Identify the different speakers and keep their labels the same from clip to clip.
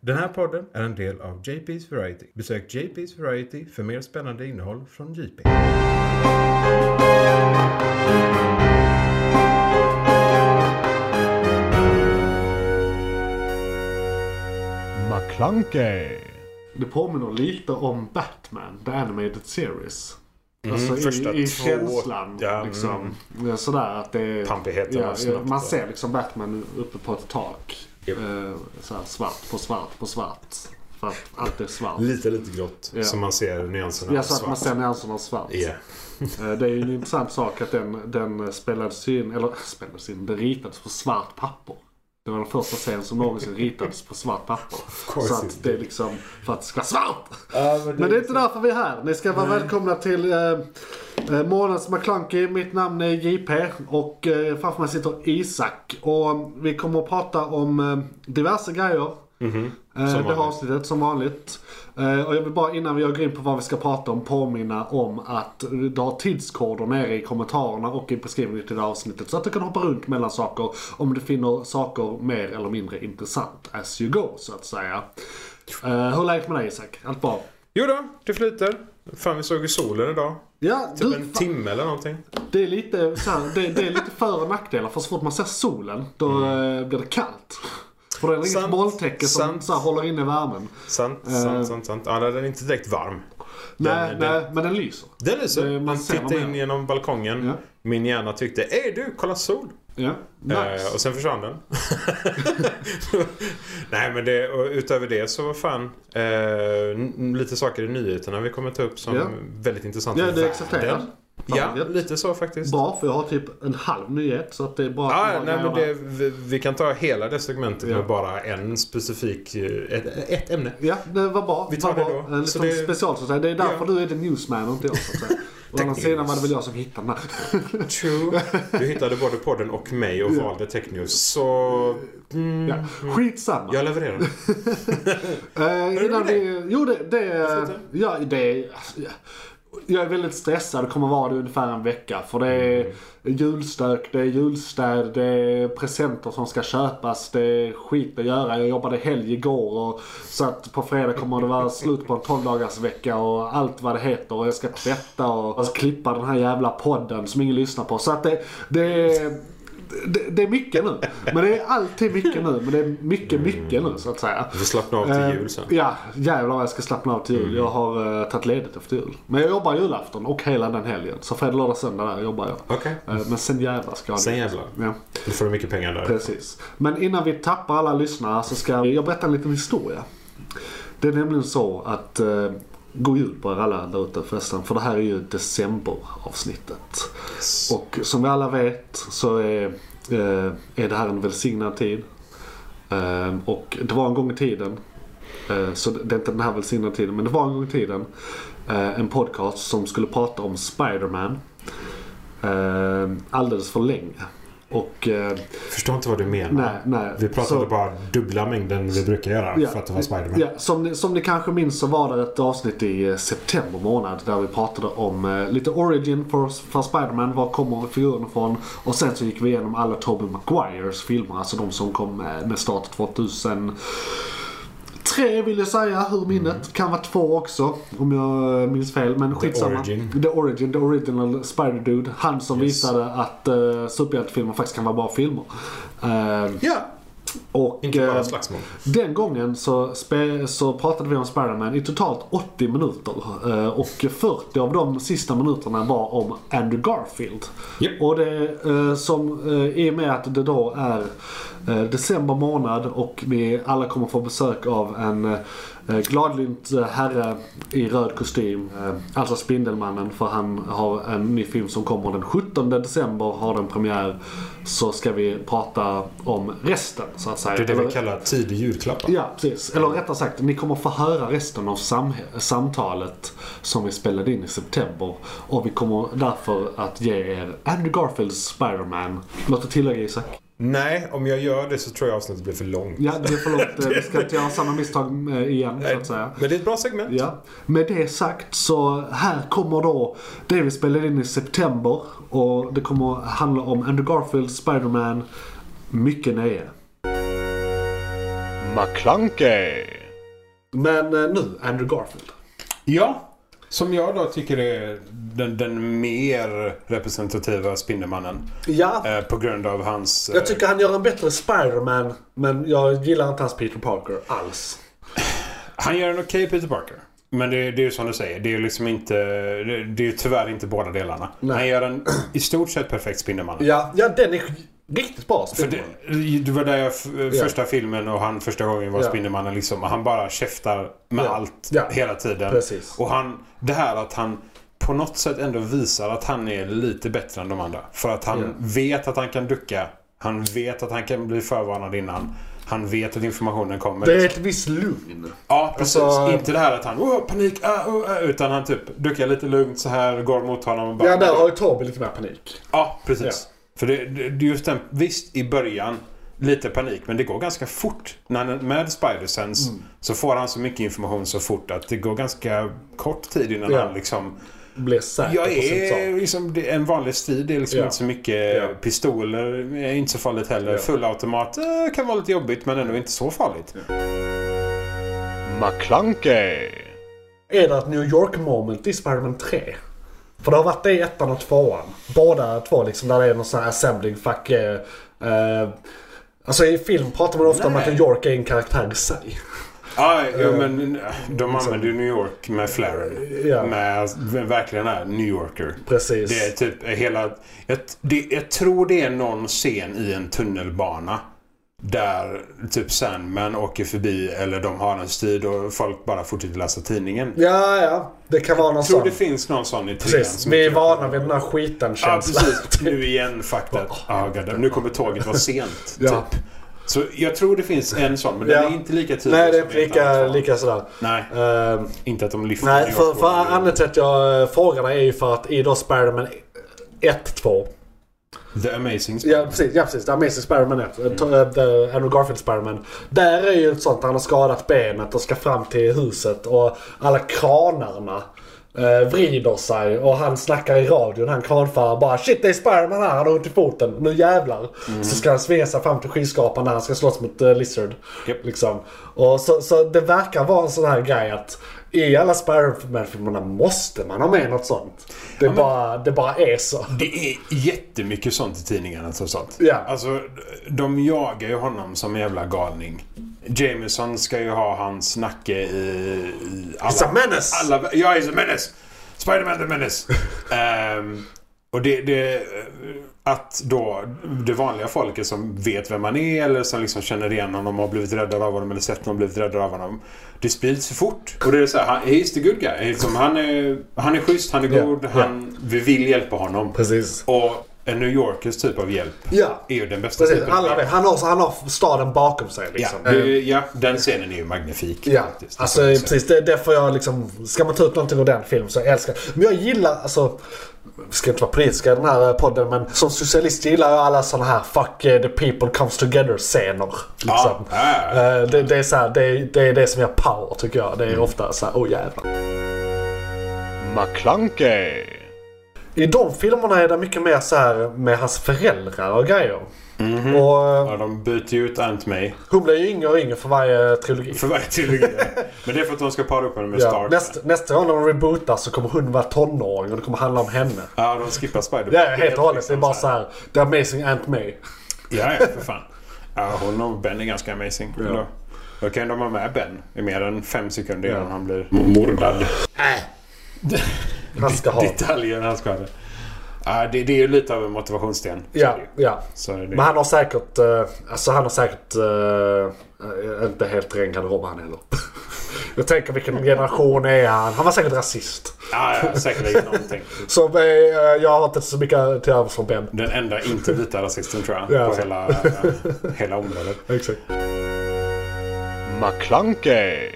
Speaker 1: Den här podden är en del av JP's Variety. Besök JP's Variety för mer spännande innehåll från JP.
Speaker 2: McClunkey.
Speaker 3: Det påminner lite om Batman, The Animated Series.
Speaker 4: Mm,
Speaker 3: Alltså,
Speaker 4: första
Speaker 3: i, i
Speaker 4: två-
Speaker 3: känslan.
Speaker 4: ja,
Speaker 3: liksom, Sådär att det är...
Speaker 4: Pampigheten
Speaker 3: ja,
Speaker 4: var snabbt
Speaker 3: Man
Speaker 4: där.
Speaker 3: ser liksom Batman uppe på ett tak.
Speaker 4: Japp.
Speaker 3: Eh, såhär, svart på svart på svart. För att allt är svart.
Speaker 4: Lite, lite grått.
Speaker 3: Ja.
Speaker 4: Så man ser nyanserna
Speaker 3: Ja, så att man
Speaker 4: svart.
Speaker 3: ser nyanserna av svart.
Speaker 4: Ja.
Speaker 3: Eh, Det är ju en intressant sak att den, den spelades in, eller spelades in, den ritades på svart papper. Det var den första serien som någonsin ritades på svart papper.
Speaker 4: course
Speaker 3: Så att
Speaker 4: it
Speaker 3: det är
Speaker 4: did.
Speaker 3: liksom för att det ska vara svart.
Speaker 4: Ja,
Speaker 3: men, det är inte därför vi är här. Ni ska vara välkomna till eh, eh, Månadens McKlunky. Mitt namn är JP och eh, framför mig sitter Isak. Och vi kommer att prata om eh, diverse grejer. Eh,
Speaker 4: Mhm. Som
Speaker 3: det här
Speaker 4: vanligt.
Speaker 3: avsnittet som vanligt. Eh, och jag vill bara innan vi går in på vad vi ska prata om påminna om att du har tidskoder nere i kommentarerna och i beskrivningen till det här avsnittet. Så att du kan hoppa runt mellan saker om du finner saker mer eller mindre intressant as you go så att säga. Eh, hur är läget med dig Isak? Allt bra?
Speaker 1: Jo då, det flyter. Fan, vi såg ju solen idag.
Speaker 3: Ja,
Speaker 1: Typ
Speaker 3: du,
Speaker 1: en
Speaker 3: fan,
Speaker 1: timme eller någonting.
Speaker 3: det, är lite, så här, det, det är lite för och nackdelar för så fort man ser solen då eh, blir det kallt. För det är inget
Speaker 4: Mm. Sant,
Speaker 3: molntäcke som
Speaker 4: sant.
Speaker 3: så här, håller inne värmen.
Speaker 4: Sant,
Speaker 3: Eh.
Speaker 4: sant, sant, sant. Ja, den är inte direkt varm.
Speaker 3: Nej,
Speaker 4: den-
Speaker 3: nej, men den lyser.
Speaker 4: Den är så.
Speaker 3: Eh, man
Speaker 4: Man
Speaker 3: ser vad
Speaker 4: tittade
Speaker 3: man
Speaker 4: in
Speaker 3: gör.
Speaker 4: genom balkongen.
Speaker 3: Ja.
Speaker 4: Min hjärna tyckte, Ey du, kolla sol.
Speaker 3: Ja, nice.
Speaker 4: Eh, och sen försvann den. Nej men det, och utöver det så vad fan. Eh, n- lite saker i nyheterna vi kommer ta upp som
Speaker 3: Ja.
Speaker 4: väldigt intressanta.
Speaker 3: Ja,
Speaker 4: för
Speaker 3: det
Speaker 4: världen.
Speaker 3: accepterar jag.
Speaker 4: Ja,
Speaker 3: Fan, gött.
Speaker 4: lite så faktiskt.
Speaker 3: Bra, för jag har typ en halv nyhet så att det är bra
Speaker 4: Ja,
Speaker 3: att
Speaker 4: nej, men
Speaker 3: grejerna-
Speaker 4: det, vi, vi kan ta hela det segmentet
Speaker 3: Ja.
Speaker 4: med bara en specifik, eh, ett, ett ämne.
Speaker 3: Ja, det var bra.
Speaker 4: Vi tar
Speaker 3: Vad
Speaker 4: det
Speaker 3: bra.
Speaker 4: då.
Speaker 3: En
Speaker 4: Så
Speaker 3: liksom
Speaker 4: det-
Speaker 3: special så att säga. Det är
Speaker 4: Ja.
Speaker 3: därför du är the newsman och inte jag så att säga. Å andra
Speaker 4: Tech
Speaker 3: sidan
Speaker 4: news.
Speaker 3: var det väl jag som hittade den här.
Speaker 4: True. Du hittade både podden och mig och
Speaker 3: Ja.
Speaker 4: valde Tech News. Så mm,
Speaker 3: ja. Skitsamma.
Speaker 4: jag levererar.
Speaker 3: Eh,
Speaker 4: du
Speaker 3: innan
Speaker 4: det?
Speaker 3: vi, jo det, det,
Speaker 4: Avsluta.
Speaker 3: ja, det alltså, ja. jag är väldigt stressad och kommer vara det ungefär en vecka. För det är julstök, det är julstäd, det är presenter som ska köpas, det är skit att göra. Jag jobbade helg igår och så att på fredag kommer det vara slut på en 12 dagars vecka och allt vad det heter. Och jag ska tvätta och och klippa den här jävla podden som ingen lyssnar på. Så att det, det är det, det är mycket nu. Men det är alltid mycket nu. Men det är mycket, mycket nu så att säga.
Speaker 4: Vi slappnar av
Speaker 3: Eh,
Speaker 4: till jul sen. Mm.
Speaker 3: Ja, jävlar vad jag ska slappna av till jul. Jag har eh, tagit ledigt efter jul. Men jag jobbar julafton och hela den helgen. Så fredag, lördag, söndag där jobbar jag.
Speaker 4: Okej.
Speaker 3: Eh, men sen jävlar ska jag
Speaker 4: Mm. Sen
Speaker 3: dit.
Speaker 4: jävlar.
Speaker 3: Ja,
Speaker 4: Då får du mycket pengar där.
Speaker 3: precis. Men innan vi tappar alla lyssnare så ska jag berätta en liten historia. Det är nämligen så att eh, God jul på er alla där ute förresten. För det här är ju decemberavsnittet. Och som vi alla vet så är, eh, är det här en välsignad tid. Eh, och det var en gång i tiden, eh, så det det är inte den här välsignade tiden, men det var en gång i tiden eh, en podcast som skulle prata om Spiderman eh, alldeles för länge. Och eh,
Speaker 4: Förstår inte vad du menar.
Speaker 3: nej, nej.
Speaker 4: Vi pratade
Speaker 3: så-
Speaker 4: bara dubbla mängden vi brukar göra för att det var Spiderman.
Speaker 3: Ja, som, ni, som ni kanske minns så var det ett avsnitt i eh, september månad där vi pratade om eh, lite origin för, för Spiderman. Var kommer figuren ifrån? Och sen så gick vi igenom alla Tobey Maguires filmer. Alltså de som kom med, med start 2000. Tre vill jag säga,
Speaker 4: Mm.
Speaker 3: hur minnet. Kan vara två också, om jag eh, minns fel. Men skitsamma.
Speaker 4: Origin.
Speaker 3: The Origin, The Original Spider-Dude. Han som visade att uh, superhjältefilmer faktiskt kan vara bra filmer. Eh,
Speaker 4: Ja,
Speaker 3: och,
Speaker 4: inte bara
Speaker 3: eh,
Speaker 4: slagsmål.
Speaker 3: den gången så, spe, så pratade vi om Spider-Man i totalt 80 minuter. Eh, Och 40 av de sista minuterna var om Andrew Garfield.
Speaker 4: Japp.
Speaker 3: Och det eh, som, eh, i och med att det då är eh, december månad och vi alla kommer få besök av en eh, gladlynt eh, herre i röd kostym. eh, Alltså Spindelmannen för han har en ny film som kommer den 17 december har den premiär. Så ska vi prata om resten så att säga.
Speaker 4: Det är det
Speaker 3: Eller-
Speaker 4: vi kallar tidig julklapp. va?
Speaker 3: Ja, precis. Eller rättare sagt, ni kommer få höra resten av samhe- samtalet som vi spelade in i september. Och vi kommer därför att ge er Andrew Garfields Spider-Man. Låt det tillägga Isak.
Speaker 4: Nej, om jag gör det så tror jag avsnittet blir för långt.
Speaker 3: Ja, det förlåt. eh, Vi ska inte göra samma misstag eh, igen, så att säga.
Speaker 4: Men det är ett bra segment.
Speaker 3: Ja. Med det sagt så här kommer då det vi spelade in i september. Och det kommer handla om Andrew Garfields Spider-Man. Mycket nöje.
Speaker 2: McClunkey.
Speaker 3: Men eh, nu, Andrew Garfield.
Speaker 4: Ja, som jag då tycker är den, den mer representativa Spindelmannen.
Speaker 3: Ja,
Speaker 4: Eh, på grund av hans... eh,
Speaker 3: jag tycker han gör en bättre Spider-Man. Men jag gillar inte hans Peter Parker alls.
Speaker 4: eh, Han gör en okej Peter Parker. Men det, det är ju som du säger. Det är ju liksom inte... Det, det är ju tyvärr inte båda delarna.
Speaker 3: Nej.
Speaker 4: Han gör en i stort sett perfekt Spindelmannen.
Speaker 3: Ja, ja den är riktigt bra.
Speaker 4: För
Speaker 3: Spiderman.
Speaker 4: det, det var där jag, f- eh, första filmen och han första gången var
Speaker 3: Ja.
Speaker 4: Spindelmannen liksom. Han bara käftar med
Speaker 3: Ja.
Speaker 4: allt
Speaker 3: Ja.
Speaker 4: hela tiden.
Speaker 3: Precis.
Speaker 4: Och han, det här att han på något sätt ändå visar att han är lite bättre än de andra. För att han
Speaker 3: Ja.
Speaker 4: vet att han kan ducka. Han vet att han kan bli förvarnad innan. Han vet att informationen kommer.
Speaker 3: Det är ett visst lugn.
Speaker 4: Ja, precis.
Speaker 3: Alltså-
Speaker 4: Inte det här att han "Åh, panik, ah, oh, ah", utan han typ duckar lite lugnt så här, går mot honom och bara...
Speaker 3: Ja, där har ju Tobbe lite mer panik.
Speaker 4: Ja, precis. För det, det, det är just den, visst i början lite panik, men det går ganska fort. När han, är med Spider-Sense
Speaker 3: Mm.
Speaker 4: så får han så mycket information så fort att det går ganska kort tid innan
Speaker 3: Ja.
Speaker 4: han liksom...
Speaker 3: Blir säker
Speaker 4: Jag
Speaker 3: på sin sak.
Speaker 4: är liksom, det, en vanlig strid är liksom
Speaker 3: Ja.
Speaker 4: inte så mycket
Speaker 3: Ja.
Speaker 4: pistoler, är inte så farligt heller.
Speaker 3: Ja.
Speaker 4: Fullautomat eh, kan vara lite jobbigt men ändå inte så farligt.
Speaker 5: McClunkey.
Speaker 3: Är det ett New York moment i Spiderman 3? För det har varit det i ettan och tvåan. Båda två liksom där det är någon sån här assembling fuck. Eh, eh, alltså i film pratar man ofta om att New York är en karaktär i sig.
Speaker 4: Ja, jo,
Speaker 3: Eh,
Speaker 4: men eh, de använder ju New York med flaren.
Speaker 3: Ja.
Speaker 4: Med verkligen är New Yorker.
Speaker 3: Precis.
Speaker 4: Det är typ hela... Jag, det, jag tror det är någon scen i en tunnelbana. Där typ Sandman åker förbi eller de har en strid och folk bara fortsätter läsa tidningen.
Speaker 3: Ja, ja. Det kan vara någon
Speaker 4: Jag tror
Speaker 3: sån.
Speaker 4: det finns någon sån i trean.
Speaker 3: Precis.
Speaker 4: som typ
Speaker 3: Vi är
Speaker 4: inte-
Speaker 3: vana vid den här
Speaker 4: Ja,
Speaker 3: skiten-känslan.
Speaker 4: precis. Nu igen, fuck that. Ah, god, nu kommer tåget vara sent.
Speaker 3: Ja.
Speaker 4: Typ. Så jag tror det finns en sån, men den
Speaker 3: Ja.
Speaker 4: är inte lika tydlig
Speaker 3: Nej, det är
Speaker 4: som
Speaker 3: inte
Speaker 4: i ett annat
Speaker 3: lika,
Speaker 4: fall.
Speaker 3: lika sådär.
Speaker 4: Nej.
Speaker 3: Eh,
Speaker 4: Inte att de lyfter
Speaker 3: nej,
Speaker 4: New
Speaker 3: för,
Speaker 4: York
Speaker 3: för
Speaker 4: World.
Speaker 3: anledningen till att jag eh, frågar dig är ju för att i då Spiderman 1, 2
Speaker 4: The Amazing Spider-Man.
Speaker 3: Ja precis, ja precis. The Amazing Spiderman 1. Mm. The Andrew Garfield Spiderman. Där är ju ett sånt, han har skadat benet och ska fram till huset och alla kranarna eh, vrider sig och han snackar i radion, han kranfar bara Shit det är Spiderman här, han har ont i foten, nu jävlar. Så ska han svinga sig fram till skyskrapan när han ska slåss mot eh, Lizard.
Speaker 4: Japp.
Speaker 3: Liksom. Och så, så det verkar vara en sån här grej att i alla Spiderman-filmerna måste man ha med något sånt. Det, bara, det bara är så.
Speaker 4: Det är jättemycket sånt i tidningarna trots allt.
Speaker 3: Ja.
Speaker 4: Alltså, de jagar ju honom som en jävla galning. Jameson ska ju ha hans nacke i... i alla,
Speaker 3: It's a menace!
Speaker 4: alla, ja, he's a menace! Spiderman the menace! Ehm, och det, det... Att då det vanliga folket som vet vem han är eller som liksom känner igen honom och har blivit räddade av honom eller sett honom blivit räddade av honom. Det sprids för fort. Och det är så här, han- he's the good guy. Liksom, han, är, han är schysst, han är
Speaker 3: Ja,
Speaker 4: god,
Speaker 3: ja.
Speaker 4: han, vi vill hjälpa honom.
Speaker 3: Precis.
Speaker 4: Och en New Yorkers typ av hjälp
Speaker 3: Ja.
Speaker 4: är ju den bästa
Speaker 3: Precis,
Speaker 4: typen. av
Speaker 3: alla
Speaker 4: hjälp.
Speaker 3: vet. Typ. Han har, han har staden bakom sig
Speaker 4: Ja,
Speaker 3: liksom.
Speaker 4: det,
Speaker 3: Eh,
Speaker 4: ja, den scenen är ju magnifik.
Speaker 3: Ja,
Speaker 4: faktiskt.
Speaker 3: alltså
Speaker 4: Det är så-
Speaker 3: precis. Det, det får jag liksom... Ska man ta ut någonting ur den filmen så jag älskar Men jag gillar, alltså... Vi ska inte vara politiska i den här eh, podden men som socialist gillar jag alla sådana här fuck eh, the people comes together scener. Liksom.
Speaker 4: Ja, ja, ja.
Speaker 3: Eh, Det, det, är så här, det, det är det som gör power tycker jag. Det är ofta så här, oh jävlar.
Speaker 5: McClunkey.
Speaker 3: I de filmerna är det mycket mer så här med hans föräldrar och grejer. Och eh,
Speaker 4: Ja, de byter ju ut Aunt May
Speaker 3: hon blir ju yngre och yngre för varje trilogi.
Speaker 4: för varje trilogi. Men det är för att de ska para upp henne med
Speaker 3: Ja,
Speaker 4: Stark.
Speaker 3: nästa, nästa gång de rebootar så kommer hon vara tonåring och det kommer handla om henne.
Speaker 4: Ja, de skippar Spider-Man.
Speaker 3: Det är helt liksom och hållet. Det är bara
Speaker 4: här.
Speaker 3: såhär, The Amazing Aunt May.
Speaker 4: Ja, ja, för fan. Ja, hon och Ben är ganska amazing.
Speaker 3: Ja.
Speaker 4: Då. då kan de ha med Ben i mer än fem sekunder innan
Speaker 3: Ja.
Speaker 4: han blir mordad.
Speaker 3: Äh. Han ska ha.
Speaker 4: Detaljer han ska ha det. Ja, det, det är ju lite av en motivationssten. Så är
Speaker 3: Ja,
Speaker 4: det ju.
Speaker 3: ja.
Speaker 4: Så är det.
Speaker 3: Men han har säkert, eh, alltså han har säkert eh, eh, inte helt ren garderob han heller. Jag tänker vilken generation är han? Han var säkert rasist.
Speaker 4: Ja, ja, säkerligen någonting.
Speaker 3: Så eh, jag har inte så mycket till övers för Ben.
Speaker 4: Den enda inte vita rasisten tror jag.
Speaker 3: Ja,
Speaker 4: på
Speaker 3: så.
Speaker 4: hela, eh, hela området.
Speaker 3: Exakt.
Speaker 5: McClunkey.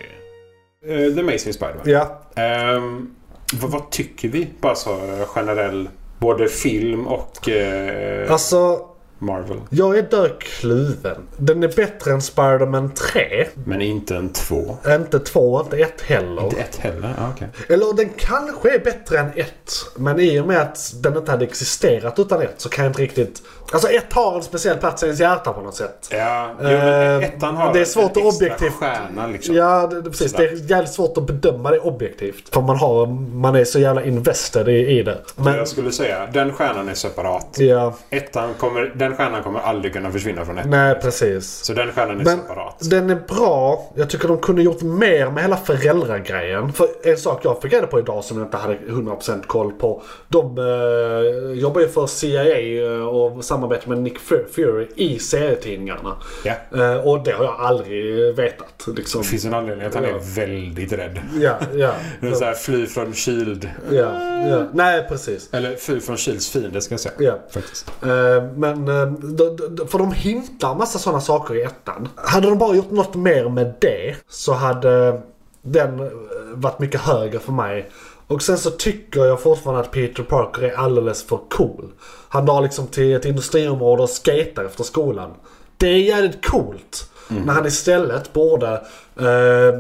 Speaker 4: Eh, The Amazing Spider-Man.
Speaker 3: Ja.
Speaker 4: Ehm, vad, vad tycker vi? Bara så generell. Både film och... eh,
Speaker 3: Alltså,
Speaker 4: Marvel.
Speaker 3: Jag är där kluven. Den är bättre än Spider-Man 3.
Speaker 4: Men inte en två.
Speaker 3: Inte 2, inte 1 heller.
Speaker 4: Inte ett heller? Ja, okej.
Speaker 3: Eller den kanske är bättre än 1. Men i och med att den inte hade existerat utan 1 så kan jag inte riktigt... Alltså 1 har en speciell plats i ens hjärta på något sätt.
Speaker 4: Ja, jo, men
Speaker 3: Eh,
Speaker 4: ettan har
Speaker 3: det är svårt
Speaker 4: en
Speaker 3: att
Speaker 4: extra
Speaker 3: objektivt-
Speaker 4: stjärna liksom.
Speaker 3: Ja, det, det, precis. Det är jävligt svårt att bedöma det objektivt. För man, har, man är så jävla invested i, i det. Men,
Speaker 4: Jag skulle säga den stjärnan är separat.
Speaker 3: ja,
Speaker 4: Ettan kommer, den stjärnan kommer aldrig kunna försvinna från ettan.
Speaker 3: nej precis.
Speaker 4: Så den stjärnan är
Speaker 3: Men
Speaker 4: separat.
Speaker 3: den är bra. Jag tycker de kunde gjort mer med hela föräldragrejen. För en sak jag fick reda på idag som jag inte hade 100% koll på. De eh, jobbar ju för CIA eh, och samarbetar med Nick Fu- Fury i serietidningarna.
Speaker 4: Ja.
Speaker 3: Eh, och det har jag aldrig vetat. Liksom.
Speaker 4: Det finns en anledning att han
Speaker 3: Ja.
Speaker 4: är väldigt rädd.
Speaker 3: Ja, ja.
Speaker 4: Det är så här, fly från Shield.
Speaker 3: ja, ja. Nej, precis.
Speaker 4: Eller fly från Shields fiende ska jag säga.
Speaker 3: Ja.
Speaker 4: Faktiskt.
Speaker 3: Eh, Men, eh, d- d- d- för de hintar massa sådana saker i ettan. Hade de bara gjort något mer med det så hade den eh, varit mycket högre för mig. Och sen så tycker jag fortfarande att Peter Parker är alldeles för cool. Han drar liksom till ett industriområde och skater efter skolan. Det är jävligt coolt.
Speaker 4: Mhm.
Speaker 3: När han istället borde eh,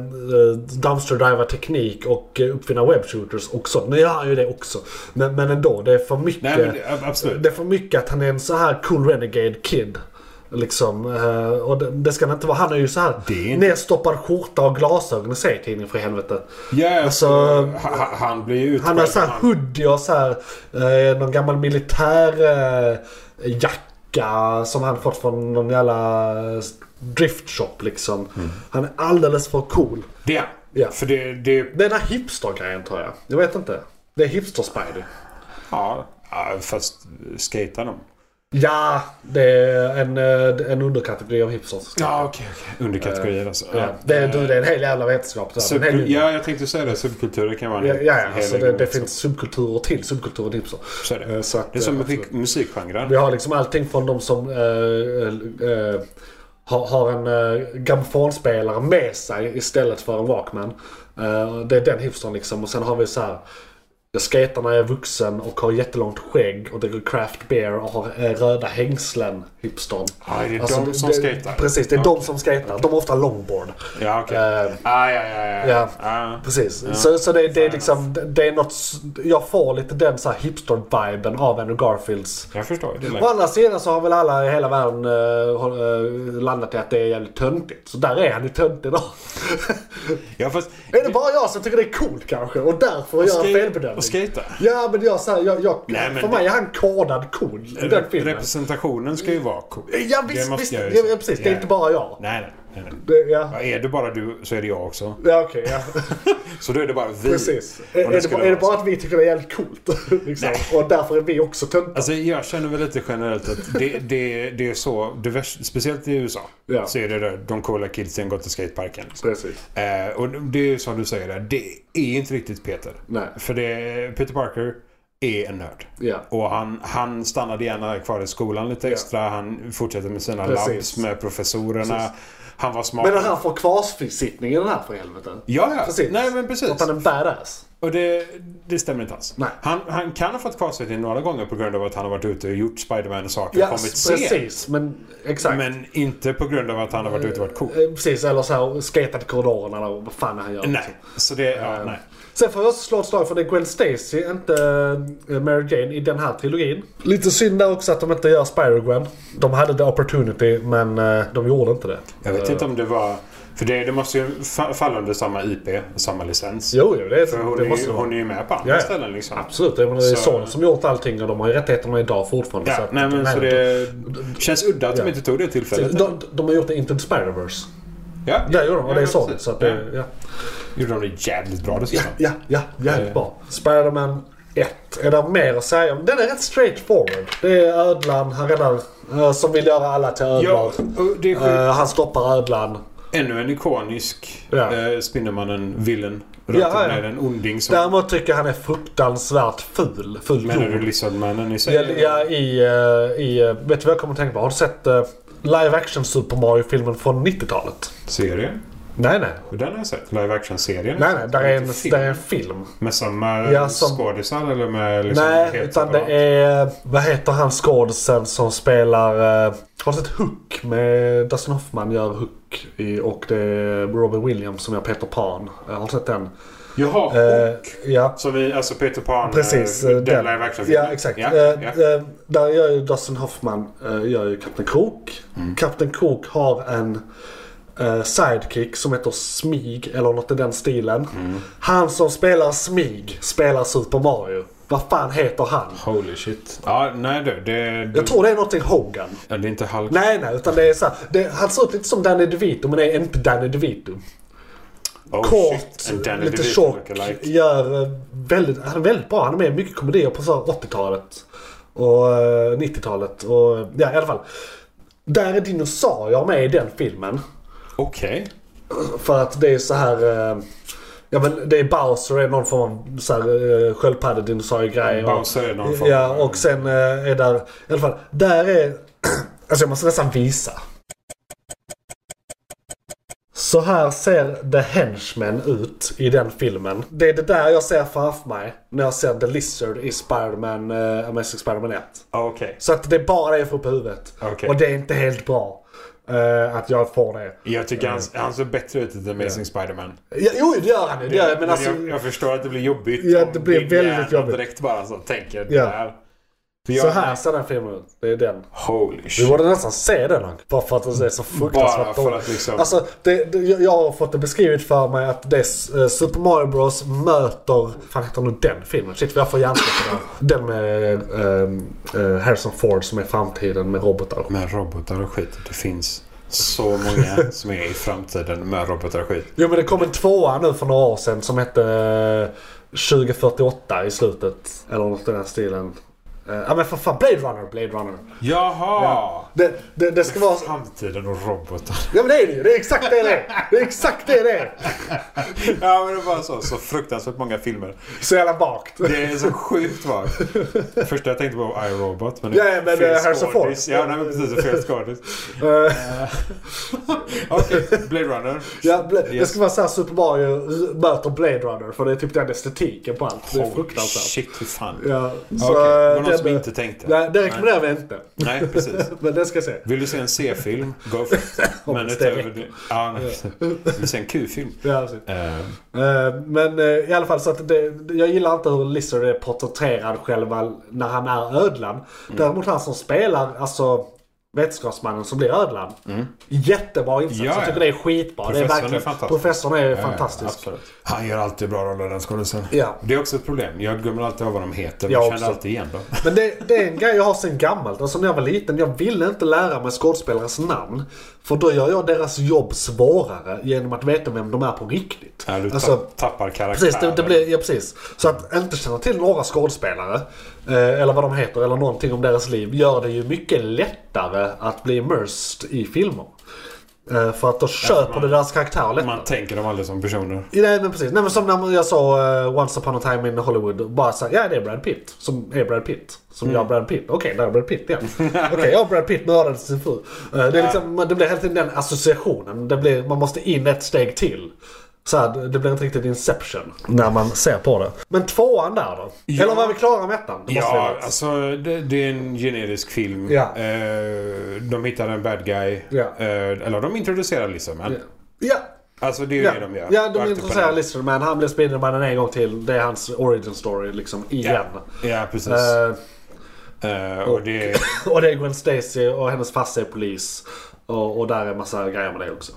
Speaker 3: dumpster driva teknik och eh, uppfinna webbshooters och så. Nu gör han ju det också. Men, men ändå, det är för mycket.
Speaker 4: Nej, men det, ab- absolut.
Speaker 3: Det är för mycket att han är en så här cool renegade kid. Liksom, eh, och det, det ska han inte vara. Han är ju så här
Speaker 4: Det är inte-
Speaker 3: nedstoppad skjorta och glasögon i serietidningen för helvete.
Speaker 4: Ja,
Speaker 3: Alltså,
Speaker 4: ha- ha- han blir ju
Speaker 3: Han har så här hoodie och så här eh, någon gammal militärjacka eh, jacka som han fått från någon jävla eh, driftshop liksom.
Speaker 4: Mm.
Speaker 3: Han är alldeles för cool.
Speaker 4: Det är
Speaker 3: Ja.
Speaker 4: han. För det, det
Speaker 3: Det är den här hipstergrejen tror jag. Jag vet inte. Det är hipster-spidey.
Speaker 4: ja, ja, fast skejtar de?
Speaker 3: Ja, det är en, eh, en underkategori av hipsters.
Speaker 4: Ja, okej. okej. Underkategorier alltså.
Speaker 3: Ja, det, är, du, det är en hel jävla vetenskap. Så, en hel,
Speaker 4: Subkul- ja, jag tänkte säga det. Subkulturer kan vara en
Speaker 3: ja,
Speaker 4: hel-
Speaker 3: ja,
Speaker 4: en hel
Speaker 3: alltså det,
Speaker 4: egen
Speaker 3: det
Speaker 4: också.
Speaker 3: finns subkulturer till subkulturer till. Så.
Speaker 4: Så är det.
Speaker 3: Eh, Så att,
Speaker 4: Det är som
Speaker 3: eh,
Speaker 4: musik- musikgenrer.
Speaker 3: Vi har liksom allting från de som eh, eh, har, har en eh, grammofonspelare med sig istället för en Walkman. Eh, det är den hipstern liksom. Och sen har vi så här. Jag skejtar när jag är vuxen och har jättelångt skägg och dricker craft beer och har eh, röda hängslen hipstern.
Speaker 4: Ja, det är
Speaker 3: Alltså,
Speaker 4: de som
Speaker 3: det-
Speaker 4: skejtar.
Speaker 3: Precis, det är de som skejtar. De har ofta longboard.
Speaker 4: Ja, okej.
Speaker 3: Eh,
Speaker 4: Ah, ja, ja, ja.
Speaker 3: ja.
Speaker 4: Ah.
Speaker 3: Precis. Så, så det, det är liksom,
Speaker 4: alltså.
Speaker 3: det är något, s- jag får lite den så här hipster-viben av Andrew Garfields.
Speaker 4: Jag förstår. Det
Speaker 3: Å
Speaker 4: lät-
Speaker 3: andra sidan så har väl alla i hela världen eh, håll- eh, landat i att det är jävligt töntigt. Så där är han ju töntig då.
Speaker 4: ja, fast...
Speaker 3: är det bara jag som tycker det är coolt kanske och därför gör en
Speaker 4: skate-
Speaker 3: felbedömning?
Speaker 4: Och skejta.
Speaker 3: Ja men jag säger, jag, jag,
Speaker 4: Nej, men
Speaker 3: för
Speaker 4: det-
Speaker 3: mig är han kodad cool i den
Speaker 4: Rep-
Speaker 3: filmen.
Speaker 4: representationen ska ju vara cool.
Speaker 3: Ja
Speaker 4: Det
Speaker 3: visst,
Speaker 4: måste
Speaker 3: visst.
Speaker 4: jag ju
Speaker 3: Ja,
Speaker 4: säga.
Speaker 3: ja, precis. Det är
Speaker 4: Ja.
Speaker 3: inte bara jag.
Speaker 4: Nej, nej, nej. nej.
Speaker 3: Det, ja.
Speaker 4: Ja, är det bara du så är det jag också.
Speaker 3: Ja okej, ja.
Speaker 4: Så då är det bara vi.
Speaker 3: Precis.
Speaker 4: Och
Speaker 3: Är, är, det,
Speaker 4: skulle
Speaker 3: bara- är det
Speaker 4: vara
Speaker 3: bara
Speaker 4: så.
Speaker 3: att vi tycker det är jävligt coolt? liksom. Och därför är vi också töntiga?
Speaker 4: Alltså jag känner väl lite generellt att det, det, det är så, det värst, speciellt i USA,
Speaker 3: Ja.
Speaker 4: så är det där de coola kidsen går till skateparken. liksom.
Speaker 3: Precis.
Speaker 4: Eh, och det är ju som du säger, där, det är inte riktigt Peter.
Speaker 3: Nej.
Speaker 4: För det, Peter Parker är en nörd.
Speaker 3: Ja.
Speaker 4: Och han, han stannade gärna kvar i skolan lite extra. Han fortsatte med sina
Speaker 3: Precis.
Speaker 4: labs med professorerna. Han var smart.
Speaker 3: Men den här får kvarsbesittningen den här för helvete.
Speaker 4: Ja, ja.
Speaker 3: Precis.
Speaker 4: Nej, men precis.
Speaker 3: Att han är en badass.
Speaker 4: Och det, det stämmer inte alls.
Speaker 3: Nej.
Speaker 4: Han, han kan ha fått kvarsittning några gånger på grund av att han har varit ute och gjort Spiderman-saker och
Speaker 3: Ja,
Speaker 4: kommit sent.
Speaker 3: precis. Men exakt.
Speaker 4: Men inte på grund av att han har varit ute och varit cool.
Speaker 3: Eh, Precis, eller så här skatat i korridorerna eller vad fan han gör.
Speaker 4: Nej, så det... Ja,
Speaker 3: Eh,
Speaker 4: nej.
Speaker 3: Sen får jag också slå ett slag för det är Gwen Stacy, inte eh, Mary Jane i den här trilogin. Lite synd där också att de inte gör Spider-Gwen. De hade the opportunity men eh, de gjorde inte det.
Speaker 4: Jag vet inte om det var... För det, det måste ju fa- falla under samma IP och samma licens.
Speaker 3: Jo, jo det,
Speaker 4: För hon,
Speaker 3: det
Speaker 4: är,
Speaker 3: måste
Speaker 4: ju,
Speaker 3: det vara.
Speaker 4: hon är ju med på andra
Speaker 3: Ja, ja.
Speaker 4: ställen liksom.
Speaker 3: Absolut, jag menar, det är
Speaker 4: Så-
Speaker 3: Sony som gjort allting och de har ju rättigheterna idag fortfarande.
Speaker 4: Ja,
Speaker 3: att-
Speaker 4: nej, men, så det känns udda att
Speaker 3: Ja.
Speaker 4: de inte tog det tillfället.
Speaker 3: De, de har gjort det inte till Spider-Verse.
Speaker 4: Ja,
Speaker 3: Där gjorde de och det är
Speaker 4: ja,
Speaker 3: Sony.
Speaker 4: precis.
Speaker 3: Så att det, ja.
Speaker 4: Gjorde de det jävligt bra dessutom.
Speaker 3: Ja, ja, jävligt bra. Spider-Man 1. Är det mer att säga om? Den är rätt straight forward. Det är ödlan, han räddar, eh, som vill göra alla till ödlor.
Speaker 4: Ja, och det är sjukt.
Speaker 3: Eh, han stoppar ödlan.
Speaker 4: Ännu en ikonisk
Speaker 3: Ja.
Speaker 4: eh, Spindelmannen-villen.
Speaker 3: Ja,
Speaker 4: Röten
Speaker 3: ja.
Speaker 4: med en onding som...
Speaker 3: Däremot tycker jag han är fruktansvärt ful. Ful
Speaker 4: Menar du
Speaker 3: blod.
Speaker 4: Lizardmannen i sig?
Speaker 3: Ja, ja, i, eh, i, eh, vet du vad jag kommer att tänka på? Har du sett eh, live action Super Mario-filmen från 90-talet?
Speaker 4: Serien?
Speaker 3: Nej, nej.
Speaker 4: Och Den har jag sett. Live action-serien.
Speaker 3: Nej, nej. Där är en,
Speaker 4: Film.
Speaker 3: där är en film.
Speaker 4: Med samma
Speaker 3: Ja, som-
Speaker 4: skådisar eller med liksom
Speaker 3: nej,
Speaker 4: helt
Speaker 3: utan det
Speaker 4: separat?
Speaker 3: är... Vad heter han skådisen som spelar... eh, Har du sett Hook? Med Dustin Hoffman gör Hook. I, och det är Robin Williams som gör Peter Pan. Eh, Har du sett den?
Speaker 4: Jaha,
Speaker 3: Eh,
Speaker 4: och.
Speaker 3: ja.
Speaker 4: Som vi, alltså Peter Pan.
Speaker 3: Precis.
Speaker 4: eh,
Speaker 3: eh,
Speaker 4: Den
Speaker 3: den.
Speaker 4: live action
Speaker 3: Ja, exakt.
Speaker 4: Ja,
Speaker 3: Eh,
Speaker 4: ja.
Speaker 3: eh, Där gör ju Dustin Hoffman eh, gör ju Kapten Krok.
Speaker 4: Mm.
Speaker 3: Kapten Krok har en eh, sidekick som heter Smig eller något i den stilen.
Speaker 4: Mm.
Speaker 3: Han som spelar Smig spelar Super Mario. Vad fan heter han?
Speaker 4: Holy shit. Ja, nej du. Det, du
Speaker 3: Jag tror det är någonting Hogan.
Speaker 4: ja, det är inte Hulk.
Speaker 3: Nej, nej, utan det är så här, det, Han ser ut lite som Danny DeVito, men är inte Danny DeVito.
Speaker 4: oh,
Speaker 3: Kort,
Speaker 4: shit. And Danny
Speaker 3: lite
Speaker 4: DeVito
Speaker 3: tjock.
Speaker 4: lookalike.
Speaker 3: Gör eh, väldigt, han är väldigt bra. Han är med i mycket komedier på så här 80-talet. Och eh, 90-talet. Och, eh, ja, i alla fall. Där är dinosaurier med i den filmen.
Speaker 4: Okej.
Speaker 3: För att det är så här... eh, Ja men det är Bowser, är någon form av så här, eh, sköldpaddedinosaurie-grej. Och-
Speaker 4: Bowser är någon form
Speaker 3: Ja,
Speaker 4: av-
Speaker 3: och sen eh, är där... I alla fall, där är... alltså jag måste nästan visa. Så här ser The Henchmen ut i den filmen. Det är det där jag ser framför mig när jag ser The Lizard i Spider-Man, eh, Amazing Spider-Man 1.
Speaker 4: Okej.
Speaker 3: Så att det är bara det jag får upp i huvudet.
Speaker 4: Okej.
Speaker 3: Och det är inte helt bra. eh, att jag får det.
Speaker 4: Jag tycker han, han ser bättre ut än Amazing Spider-Man.
Speaker 3: Mm. Ja, jo, det gör han ju. Det gör, jag, men alltså,
Speaker 4: jag, jag förstår att det blir jobbigt.
Speaker 3: Ja,
Speaker 4: om
Speaker 3: det blir
Speaker 4: din
Speaker 3: väldigt
Speaker 4: hjärna
Speaker 3: jobbigt.
Speaker 4: direkt bara så tänker
Speaker 3: Ja.
Speaker 4: det här. För jag,
Speaker 3: så här ser den filmen ut. Det är den.
Speaker 4: Holy
Speaker 3: Vi
Speaker 4: shit.
Speaker 3: borde nästan se den Hank. Bara för att det är så
Speaker 4: Bara
Speaker 3: fruktansvärt
Speaker 4: för
Speaker 3: dåligt.
Speaker 4: att liksom...
Speaker 3: Alltså, det, det, jag jag har fått det beskrivet för mig att det är S- eh, Super Mario Bros möter... fan heter nu den filmen? Shit, jag får hjärnsläpp på den. Den med eh, eh, Harrison Ford som är framtiden med robotar.
Speaker 4: med robotar och skit. Det finns så många som är i framtiden med robotar och skit.
Speaker 3: Jo men det kom en tvåa nu för några år sedan som hette eh, 2048 i slutet. Eller något i den stilen. Eh, Ja men för fan, Blade Runner, Blade Runner.
Speaker 4: Jaha!
Speaker 3: Det, det, det ska vara...
Speaker 4: Framtiden och robotar.
Speaker 3: Ja men det är det ju, det är exakt det det är. Det är exakt det det är.
Speaker 4: Ja men det var så, så fruktansvärt många filmer.
Speaker 3: Så jävla vagt.
Speaker 4: Det är så sjukt vagt. Första jag tänkte på var iRobot. Men
Speaker 3: Ja, ja, men, eh, Harrison Ford.
Speaker 4: skådis. Ja, nej, men precis. Fel skådis.
Speaker 3: Eh,
Speaker 4: Okej, Blade Runner.
Speaker 3: Ja, Bla- Det
Speaker 4: Yes.
Speaker 3: ska vara såhär Super Mario r- möter Blade Runner för det är typ den estetiken på allt. Det är
Speaker 4: Holy
Speaker 3: fruktansvärt. Eh,
Speaker 4: shit, hur fan.
Speaker 3: Ja, eh,
Speaker 4: Okej, det var
Speaker 3: den-
Speaker 4: någon som inte tänkte.
Speaker 3: Nej, det rekommenderar vi inte.
Speaker 4: Nej, precis.
Speaker 3: Men det ska jag se.
Speaker 4: Vill du se en C-film? Go for it. Men
Speaker 3: Hoppas det
Speaker 4: utöver det... Ja, nej. precis. Vill du se en Q-film?
Speaker 3: Ja, precis.
Speaker 4: Eh,
Speaker 3: Eh, Men eh, i alla fall så att det, jag gillar inte hur Lizard är porträtterad själva när han är ödlan.
Speaker 4: Mm.
Speaker 3: Däremot han som spelar, alltså vetenskapsmannen som blir ödlan. Jättebra insats.
Speaker 4: Mm. Ja,
Speaker 3: jag
Speaker 4: ja.
Speaker 3: tycker det är skitbra.
Speaker 4: Professorn
Speaker 3: det är
Speaker 4: är
Speaker 3: verkligen,
Speaker 4: fantastisk.
Speaker 3: Professorn är
Speaker 4: ja,
Speaker 3: fantastisk.
Speaker 4: absolut. Han gör alltid bra roller den skådisen.
Speaker 3: Ja.
Speaker 4: Det är också ett problem. Jag glömmer alltid av vad de heter.
Speaker 3: Jag
Speaker 4: Jag känner
Speaker 3: också.
Speaker 4: alltid igen dem.
Speaker 3: Men det, det är en grej jag har sen gammalt. Alltså när jag var liten, jag ville inte lära mig skådespelares namn. För då gör jag deras jobb svårare genom att veta vem de är på riktigt.
Speaker 4: Ja, du
Speaker 3: alltså,
Speaker 4: tapp- tappar karaktär.
Speaker 3: precis, det, det blir, ja, precis. Så att inte känna till några skådespelare, eh, eller vad de heter, eller någonting om deras liv, gör det ju mycket lättare att bli immersed i filmer. Eh, för att då köper du deras karaktär lättare.
Speaker 4: Man tänker dem aldrig som personer.
Speaker 3: Nej men precis. Nej, men som när jag såg eh, Once upon a time in Hollywood. Bara såhär, ja det är Brad Pitt. Som är Brad Pitt. Som
Speaker 4: Mm.
Speaker 3: gör Brad Pitt. Okej, där är Brad Pitt igen. Okej, jag och Brad Pitt mördade sin fru. Eh, det, är liksom, man- det blir hela tiden den associationen. Det blir, man måste in ett steg till. Så här, det- det blir inte riktigt Inception när man ser på det. Men tvåan där då?
Speaker 4: Ja.
Speaker 3: Eller var vi klara med ettan? Det måste vi
Speaker 4: Ja,
Speaker 3: vara.
Speaker 4: alltså det, det är en generisk film.
Speaker 3: Ja.
Speaker 4: Eh, de hittar en bad guy.
Speaker 3: Ja.
Speaker 4: Eh, eller de introducerar Lizardman.
Speaker 3: ja.
Speaker 4: Alltså det är ju
Speaker 3: Ja,
Speaker 4: det de gör.
Speaker 3: ja, de
Speaker 4: Rakt upp och
Speaker 3: introducerar
Speaker 4: ner.
Speaker 3: Lizardman. Han blir Spindelmannen en gång till. Det är hans origin story liksom, igen.
Speaker 4: Ja, precis.
Speaker 3: Eh,
Speaker 4: Eh, och det är...
Speaker 3: Och det är Gwen Stacy och hennes farsa är polis. Och, och där är massa grejer med det också.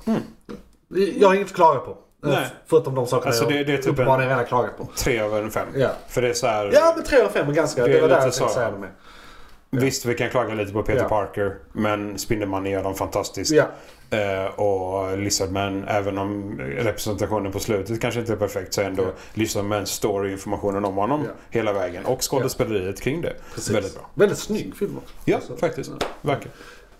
Speaker 3: Jag har inget att klaga på. Eh,
Speaker 4: Mm. Nej.
Speaker 3: Förutom de sakerna
Speaker 4: Alltså, det-
Speaker 3: jag
Speaker 4: det är typ en-
Speaker 3: uppenbarligen redan klagat på.
Speaker 4: Tre över en fem.
Speaker 3: Ja.
Speaker 4: För det är så här...
Speaker 3: Ja men 3 av 5 är ganska...
Speaker 4: Det
Speaker 3: Det,
Speaker 4: är
Speaker 3: var där
Speaker 4: lite
Speaker 3: jag
Speaker 4: så.
Speaker 3: tänkte säga det med.
Speaker 4: Visst, vi kan klaga lite på Peter
Speaker 3: Ja.
Speaker 4: Parker. Men Spindelmannen gör dem fantastiskt.
Speaker 3: Ja.
Speaker 4: Eh, och Lizardman, även om representationen på slutet kanske inte är perfekt, så är ändå Lizardman står i informationen om honom
Speaker 3: Ja.
Speaker 4: hela vägen. Och skådespeleriet kring det.
Speaker 3: Precis.
Speaker 4: Väldigt bra.
Speaker 3: Väldigt snygg film också.
Speaker 4: Ja,
Speaker 3: Alltså.
Speaker 4: faktiskt. Verkligen.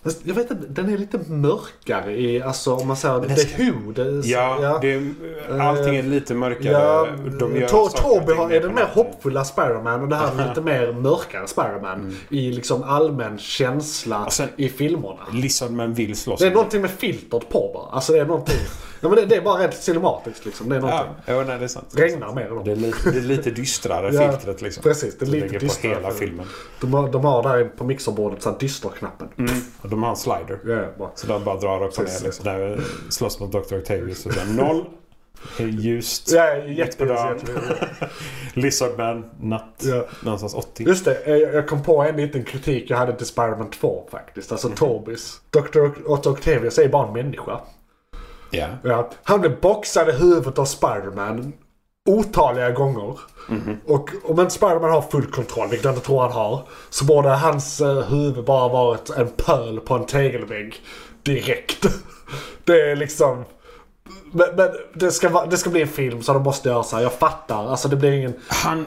Speaker 3: Fast Jag vet inte, den är lite mörkare i, alltså om man säger
Speaker 4: den
Speaker 3: The
Speaker 4: ska-
Speaker 3: Who. Det,
Speaker 4: Ja, Det är, allting är lite mörkare.
Speaker 3: Eh, Ja,
Speaker 4: De gör
Speaker 3: Tor-
Speaker 4: saker och
Speaker 3: Torby
Speaker 4: ting
Speaker 3: har-
Speaker 4: mer
Speaker 3: är
Speaker 4: på
Speaker 3: den mer
Speaker 4: natten.
Speaker 3: hoppfulla Spiderman och det här är lite mer mörkare Spiderman. I liksom allmän känsla
Speaker 4: Mm. Och sen-
Speaker 3: i filmerna.
Speaker 4: Lizardman vill slåss.
Speaker 3: Det är någonting med filtret på bara. Alltså det är någonting. Nej, men det, det är bara rent cinematiskt liksom. Det är någonting.
Speaker 4: Ja, jo, nej, det är sant.
Speaker 3: Regnar mer än
Speaker 4: Det är
Speaker 3: dem.
Speaker 4: lite, det är lite dystrare
Speaker 3: Ja,
Speaker 4: filtret liksom.
Speaker 3: precis, det är
Speaker 4: Som
Speaker 3: lite
Speaker 4: ligger
Speaker 3: dystrare
Speaker 4: på hela
Speaker 3: filtret.
Speaker 4: filmen.
Speaker 3: De, har- de har där på mixerbordet så här dysterknappen.
Speaker 4: Och de har en slider.
Speaker 3: Ja, ja, bra.
Speaker 4: Så de bara drar upp och ner liksom. Där slåss mot Dr. Octavius. Och sen noll. Ljust.
Speaker 3: Ja,
Speaker 4: Mitt på
Speaker 3: jätte,
Speaker 4: dagen.
Speaker 3: jätte, jätte-
Speaker 4: Lizardman. Natt.
Speaker 3: Ja.
Speaker 4: Någonstans 80.
Speaker 3: Just det, eh, jag jag kom på en liten kritik jag hade till Spiderman 2 faktiskt. Alltså
Speaker 4: Mhm.
Speaker 3: Tobis. Dr. Otto Octavius är bara en människa.
Speaker 4: Ja.
Speaker 3: Ja. Han blev boxad i huvudet av Spiderman otaliga gånger. Och om inte Spiderman har full kontroll, vilket jag inte tror han har, så borde hans eh, huvud bara varit en pöl på en tegelvägg direkt. Det är liksom... Men, men det, ska vara, det ska bli en film så de måste göra så här. Jag fattar. Alltså det blir ingen...
Speaker 4: Han,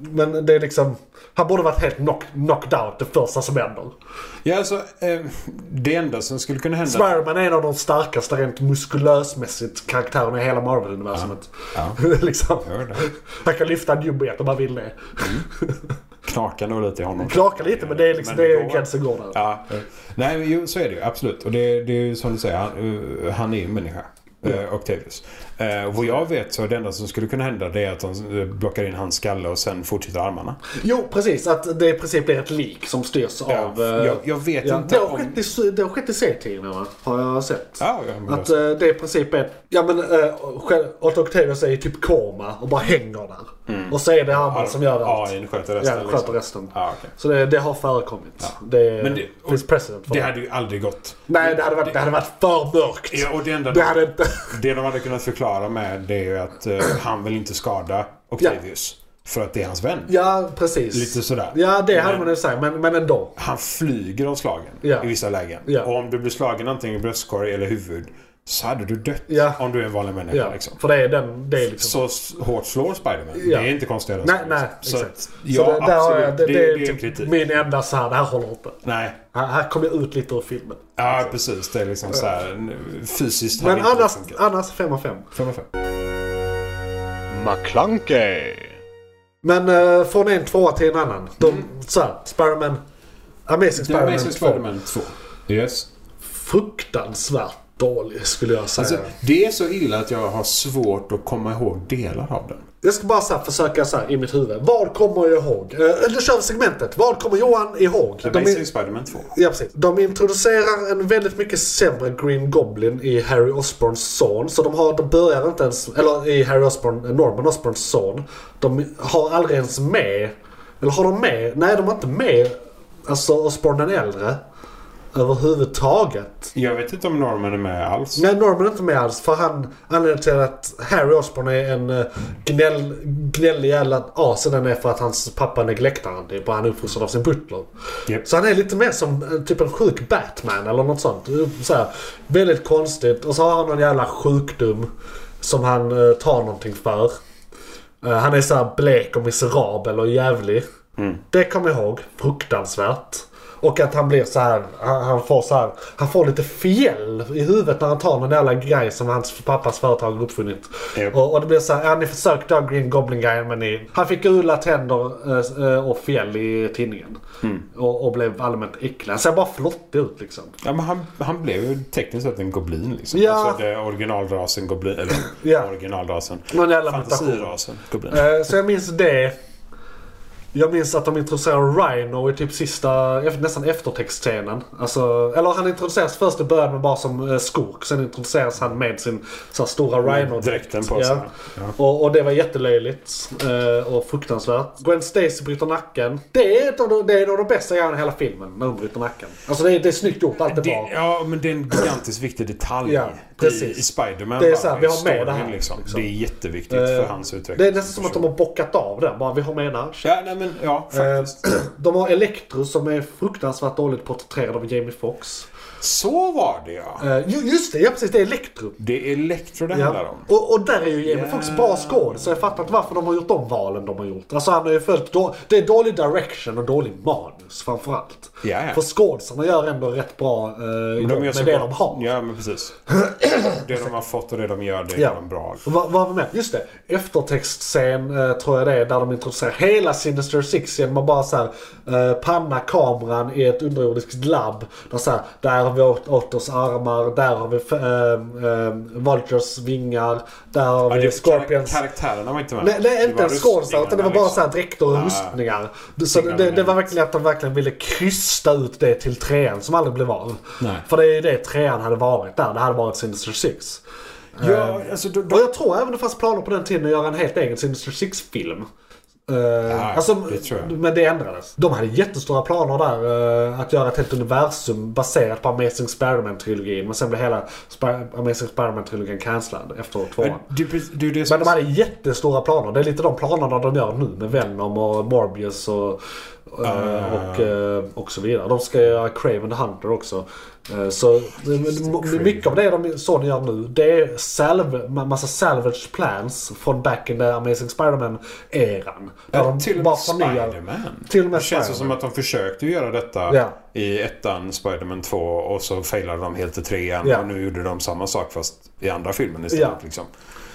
Speaker 3: Men det är liksom... Han borde varit helt knock, knocked out det första som händer.
Speaker 4: ja, alltså, eh, det enda som skulle kunna hända...
Speaker 3: Spiderman är en av de starkaste rent muskulösmässigt karaktärerna i hela Marvel-universumet.
Speaker 4: Ja.
Speaker 3: liksom.
Speaker 4: Gör det.
Speaker 3: Han kan lyfta en jumbojet om han vill det.
Speaker 4: Knakar nog lite i honom.
Speaker 3: Knakar lite men det är liksom,
Speaker 4: Men
Speaker 3: det
Speaker 4: det
Speaker 3: är
Speaker 4: går.
Speaker 3: gränsen går där.
Speaker 4: Ja. Nej, men jo, så är det ju. Absolut. Och det, det är ju som du säger, han, eh, han är ju en människa.
Speaker 3: Mm.
Speaker 4: eh, Octavius. Eh, vad jag vet så är det enda som skulle kunna hända det är att de eh, blockar in hans skalle och sen fortsätter armarna.
Speaker 3: Jo precis, att det i princip blir ett lik som styrs av... eh,
Speaker 4: jag, jag vet
Speaker 3: ja.
Speaker 4: inte
Speaker 3: Det har
Speaker 4: om...
Speaker 3: skett i, s- det har skett i serietidningarna har jag sett.
Speaker 4: Ja, ja, men
Speaker 3: Att eh, det i princip är... Ja men eh, själv- Otto Octavius är i typ koma och bara hänger där.
Speaker 4: Mm.
Speaker 3: Och så är det han eh, som gör allt.
Speaker 4: AI sköter
Speaker 3: Ja,
Speaker 4: resten.
Speaker 3: sköter
Speaker 4: liksom.
Speaker 3: resten.
Speaker 4: Ja, okej.
Speaker 3: Så det, det har förekommit. Det,
Speaker 4: Men det-
Speaker 3: finns precedent för
Speaker 4: Det
Speaker 3: det.
Speaker 4: hade ju aldrig gått.
Speaker 3: Nej, det hade varit, det hade varit för mörkt.
Speaker 4: Ja, och det enda
Speaker 3: Det hade inte...
Speaker 4: Det de hade kunnat förklara med det är ju att eh, han vill inte skada Octavius. För att det är hans vän.
Speaker 3: Ja, precis.
Speaker 4: Lite sådär.
Speaker 3: Ja, det hade
Speaker 4: Men-
Speaker 3: man ju sagt, men, men ändå.
Speaker 4: Han flyger av slagen
Speaker 3: Ja.
Speaker 4: i vissa lägen.
Speaker 3: Ja.
Speaker 4: Och om du blir slagen antingen i bröstkorg eller huvud så hade du dött
Speaker 3: Ja.
Speaker 4: om du är en vanlig människa.
Speaker 3: Ja,
Speaker 4: Liksom.
Speaker 3: För det är den... Det är liksom...
Speaker 4: Så s- hårt slår Spiderman.
Speaker 3: Ja.
Speaker 4: Det är inte konstigare än
Speaker 3: nej,
Speaker 4: så,
Speaker 3: nej,
Speaker 4: liksom. Så
Speaker 3: exakt.
Speaker 4: att, ja,
Speaker 3: så det, där har
Speaker 4: absolut.
Speaker 3: jag, det, det, är
Speaker 4: en
Speaker 3: typ
Speaker 4: kritik.
Speaker 3: min enda så här, det här håller inte.
Speaker 4: Nej,
Speaker 3: Här, här kom jag ut lite ur filmen.
Speaker 4: ja precis. Det är liksom så här, n- fysiskt hade
Speaker 3: Men
Speaker 4: inte det
Speaker 3: annars,
Speaker 4: funkat.
Speaker 3: annars 5 av 5.
Speaker 4: Fem av fem.
Speaker 6: McClunkey,
Speaker 3: Men eh, från en tvåa till en annan. De, så här, Spiderman... Amazing
Speaker 4: Mm. Det är
Speaker 3: Spiderman
Speaker 4: Amazing
Speaker 3: 2.
Speaker 4: Spiderman 2. Yes.
Speaker 3: Fruktansvärt dålig skulle jag säga.
Speaker 4: Alltså, det är så illa att jag har svårt att komma ihåg delar av den.
Speaker 3: Jag ska bara så här försöka så här i mitt huvud. Vad kommer jag ihåg? Eh, Då kör vi segmentet. Vad kommer Johan ihåg? De,
Speaker 4: Amazing
Speaker 3: in-
Speaker 4: Spiderman 2.
Speaker 3: ja, precis. de introducerar en väldigt mycket sämre Green Goblin i Harry Osborns son. Så de, har, de börjar inte ens... Eller i Harry Osborn, eh, Norman Osborns son. De har aldrig ens med... Eller har de med? Nej, de har inte med alltså Osborn den äldre. Överhuvudtaget.
Speaker 4: Jag vet inte om Norman är med alls.
Speaker 3: Nej, Norman är inte med alls. För han, anledningen till att Harry Osborn är en eh, gnäll, gnällig jävla asen han är för att hans pappa neglektar han. Det är bara han är uppfostrad av sin butler.
Speaker 4: Japp.
Speaker 3: Så han är lite mer som eh, typ en sjuk Batman eller något sånt. Eh, Så här, väldigt konstigt. Och så har han någon jävla sjukdom som han eh, tar någonting för. Eh, han är så här blek och miserabel och jävlig. Det kommer jag ihåg. Fruktansvärt. Och att han blir så här, han, han får så här, han får lite fjäll i huvudet när han tar någon jävla grej som hans pappas företag har uppfunnit.
Speaker 4: Japp.
Speaker 3: Och, och det blir så här, ja ni försökte ha Green Goblin-grejen men ni, han fick gula tänder eh, s- eh, och fjäll i tidningen. Och, och blev allmänt äcklig. Han ser bara flottig ut liksom.
Speaker 4: Ja, men han, han blev ju tekniskt sett en goblin liksom.
Speaker 3: Ja.
Speaker 4: Alltså det är originalrasen goblin. Eller
Speaker 3: Ja.
Speaker 4: originalrasen.
Speaker 3: Någon jävla mutation.
Speaker 4: Fantasirasen goblin.
Speaker 3: Eh, Så jag minns det. Jag minns att de introducerar Rhino i typ sista, nästan eftertextscenen. Alltså, eller han introduceras först i början med bara som eh, skurk. Sen introduceras han med sin så här, stora
Speaker 4: Mm,
Speaker 3: Rhino.
Speaker 4: Dräkten på sig.
Speaker 3: Och, och det var jättelöjligt eh, och fruktansvärt. Gwen Stacy bryter nacken. Det är ett av de, det är en av de bästa grejerna i hela filmen, när hon bryter nacken. Alltså det är, det är snyggt gjort, allt är
Speaker 4: Det,
Speaker 3: bra.
Speaker 4: ja, men det är en gigantiskt viktig detalj
Speaker 3: Ja, precis.
Speaker 4: i, i Spiderman.
Speaker 3: Det är
Speaker 4: bara,
Speaker 3: så här, vi har med
Speaker 4: storyn,
Speaker 3: det här,
Speaker 4: Liksom.
Speaker 3: liksom.
Speaker 4: Det är jätteviktigt
Speaker 3: Eh,
Speaker 4: för hans utveckling.
Speaker 3: Det är nästan som att de har bockat av den. Bara, vi har Eh. med den här.
Speaker 4: Ja, nej, men, ja faktiskt.
Speaker 3: De har Electro som är fruktansvärt dåligt porträtterad av Jamie Foxx.
Speaker 4: Så var det ja.
Speaker 3: Eh, ju- just det, ja precis. Det är Electro.
Speaker 4: Det är Electro det handlar
Speaker 3: Ja.
Speaker 4: om.
Speaker 3: Och, och där är ju Jamie Foxx bra skåd, så jag fattar inte varför de har gjort de valen de har gjort. Alltså han har ju följt... Då, det är dålig direction och dålig manus framförallt.
Speaker 4: Ja, ja.
Speaker 3: För skådisarna gör ändå rätt bra eh, jobb med
Speaker 4: så
Speaker 3: det
Speaker 4: bra-
Speaker 3: de har.
Speaker 4: Ja, men precis. det de har fått och det de gör, det gör
Speaker 3: Ja.
Speaker 4: de bra.
Speaker 3: Och Vad vad var vi med? Just det. Eftertextscen eh, tror jag det är där de introducerar hela Sinister Six genom att bara så här, eh, panna kameran i ett underjordiskt labb. Där, så här, där där har vi åt- Otters armar, där har vi äh, Vultures vingar, där har
Speaker 4: Ja,
Speaker 3: vi
Speaker 4: det, typ
Speaker 3: Scorpions.
Speaker 4: kar- Eh, karaktärerna var inte med.
Speaker 3: Nej, nej inte
Speaker 4: var
Speaker 3: ens skånsar utan det var bara
Speaker 4: rustningarna,
Speaker 3: så här dräkter och
Speaker 4: Ah.
Speaker 3: rustningar. Så
Speaker 4: Signalerna,
Speaker 3: det, det var
Speaker 4: liksom.
Speaker 3: verkligen att de verkligen ville krysta ut det till trean som aldrig blev av.
Speaker 4: Nej.
Speaker 3: För det är ju det trean hade varit där. Det hade varit Sinister Six.
Speaker 4: liksom. Ja, alltså, då,
Speaker 3: Och
Speaker 4: då,
Speaker 3: jag tror även det fanns planer på den tiden att göra en helt egen Sinister Six-film. Eh, alltså,
Speaker 4: det tror jag.
Speaker 3: Men det ändrades. De hade jättestora planer där. eh, att göra ett helt universum baserat på Amazing Spiderman-trilogin. Men sen blev hela Spi- Amazing Spiderman-trilogin cancellad efter tvåan.
Speaker 4: det, är precis- det, är det
Speaker 3: Men
Speaker 4: som
Speaker 3: de hade jättestora planer. Det är lite de planerna de gör nu med Venom och Morbius och, eh, och, eh, och så vidare. De ska göra Craven the Hunter också. Eh, Så men m- mycket av det de, Sony gör nu, det är salv, ma- massa salvage plans från back in the Amazing Spider-Man-eran. Där
Speaker 4: Ja,
Speaker 3: de
Speaker 4: till och
Speaker 3: bara
Speaker 4: med
Speaker 3: förnyar-
Speaker 4: Spiderman.
Speaker 3: Till och med
Speaker 4: Det känns ju
Speaker 3: Spider-Man.
Speaker 4: som att de försökte göra detta
Speaker 3: Ja.
Speaker 4: i ettan, Spiderman 2 och så failade de helt i trean.
Speaker 3: Ja.
Speaker 4: Och nu gjorde de samma sak fast i andra filmen istället.
Speaker 3: Ja.
Speaker 4: Liksom.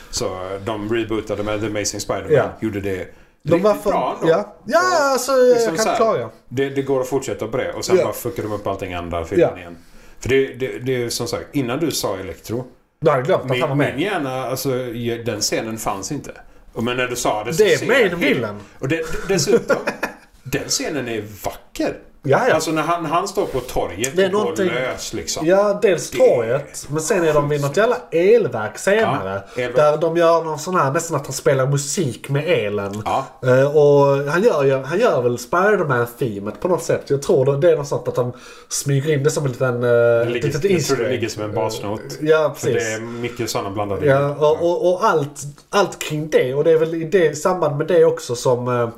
Speaker 4: Så de rebootade med The Amazing Spiderman.
Speaker 3: Ja.
Speaker 4: Gjorde det
Speaker 3: De var
Speaker 4: riktigt
Speaker 3: för,
Speaker 4: bra ändå.
Speaker 3: Ja, ja alltså,
Speaker 4: Liksom
Speaker 3: jag
Speaker 4: så
Speaker 3: kan
Speaker 4: här,
Speaker 3: förklara.
Speaker 4: Det, det går att fortsätta på det och sen
Speaker 3: Ja.
Speaker 4: bara fuckar de upp allting i andra filmen
Speaker 3: Ja.
Speaker 4: igen. För det, det, det är ju som sagt, innan du sa Electro.
Speaker 3: Du hade glömt att han var
Speaker 4: Min, min
Speaker 3: med.
Speaker 4: hjärna, alltså ju- den scenen fanns inte. Och Men när du sa det så
Speaker 3: Det är
Speaker 4: ser
Speaker 3: med i
Speaker 4: jag-
Speaker 3: bilden.
Speaker 4: Och det, dessutom, den scenen är vacker.
Speaker 3: Ja, ja.
Speaker 4: Alltså när han, han står på torget
Speaker 3: Det är
Speaker 4: och går
Speaker 3: någonting-
Speaker 4: lös liksom.
Speaker 3: Ja, dels
Speaker 4: Det-
Speaker 3: torget. Men sen är de vid något jävla elverk senare.
Speaker 4: Ja, elverk.
Speaker 3: Där de gör någon sån här, nästan att han spelar musik med elen.
Speaker 4: Ja.
Speaker 3: Eh, och han gör, ju- han gör väl Spiderman-themet på något sätt. Jag tror det, det är något sånt att han smyger in det som en liten... Uh,
Speaker 4: Det ligger,
Speaker 3: litet
Speaker 4: jag tror
Speaker 3: easter
Speaker 4: det
Speaker 3: egg.
Speaker 4: ligger som en basnot.
Speaker 3: Ja,
Speaker 4: För det
Speaker 3: precis.
Speaker 4: är mycket sådana blandade
Speaker 3: Ja,
Speaker 4: ihop.
Speaker 3: och, och, och allt, allt kring det. Och det är väl i det, i samband med det också som eh,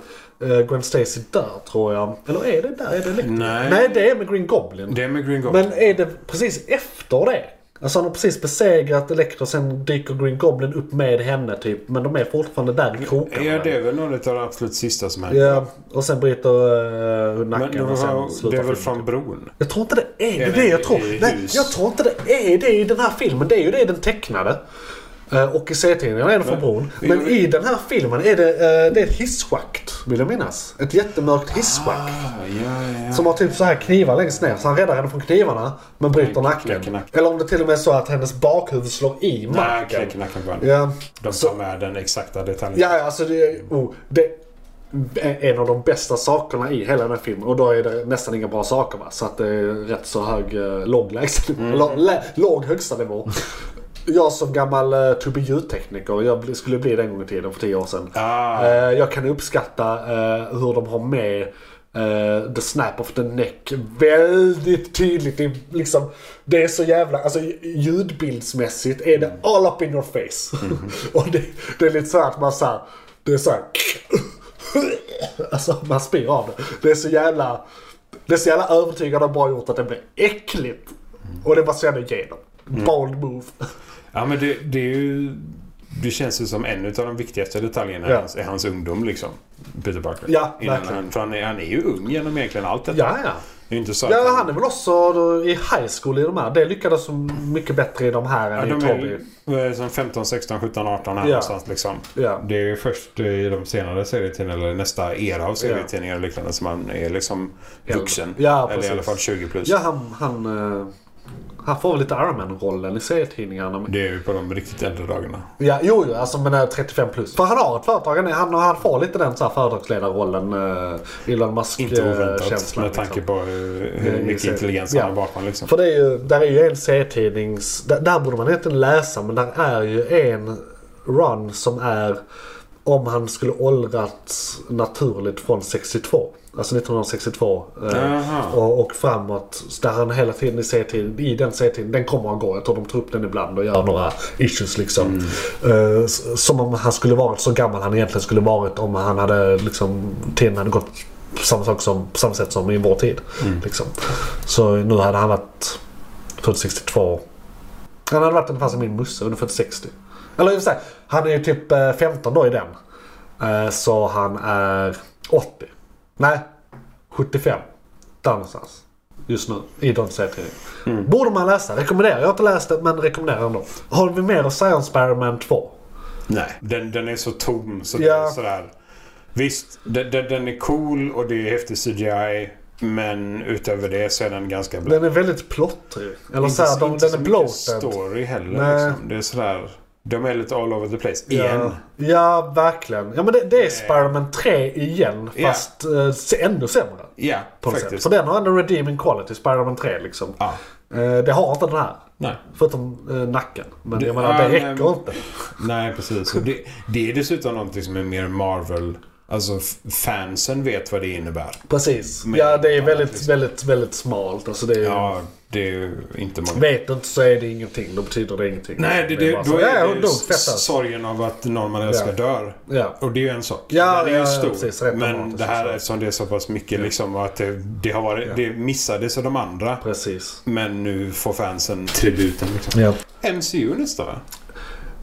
Speaker 3: eh, Gwen Stacy dör, tror jag. Eller är det där? Är det lite-
Speaker 4: Nej.
Speaker 3: Nej, det är med Green Goblin.
Speaker 4: Det är med Green Goblin.
Speaker 3: Men är det precis efter det? Alltså han har precis besegrat Elektra sen dyker Green Goblin upp med henne typ. Men de är fortfarande där i krokarna.
Speaker 4: ja, det är väl något av det absolut sista som händer.
Speaker 3: Ja, och sen bryter eh, hon
Speaker 4: Men det,
Speaker 3: nacken och sen
Speaker 4: var, det
Speaker 3: slutar
Speaker 4: är väl
Speaker 3: filmen.
Speaker 4: från bron?
Speaker 3: Jag tror inte det är det,
Speaker 4: Är
Speaker 3: det
Speaker 4: det
Speaker 3: jag tror.
Speaker 4: i
Speaker 3: Nej,
Speaker 4: hus?
Speaker 3: jag tror inte det är det i den här filmen. Det är ju det i den tecknade. Eh, Och i serietidningarna är det från bron.
Speaker 4: vi
Speaker 3: Men
Speaker 4: gjorde-
Speaker 3: i den här filmen är det, eh, det är ett hisschakt, vill jag minnas. Ett jättemörkt hisschakt.
Speaker 4: Ah, ja, ja.
Speaker 3: Som har typ så här knivar längst ner. Så han räddar henne från knivarna men bryter
Speaker 4: Nej,
Speaker 3: nacken.
Speaker 4: knäcker nacken.
Speaker 3: Eller om det till och med är så att hennes bakhuvud slår i
Speaker 4: Nej,
Speaker 3: marken.
Speaker 4: knäcker nacken på honom.
Speaker 3: Ja,
Speaker 4: De tar med den exakta detaljen.
Speaker 3: ja ja, alltså det, är- oh, det är en av de bästa sakerna i hela den här filmen. Och då är det nästan inga bra saker va. Så att det är rätt så hög eh, låg
Speaker 4: Mm.
Speaker 3: lägstanivå. Lå- lä- Låg högsta nivå. Jag som gammal eh, tubbe ljudtekniker, jag bli- skulle bli det en gång i tiden för tio år sedan.
Speaker 4: Ah.
Speaker 3: Eh, jag kan uppskatta eh, hur de har med eh, the snap of the neck väldigt tydligt. Det är, liksom, det är så jävla, alltså ljudbildsmässigt är det all up in your face. Och det, det är lite så här att man så här, det är så här, alltså man spyr av det. Det är så jävla, det är så jävla övertygande och bra gjort att det blir äckligt. Och det var så jävla genom. Bold move.
Speaker 4: Ja, men det, det är ju... Det känns ju som en av de viktigaste detaljerna
Speaker 3: Ja.
Speaker 4: i, hans, i hans ungdom liksom. Peter Parker.
Speaker 3: Ja,
Speaker 4: Innan
Speaker 3: verkligen.
Speaker 4: han, för han är, han är ju ung genom egentligen allt detta.
Speaker 3: Ja, ja.
Speaker 4: Det är ju inte så att
Speaker 3: Ja, han är väl också då i high school i de här. Det lyckades så mycket bättre i de här
Speaker 4: Ja,
Speaker 3: än i
Speaker 4: de
Speaker 3: Toby.
Speaker 4: är vad är det som 15, 16, 17, 18 här
Speaker 3: Ja.
Speaker 4: någonstans liksom.
Speaker 3: Ja.
Speaker 4: Det är ju först i de senare serietidningarna, eller nästa era av serietidningar och liknande, som man är liksom
Speaker 3: Äldre.
Speaker 4: vuxen.
Speaker 3: Ja,
Speaker 4: eller
Speaker 3: precis.
Speaker 4: i alla fall 20 plus.
Speaker 3: Ja, han, han, eh, han får väl lite Iron Man-rollen i serietidningarna. men-
Speaker 4: Det är ju på de riktigt äldre dagarna.
Speaker 3: Ja, jo, jo, alltså men eh, 35 plus. För han har ett företag, han, är- han, han får lite den så här företagsledarrollen. Uh, Elon eh,
Speaker 4: Inte oväntat
Speaker 3: Musk-känslan.
Speaker 4: med tanke på hur,
Speaker 3: Det är
Speaker 4: hur
Speaker 3: ju
Speaker 4: mycket
Speaker 3: så-
Speaker 4: intelligens
Speaker 3: ja.
Speaker 4: han har bakom liksom.
Speaker 3: För det är ju, där är ju en serietidnings... Där, där borde man egentligen läsa men där är ju en run som är om han skulle åldrats naturligt från 62. Alltså 1962
Speaker 4: Jaha.
Speaker 3: eh, och, och framåt. Så Där han hela tiden i, serietiden, i den serietiden, den kommer att gå. Jag tror de tar upp den ibland och gör några issues liksom. Eh, s- som om han skulle varit så gammal han egentligen skulle varit om han hade liksom, tiden hade gått på samma, sak som, på samma sätt som i vår tid. Liksom. Så nu hade han varit född 62. Han hade varit ungefär som min musse, ungefär 60. Eller i och för sig, han är ju typ eh, 15 då i den. Eh, Så han är 80. Nej, 75. Där någonstans. Just nu, i de serietidningarna.
Speaker 4: Mm.
Speaker 3: Borde man läsa, rekommenderar. Jag har inte läst det, men rekommenderar ändå. Har vi mer att säga om Spider-Man 2?
Speaker 4: Nej. Den, den är så tom så
Speaker 3: Ja.
Speaker 4: det är sådär. Visst, den, den, den är cool och det är häftig CGI. Men utöver det så är den ganska blå.
Speaker 3: Den är väldigt plottrig. Eller
Speaker 4: Inte
Speaker 3: så här, de,
Speaker 4: inte
Speaker 3: den
Speaker 4: så
Speaker 3: är
Speaker 4: mycket
Speaker 3: bloated.
Speaker 4: story heller.
Speaker 3: Nej.
Speaker 4: Liksom. Det är sådär. De är lite all over the place.
Speaker 3: Ja,
Speaker 4: Igen.
Speaker 3: ja, verkligen. Ja, men det, det är Spiderman 3 igen,
Speaker 4: Ja.
Speaker 3: fast eh, se- ännu sämre.
Speaker 4: Ja,
Speaker 3: På något sätt.
Speaker 4: faktiskt.
Speaker 3: För den har ändå redeeming quality, Spiderman 3 liksom.
Speaker 4: Ja.
Speaker 3: Eh, det har inte den här.
Speaker 4: Nej.
Speaker 3: Förutom eh, nacken. Men
Speaker 4: Det-
Speaker 3: jag menar,
Speaker 4: ja,
Speaker 3: det
Speaker 4: nej,
Speaker 3: räcker
Speaker 4: men-
Speaker 3: inte.
Speaker 4: Nej, precis. Och Det, det är dessutom någonting som är mer Marvel. Alltså f- fansen vet vad det innebär.
Speaker 3: Precis.
Speaker 4: Men-
Speaker 3: ja, det är
Speaker 4: ja,
Speaker 3: väldigt,
Speaker 4: precis.
Speaker 3: väldigt, väldigt smalt. Alltså det är,
Speaker 4: Ja, det är ju inte många.
Speaker 3: Vet du inte så är det ingenting. Då betyder det ingenting.
Speaker 4: Nej, det,
Speaker 3: är
Speaker 4: det,
Speaker 3: bara så,
Speaker 4: då är
Speaker 3: ja,
Speaker 4: det
Speaker 3: de
Speaker 4: ju
Speaker 3: tvättas.
Speaker 4: sorgen av att någon man älskar
Speaker 3: Ja.
Speaker 4: dör.
Speaker 3: Ja.
Speaker 4: Och det är ju en sak.
Speaker 3: Ja,
Speaker 4: Den är ju
Speaker 3: ja,
Speaker 4: stor.
Speaker 3: precis. Rätt
Speaker 4: men
Speaker 3: dramatiskt
Speaker 4: det här
Speaker 3: också.
Speaker 4: eftersom det är så pass mycket liksom och att det, det har varit, det missades av de andra.
Speaker 3: Precis.
Speaker 4: Men nu får fansen tributen liksom.
Speaker 3: Ja.
Speaker 4: MCU nästa va?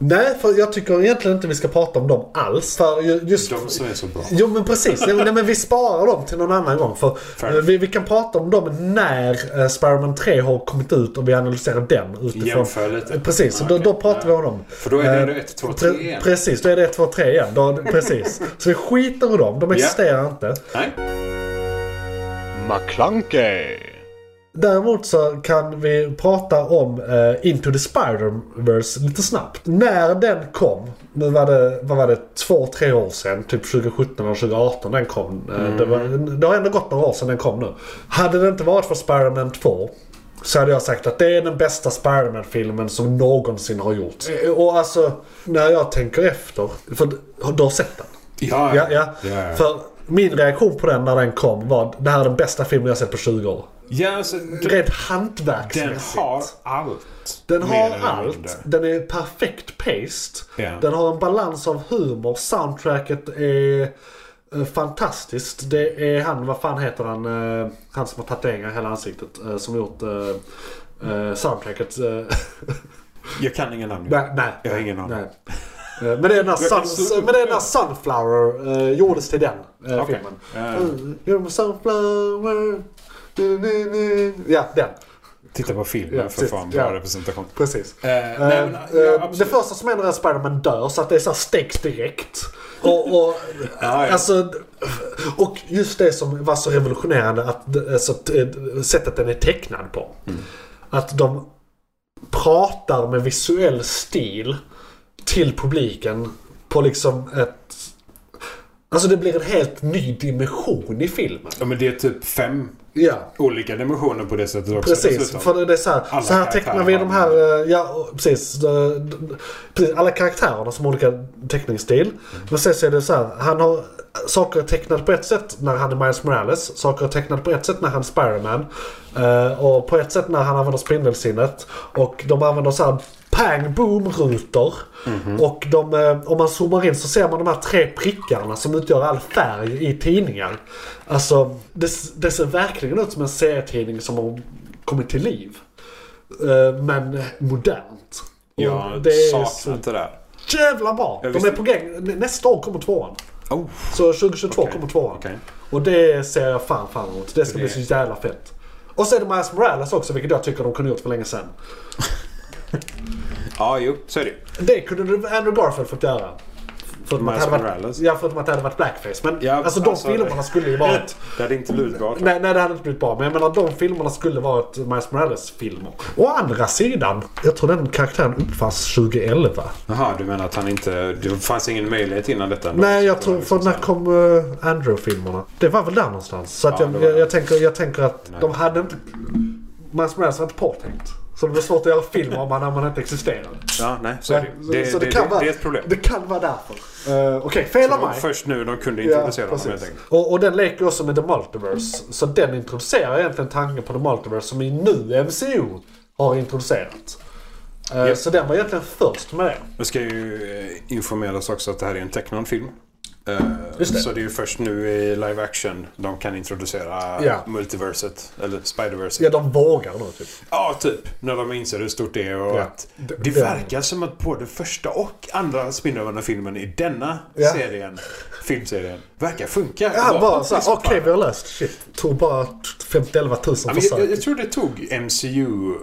Speaker 3: Nej, för jag tycker egentligen inte vi ska prata om dem alls. För ju- just...
Speaker 4: De som är så bra.
Speaker 3: Jo men precis, Nej, men- nej, men vi sparar dem till någon annan gång. För
Speaker 4: Fair.
Speaker 3: eh, vi, vi kan prata om dem när eh, Spiderman 3 har kommit ut och vi analyserar den utifrån. Eh,
Speaker 4: Jämför lite.
Speaker 3: Precis,
Speaker 4: Ja,
Speaker 3: då,
Speaker 4: okej.
Speaker 3: då pratar vi
Speaker 4: Ja.
Speaker 3: om dem.
Speaker 4: För då är det
Speaker 3: Eh,
Speaker 4: ändå ett, två, tre
Speaker 3: pre-
Speaker 4: igen.
Speaker 3: Precis, då är det 1, 2, 3 igen. Då, precis. Så vi skiter i dem, de existerar inte.
Speaker 4: Nej.
Speaker 7: McClunkey.
Speaker 3: Däremot så kan vi prata om eh, Into the Spider-Verse lite snabbt. När den kom, nu var det, vad var det, två, tre år sedan, typ 2017 eller 2018 den kom. Eh, Det, var, det har ändå gått några år sedan den kom nu. Hade det inte varit för Spider-Man 2 så hade jag sagt att det är den bästa Spider-Man-filmen som någonsin har gjorts. Eh, Och alltså, när jag tänker efter, för du har sett den?
Speaker 4: Ja,
Speaker 3: Ja, ja.
Speaker 4: ja.
Speaker 3: För min reaktion på den när den kom var det här är den bästa filmen jag sett på 20 år.
Speaker 4: ja alltså, den,
Speaker 3: Rent
Speaker 4: den
Speaker 3: hantverksmässigt.
Speaker 4: har allt.
Speaker 3: Den
Speaker 4: Mer
Speaker 3: har
Speaker 4: eller mindre.
Speaker 3: allt. Den är perfekt paced.
Speaker 4: Ja.
Speaker 3: Den har en balans av humor. Soundtracket är eh, fantastiskt. Det är han, vad fan heter han? eh, Han som har tatueringar i hela ansiktet. eh, Som gjort eh, eh, soundtracket. eh,
Speaker 4: Jag kan ingen namn.
Speaker 3: nej, nej.
Speaker 4: Jag har ingen aning.
Speaker 3: Nej. Eh, Men det är när,
Speaker 4: kan
Speaker 3: sun,
Speaker 4: så-
Speaker 3: men det är när Sunflower eh, gjordes till den eh,
Speaker 4: Okej.
Speaker 3: filmen.
Speaker 4: Ja.
Speaker 3: Mm, You're my sunflower. Du, du, du. Ja, den.
Speaker 4: Titta på filmen
Speaker 3: Ja,
Speaker 4: för
Speaker 3: precis.
Speaker 4: fan. Bra
Speaker 3: Ja.
Speaker 4: representation.
Speaker 3: Precis.
Speaker 4: Eh, nej, men,
Speaker 3: Eh,
Speaker 4: ja,
Speaker 3: eh, det
Speaker 4: absolut.
Speaker 3: första som händer är att Spiderman dör så att det är så här stekt direkt. Och, och,
Speaker 4: Ja, ja.
Speaker 3: alltså, och just det som var så revolutionerande att alltså, t- sättet den är tecknad på.
Speaker 4: Mm.
Speaker 3: Att de pratar med visuell stil till publiken på liksom ett... Alltså det blir en helt ny dimension i filmen.
Speaker 4: Ja, men det är typ fem
Speaker 3: Ja.
Speaker 4: olika dimensioner på det sättet också.
Speaker 3: Precis,
Speaker 4: dessutom.
Speaker 3: för det är så här,
Speaker 4: Alla
Speaker 3: så här
Speaker 4: karaktärer
Speaker 3: tecknar vi
Speaker 4: har
Speaker 3: de
Speaker 4: en-
Speaker 3: här, eh, ja och precis, eh, d- precis. Alla karaktärerna som har olika teckningsstil. Men sen så är det så här, han har saker tecknat på ett sätt när han är Miles Morales. Saker tecknat på ett sätt när han är Spiderman. eh, Och på ett sätt när han använder spindelsinnet. Och de använder så här pang boom rutor.
Speaker 4: Mhm.
Speaker 3: Och de, eh, om man zoomar in så ser man de här tre prickarna som utgör all färg i tidningar. Alltså det, det ser verkligen ut som en serietidning som har kommit till liv. Eh, Men modernt. Och
Speaker 4: Jag
Speaker 3: det är
Speaker 4: saknar
Speaker 3: så
Speaker 4: inte det där.
Speaker 3: jävla bra!
Speaker 4: Jag
Speaker 3: De
Speaker 4: visste-
Speaker 3: är på gång. Nästa år kommer tvåan.
Speaker 4: Oh,
Speaker 3: Så 2022
Speaker 4: Okej.
Speaker 3: kommer tvåan.
Speaker 4: Okej.
Speaker 3: Och det ser jag fan fram emot. Det ska
Speaker 4: Det-
Speaker 3: bli så jävla fett. Och så är det Miles Morales också, vilket jag tycker de kunde gjort för länge sedan.
Speaker 4: ja, jo, så är det ju.
Speaker 3: Det kunde Andrew Garfield fått göra. Förutom att,
Speaker 4: Miles
Speaker 3: det hade varit,
Speaker 4: Morales?
Speaker 3: ja, förutom att det hade varit blackface. Men
Speaker 4: Ja,
Speaker 3: alltså de
Speaker 4: alltså,
Speaker 3: filmerna
Speaker 4: det-
Speaker 3: skulle ju varit...
Speaker 4: Det hade inte blivit bra. tror jag.
Speaker 3: Nej, nej, det hade inte blivit bra. Men jag menar, de filmerna skulle varit Miles Morales-filmer. Å andra sidan, jag tror den karaktären uppfanns 2011.
Speaker 4: Jaha, du menar att han inte... Det fanns ingen möjlighet innan detta? ändå?
Speaker 3: Nej, jag
Speaker 4: Så
Speaker 3: tror...
Speaker 4: det var
Speaker 3: För
Speaker 4: liksom
Speaker 3: när
Speaker 4: så här-
Speaker 3: kom eh, Andrew-filmerna? Det var väl där någonstans. Så att
Speaker 4: Ja, det
Speaker 3: jag,
Speaker 4: var
Speaker 3: jag,
Speaker 4: det.
Speaker 3: jag, tänker, jag tänker att
Speaker 4: Nej.
Speaker 3: de hade inte... Miles Morales var inte påtänkt. Så det blir svårt att göra filmer om han, om han inte existerar.
Speaker 4: Ja, nej, så är det ju. Det,
Speaker 3: så
Speaker 4: det, det, det är ett problem.
Speaker 3: Det kan vara därför. Eh, Okej, fel
Speaker 4: Det
Speaker 3: av
Speaker 4: var
Speaker 3: mig.
Speaker 4: först nu de kunde
Speaker 3: Ja,
Speaker 4: introducera honom
Speaker 3: precis.
Speaker 4: helt enkelt.
Speaker 3: och, och den leker också med The Multiverse. Så den introducerar egentligen tanken på The Multiverse som i nu MCU har introducerat. Eh,
Speaker 4: Japp.
Speaker 3: Så den var egentligen först med det.
Speaker 4: Det ska ju eh, informeras också att det här är en tecknad film. Eh,
Speaker 3: Just det.
Speaker 4: Så det är ju först nu i live action de kan introducera
Speaker 3: Ja.
Speaker 4: multiverset, eller spiderverset.
Speaker 3: Ja, de vågar nu typ.
Speaker 4: Ja, typ. När de inser hur stort det är och
Speaker 3: Ja.
Speaker 4: att
Speaker 3: D-
Speaker 4: det,
Speaker 3: den-
Speaker 4: verkar som att både första och andra Spindelmannen-filmen i denna
Speaker 3: Ja.
Speaker 4: serien, filmserien, verkar funka.
Speaker 3: Ja,
Speaker 4: Bara-
Speaker 3: bara såhär,
Speaker 4: liksom,
Speaker 3: okej vi har löst shit. Tog bara 511 000
Speaker 4: Ja, men
Speaker 3: försök.
Speaker 4: jag, jag, jag tror det tog MCU,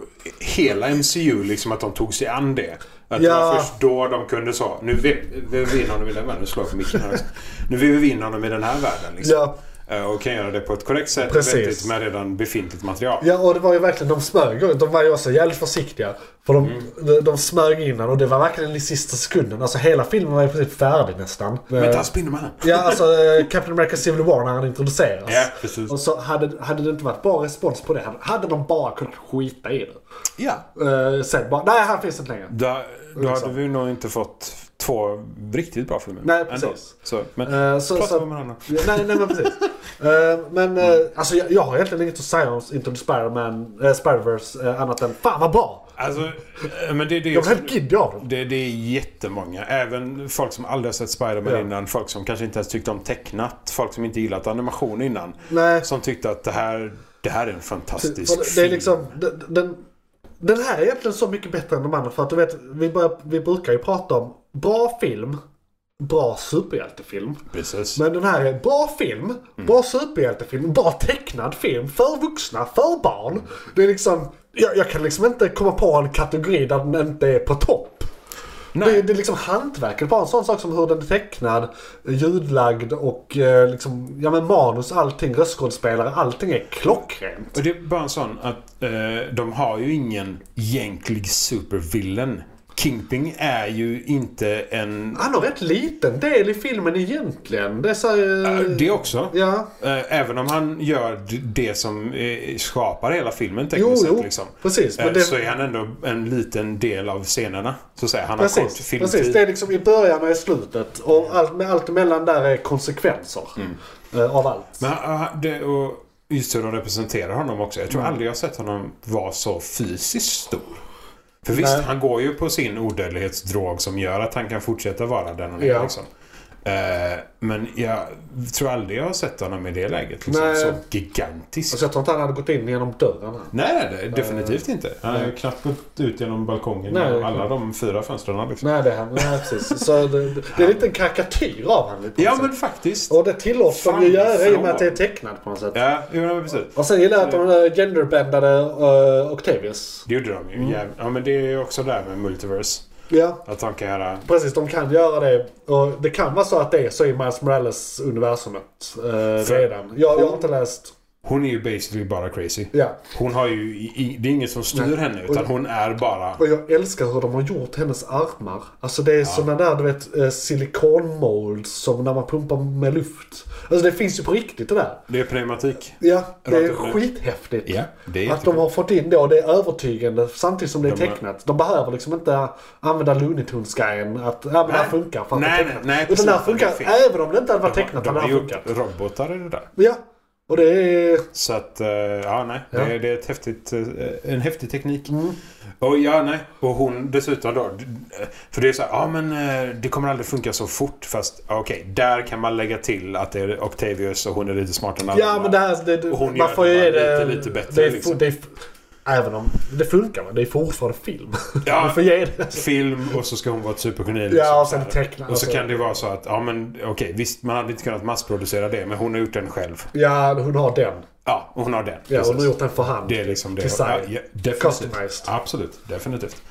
Speaker 4: hela MCU, liksom att de tog sig an det. Att det
Speaker 3: Ja.
Speaker 4: var först då de kunde så. Nu vevar vi in honom i den världen. Nu slår jag på micken här. också. Nu vevar vi in honom i den här världen. Liksom.
Speaker 3: Ja.
Speaker 4: Eh, Och kan göra det på ett korrekt sätt
Speaker 3: Precis.
Speaker 4: och vettigt med redan befintligt material.
Speaker 3: Ja, och det var ju verkligen, de smög runt. De var ju också jävligt försiktiga. För de,
Speaker 4: Mm.
Speaker 3: de, de smög innan och det var verkligen i sista sekunden. Alltså hela filmen var i princip färdig nästan. Eh,
Speaker 4: Vänta, Spindelmannen!
Speaker 3: Ja, alltså eh, Captain America Civil War när han introduceras.
Speaker 4: Ja, precis.
Speaker 3: Och så hade, hade det inte varit bra respons på det, hade- hade de bara kunnat skita i det.
Speaker 4: Ja.
Speaker 3: Eh, sen bara, nej han finns inte längre.
Speaker 4: Då, då hade vi nog inte fått två riktigt bra filmer.
Speaker 3: Nej,
Speaker 4: Ändå.
Speaker 3: precis.
Speaker 4: Så, men
Speaker 3: Eh, så,
Speaker 4: prata
Speaker 3: så,
Speaker 4: med varandra.
Speaker 3: Ja, nej, nej men precis. Eh, men eh, alltså, jag, jag har egentligen inget att säga om Into the Spider-Man, eh, Spider-Verse eh, annat än fan vad bra!
Speaker 4: Alltså, eh, men det, det är
Speaker 3: Jag blev helt giddig av den.
Speaker 4: Det, det är jättemånga. Även folk som aldrig har sett Spider-Man
Speaker 3: Ja.
Speaker 4: innan. Folk som kanske inte ens tyckte om tecknat. Folk som inte gillat animation innan.
Speaker 3: Nej.
Speaker 4: Som tyckte att det här, det här är en fantastisk
Speaker 3: För det, det är
Speaker 4: film.
Speaker 3: liksom, den, den, den här är egentligen så mycket bättre än de andra för att du vet, vi, börjar, vi brukar ju prata om bra film, bra superhjältefilm.
Speaker 4: Precis.
Speaker 3: Men den här är bra film, bra superhjältefilm, bra tecknad film, för vuxna, för barn. Det är liksom, jag, jag kan liksom inte komma på en kategori där den inte är på topp.
Speaker 4: Nej.
Speaker 3: Det, det är liksom hantverket, bara en sån sak som hur den är tecknad, ljudlagd och eh, liksom, ja men manus, allting, röstskådespelare, allting är klockrent.
Speaker 4: Och det är bara en sån att eh, de har ju ingen egentlig supervillain. Kingpin är ju inte en...
Speaker 3: Han har rätt liten del i filmen egentligen. Det är så här,
Speaker 4: Eh,
Speaker 3: eh,
Speaker 4: Det också.
Speaker 3: Ja.
Speaker 4: Eh, Även om han gör d- det som eh, skapar hela filmen
Speaker 3: Jo,
Speaker 4: tekniskt
Speaker 3: jo.
Speaker 4: sett. Liksom.
Speaker 3: Precis.
Speaker 4: Eh,
Speaker 3: Men det,
Speaker 4: Så är han ändå en liten del av scenerna. Så att säga. Han har kort
Speaker 3: precis,
Speaker 4: filmtid.
Speaker 3: precis. Det är liksom i början och i slutet. Och allt, med allt emellan där är konsekvenser. eh, Av allt.
Speaker 4: Mm. Men han- han- det, och just hur de representerar honom också. Jag tror aldrig jag har sett honom vara så fysiskt stor. För visst,
Speaker 3: Nej.
Speaker 4: han går ju på sin odödlighetsdrog som gör att han kan fortsätta vara den han är.
Speaker 3: Ja.
Speaker 4: Liksom. Eh, men jag tror aldrig jag har sett honom i det läget. Liksom,
Speaker 3: Nej.
Speaker 4: så gigantisk.
Speaker 3: Alltså jag tror inte han hade gått in genom dörren. här.
Speaker 4: Nej, eh, det, definitivt inte. Han har ju knappt gått ut genom balkongen
Speaker 3: Nej,
Speaker 4: genom
Speaker 3: det är
Speaker 4: alla
Speaker 3: klart.
Speaker 4: de fyra fönstren. Liksom.
Speaker 3: Nej, det, nej precis. Så det, det- det är lite en karikatyr av honom.
Speaker 4: Ja, men faktiskt.
Speaker 3: Och det tillåts de
Speaker 4: Fan,
Speaker 3: ju göra i och
Speaker 4: från.
Speaker 3: med att det är tecknat på något sätt.
Speaker 4: Ja, jo, men precis.
Speaker 3: Och sen gillar jag att de eh, genderbändade eh, Octavius.
Speaker 4: Det gjorde
Speaker 3: Mm.
Speaker 4: de ju. jäv- Ja, men det är ju också där med multiverse.
Speaker 3: Ja.
Speaker 4: Att äh, de kan göra...
Speaker 3: Precis, de kan göra det. Och det kan vara så att det är så i Miles Morales universumet eh,
Speaker 4: För-
Speaker 3: redan. Jag, jag har inte läst...
Speaker 4: Hon är ju basically bara crazy.
Speaker 3: Ja.
Speaker 4: Hon har ju... i- i- Det är ingen som styr
Speaker 3: Nej.
Speaker 4: henne, utan hon är bara...
Speaker 3: Och jag älskar hur de har gjort hennes armar. Alltså det är såna där du vet eh, silikonmolds som när man pumpar med luft. Alltså det finns ju på riktigt det där.
Speaker 4: Det är pneumatik.
Speaker 3: Ja, det är
Speaker 4: Rakt upp.
Speaker 3: skithäftigt.
Speaker 4: Ja, det är
Speaker 3: att de
Speaker 4: jättekul.
Speaker 3: har fått in det och det är övertygande samtidigt som det är
Speaker 4: De har-
Speaker 3: tecknat. De behöver liksom inte använda Looney Tunes-grejen att ja, men det här
Speaker 4: Nej.
Speaker 3: funkar för att
Speaker 4: Nej,
Speaker 3: det är tecknat.
Speaker 4: nej, nej,
Speaker 3: Utan det här
Speaker 4: precis.
Speaker 3: funkar
Speaker 4: Det är fel.
Speaker 3: även om det inte hade varit tecknat.
Speaker 4: de
Speaker 3: hade
Speaker 4: har
Speaker 3: det här
Speaker 4: gjort
Speaker 3: funkat.
Speaker 4: robotar i det där.
Speaker 3: Ja, och det är...
Speaker 4: Så att, eh, ja nej.
Speaker 3: Ja. Mm.
Speaker 4: Det, är- det är ett häftigt, eh, en häftig teknik. Och ja nej. Och hon dessutom då. d- eh, För det är så här, ja men eh, det kommer aldrig funka så fort. Fast ja, okej, där kan man lägga till att det är Octavius och hon är lite smartare än alla
Speaker 3: Ja,
Speaker 4: andra.
Speaker 3: men det här... Det, det,
Speaker 4: Och hon
Speaker 3: man
Speaker 4: gör
Speaker 3: får
Speaker 4: det
Speaker 3: ju ge
Speaker 4: bara
Speaker 3: det-
Speaker 4: lite, lite bättre,
Speaker 3: Det är,
Speaker 4: liksom.
Speaker 3: det är, även om det funkar, men det är fortfarande film.
Speaker 4: Ja.
Speaker 3: Man får ge det.
Speaker 4: Film och så ska hon vara ett supergeni.
Speaker 3: Ja, och
Speaker 4: så
Speaker 3: sen
Speaker 4: här.
Speaker 3: teckna-
Speaker 4: Och så
Speaker 3: alltså.
Speaker 4: kan det vara så att, ja men okej, visst man hade inte kunnat massproducera det. Men hon har gjort den själv.
Speaker 3: Ja, hon har den.
Speaker 4: Ja, och hon har den.
Speaker 3: Ja, hon
Speaker 4: Precis.
Speaker 3: har gjort den för hand.
Speaker 4: Det är liksom det.
Speaker 3: Design.
Speaker 4: Ja, ja, definitivt.
Speaker 3: Customized.
Speaker 4: Absolut, definitivt.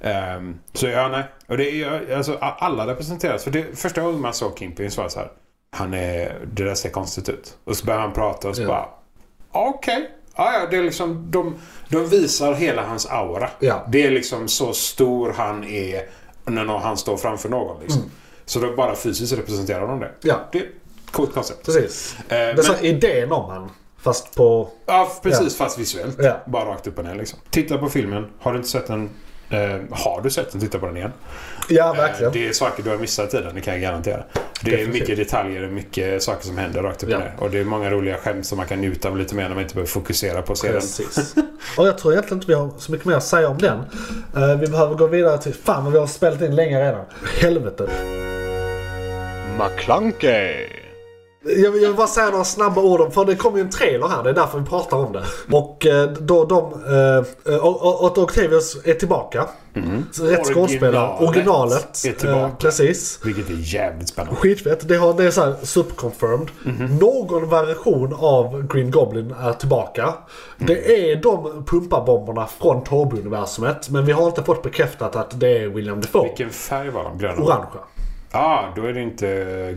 Speaker 4: Ehm, så ja, nej. Och det är ju, alltså, a- alla representeras. För det, första gången man såg Kingpin så var jag så här. Han är, det där ser konstigt ut. Och så börjar han prata och så
Speaker 3: Ja.
Speaker 4: bara. "Ja, Okej. Ja, ja, det är liksom, de, de visar hela hans aura.
Speaker 3: Ja.
Speaker 4: Det är liksom så stor han är när nå- han står framför någon. Liksom. Så då bara fysiskt representerar de det.
Speaker 3: Mm. Ja.
Speaker 4: Det är ett coolt koncept.
Speaker 3: Precis.
Speaker 4: Eh,
Speaker 3: Det är så här idén om han. Fast på...
Speaker 4: Ja, precis. Fast visuellt.
Speaker 3: Ja.
Speaker 4: Bara rakt upp och ner liksom. Titta på filmen. Har du inte sett den? Eh, har du sett den? Titta på den igen.
Speaker 3: Ja,
Speaker 4: Eh,
Speaker 3: verkligen.
Speaker 4: det är saker du har missat i den, det kan jag garantera. Det är
Speaker 3: Definitivt.
Speaker 4: mycket detaljer och mycket saker som händer rakt upp och
Speaker 3: Ja.
Speaker 4: ner. Och det är många roliga skämt som man kan njuta av lite mer när man inte behöver fokusera på serien.
Speaker 3: Precis. Och jag tror egentligen inte vi har så mycket mer att säga om den. Eh, vi behöver gå vidare till... Fan vad vi har spelat in länge redan. Helvete.
Speaker 8: McClunkey.
Speaker 3: Jag vill, jag vill bara säga några snabba ord om, för det kom ju en trailer här, det är därför vi pratar om det. Och eh, då de, eh, eh, och- och- Otto Octavius är tillbaka. Rätt skådespelare.
Speaker 4: Mm. Originalet
Speaker 3: Originalet.
Speaker 4: är tillbaka.
Speaker 3: eh, precis.
Speaker 4: Vilket är jävligt spännande.
Speaker 3: Skitfett. Det, har, det är så här superconfirmed.
Speaker 4: Mhm.
Speaker 3: Någon variation av Green Goblin är tillbaka.
Speaker 4: Mm.
Speaker 3: Det är de pumparbomberna från Toby-universumet, men vi har inte fått bekräftat att det är William Defoe.
Speaker 4: Vilken färg var de? Gröna?
Speaker 3: Orangea.
Speaker 4: ah, då är det inte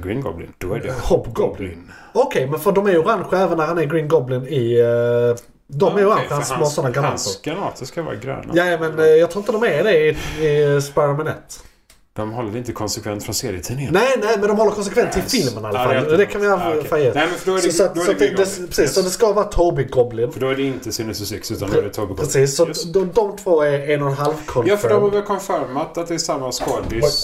Speaker 4: Green Goblin. Då är det
Speaker 3: Eh, Hobgoblin. Okej, men för de är orange även när han är Green Goblin i... eh, de är
Speaker 4: Okej,
Speaker 3: orange,
Speaker 4: för
Speaker 3: han små sådana granater.
Speaker 4: Hans granater ska vara gröna.
Speaker 3: Ja, men eh, jag tror inte de är det i, i Spider-Man 1.
Speaker 4: De håller inte konsekvent från serietidningen.
Speaker 3: Nej, nej, men de håller konsekvent till filmen i alla
Speaker 4: Ja,
Speaker 3: fall.
Speaker 4: det är
Speaker 3: det,
Speaker 4: alltid
Speaker 3: kan vi
Speaker 4: något.
Speaker 3: ha
Speaker 4: Ja, okej.
Speaker 3: fan ge.
Speaker 4: Nej, men för då är det-
Speaker 3: Så- så att-
Speaker 4: då är
Speaker 3: så
Speaker 4: det
Speaker 3: att det-
Speaker 4: Green
Speaker 3: det-
Speaker 4: Goblin.
Speaker 3: Precis, så det ska vara Toby Goblin.
Speaker 4: För då är det inte Sinister Six utan då är det Tobey Goblin.
Speaker 3: Precis, så
Speaker 4: Just.
Speaker 3: de, de två är en och en halv confirmed.
Speaker 4: Ja, för de har väl konfirmat att det är samma skådis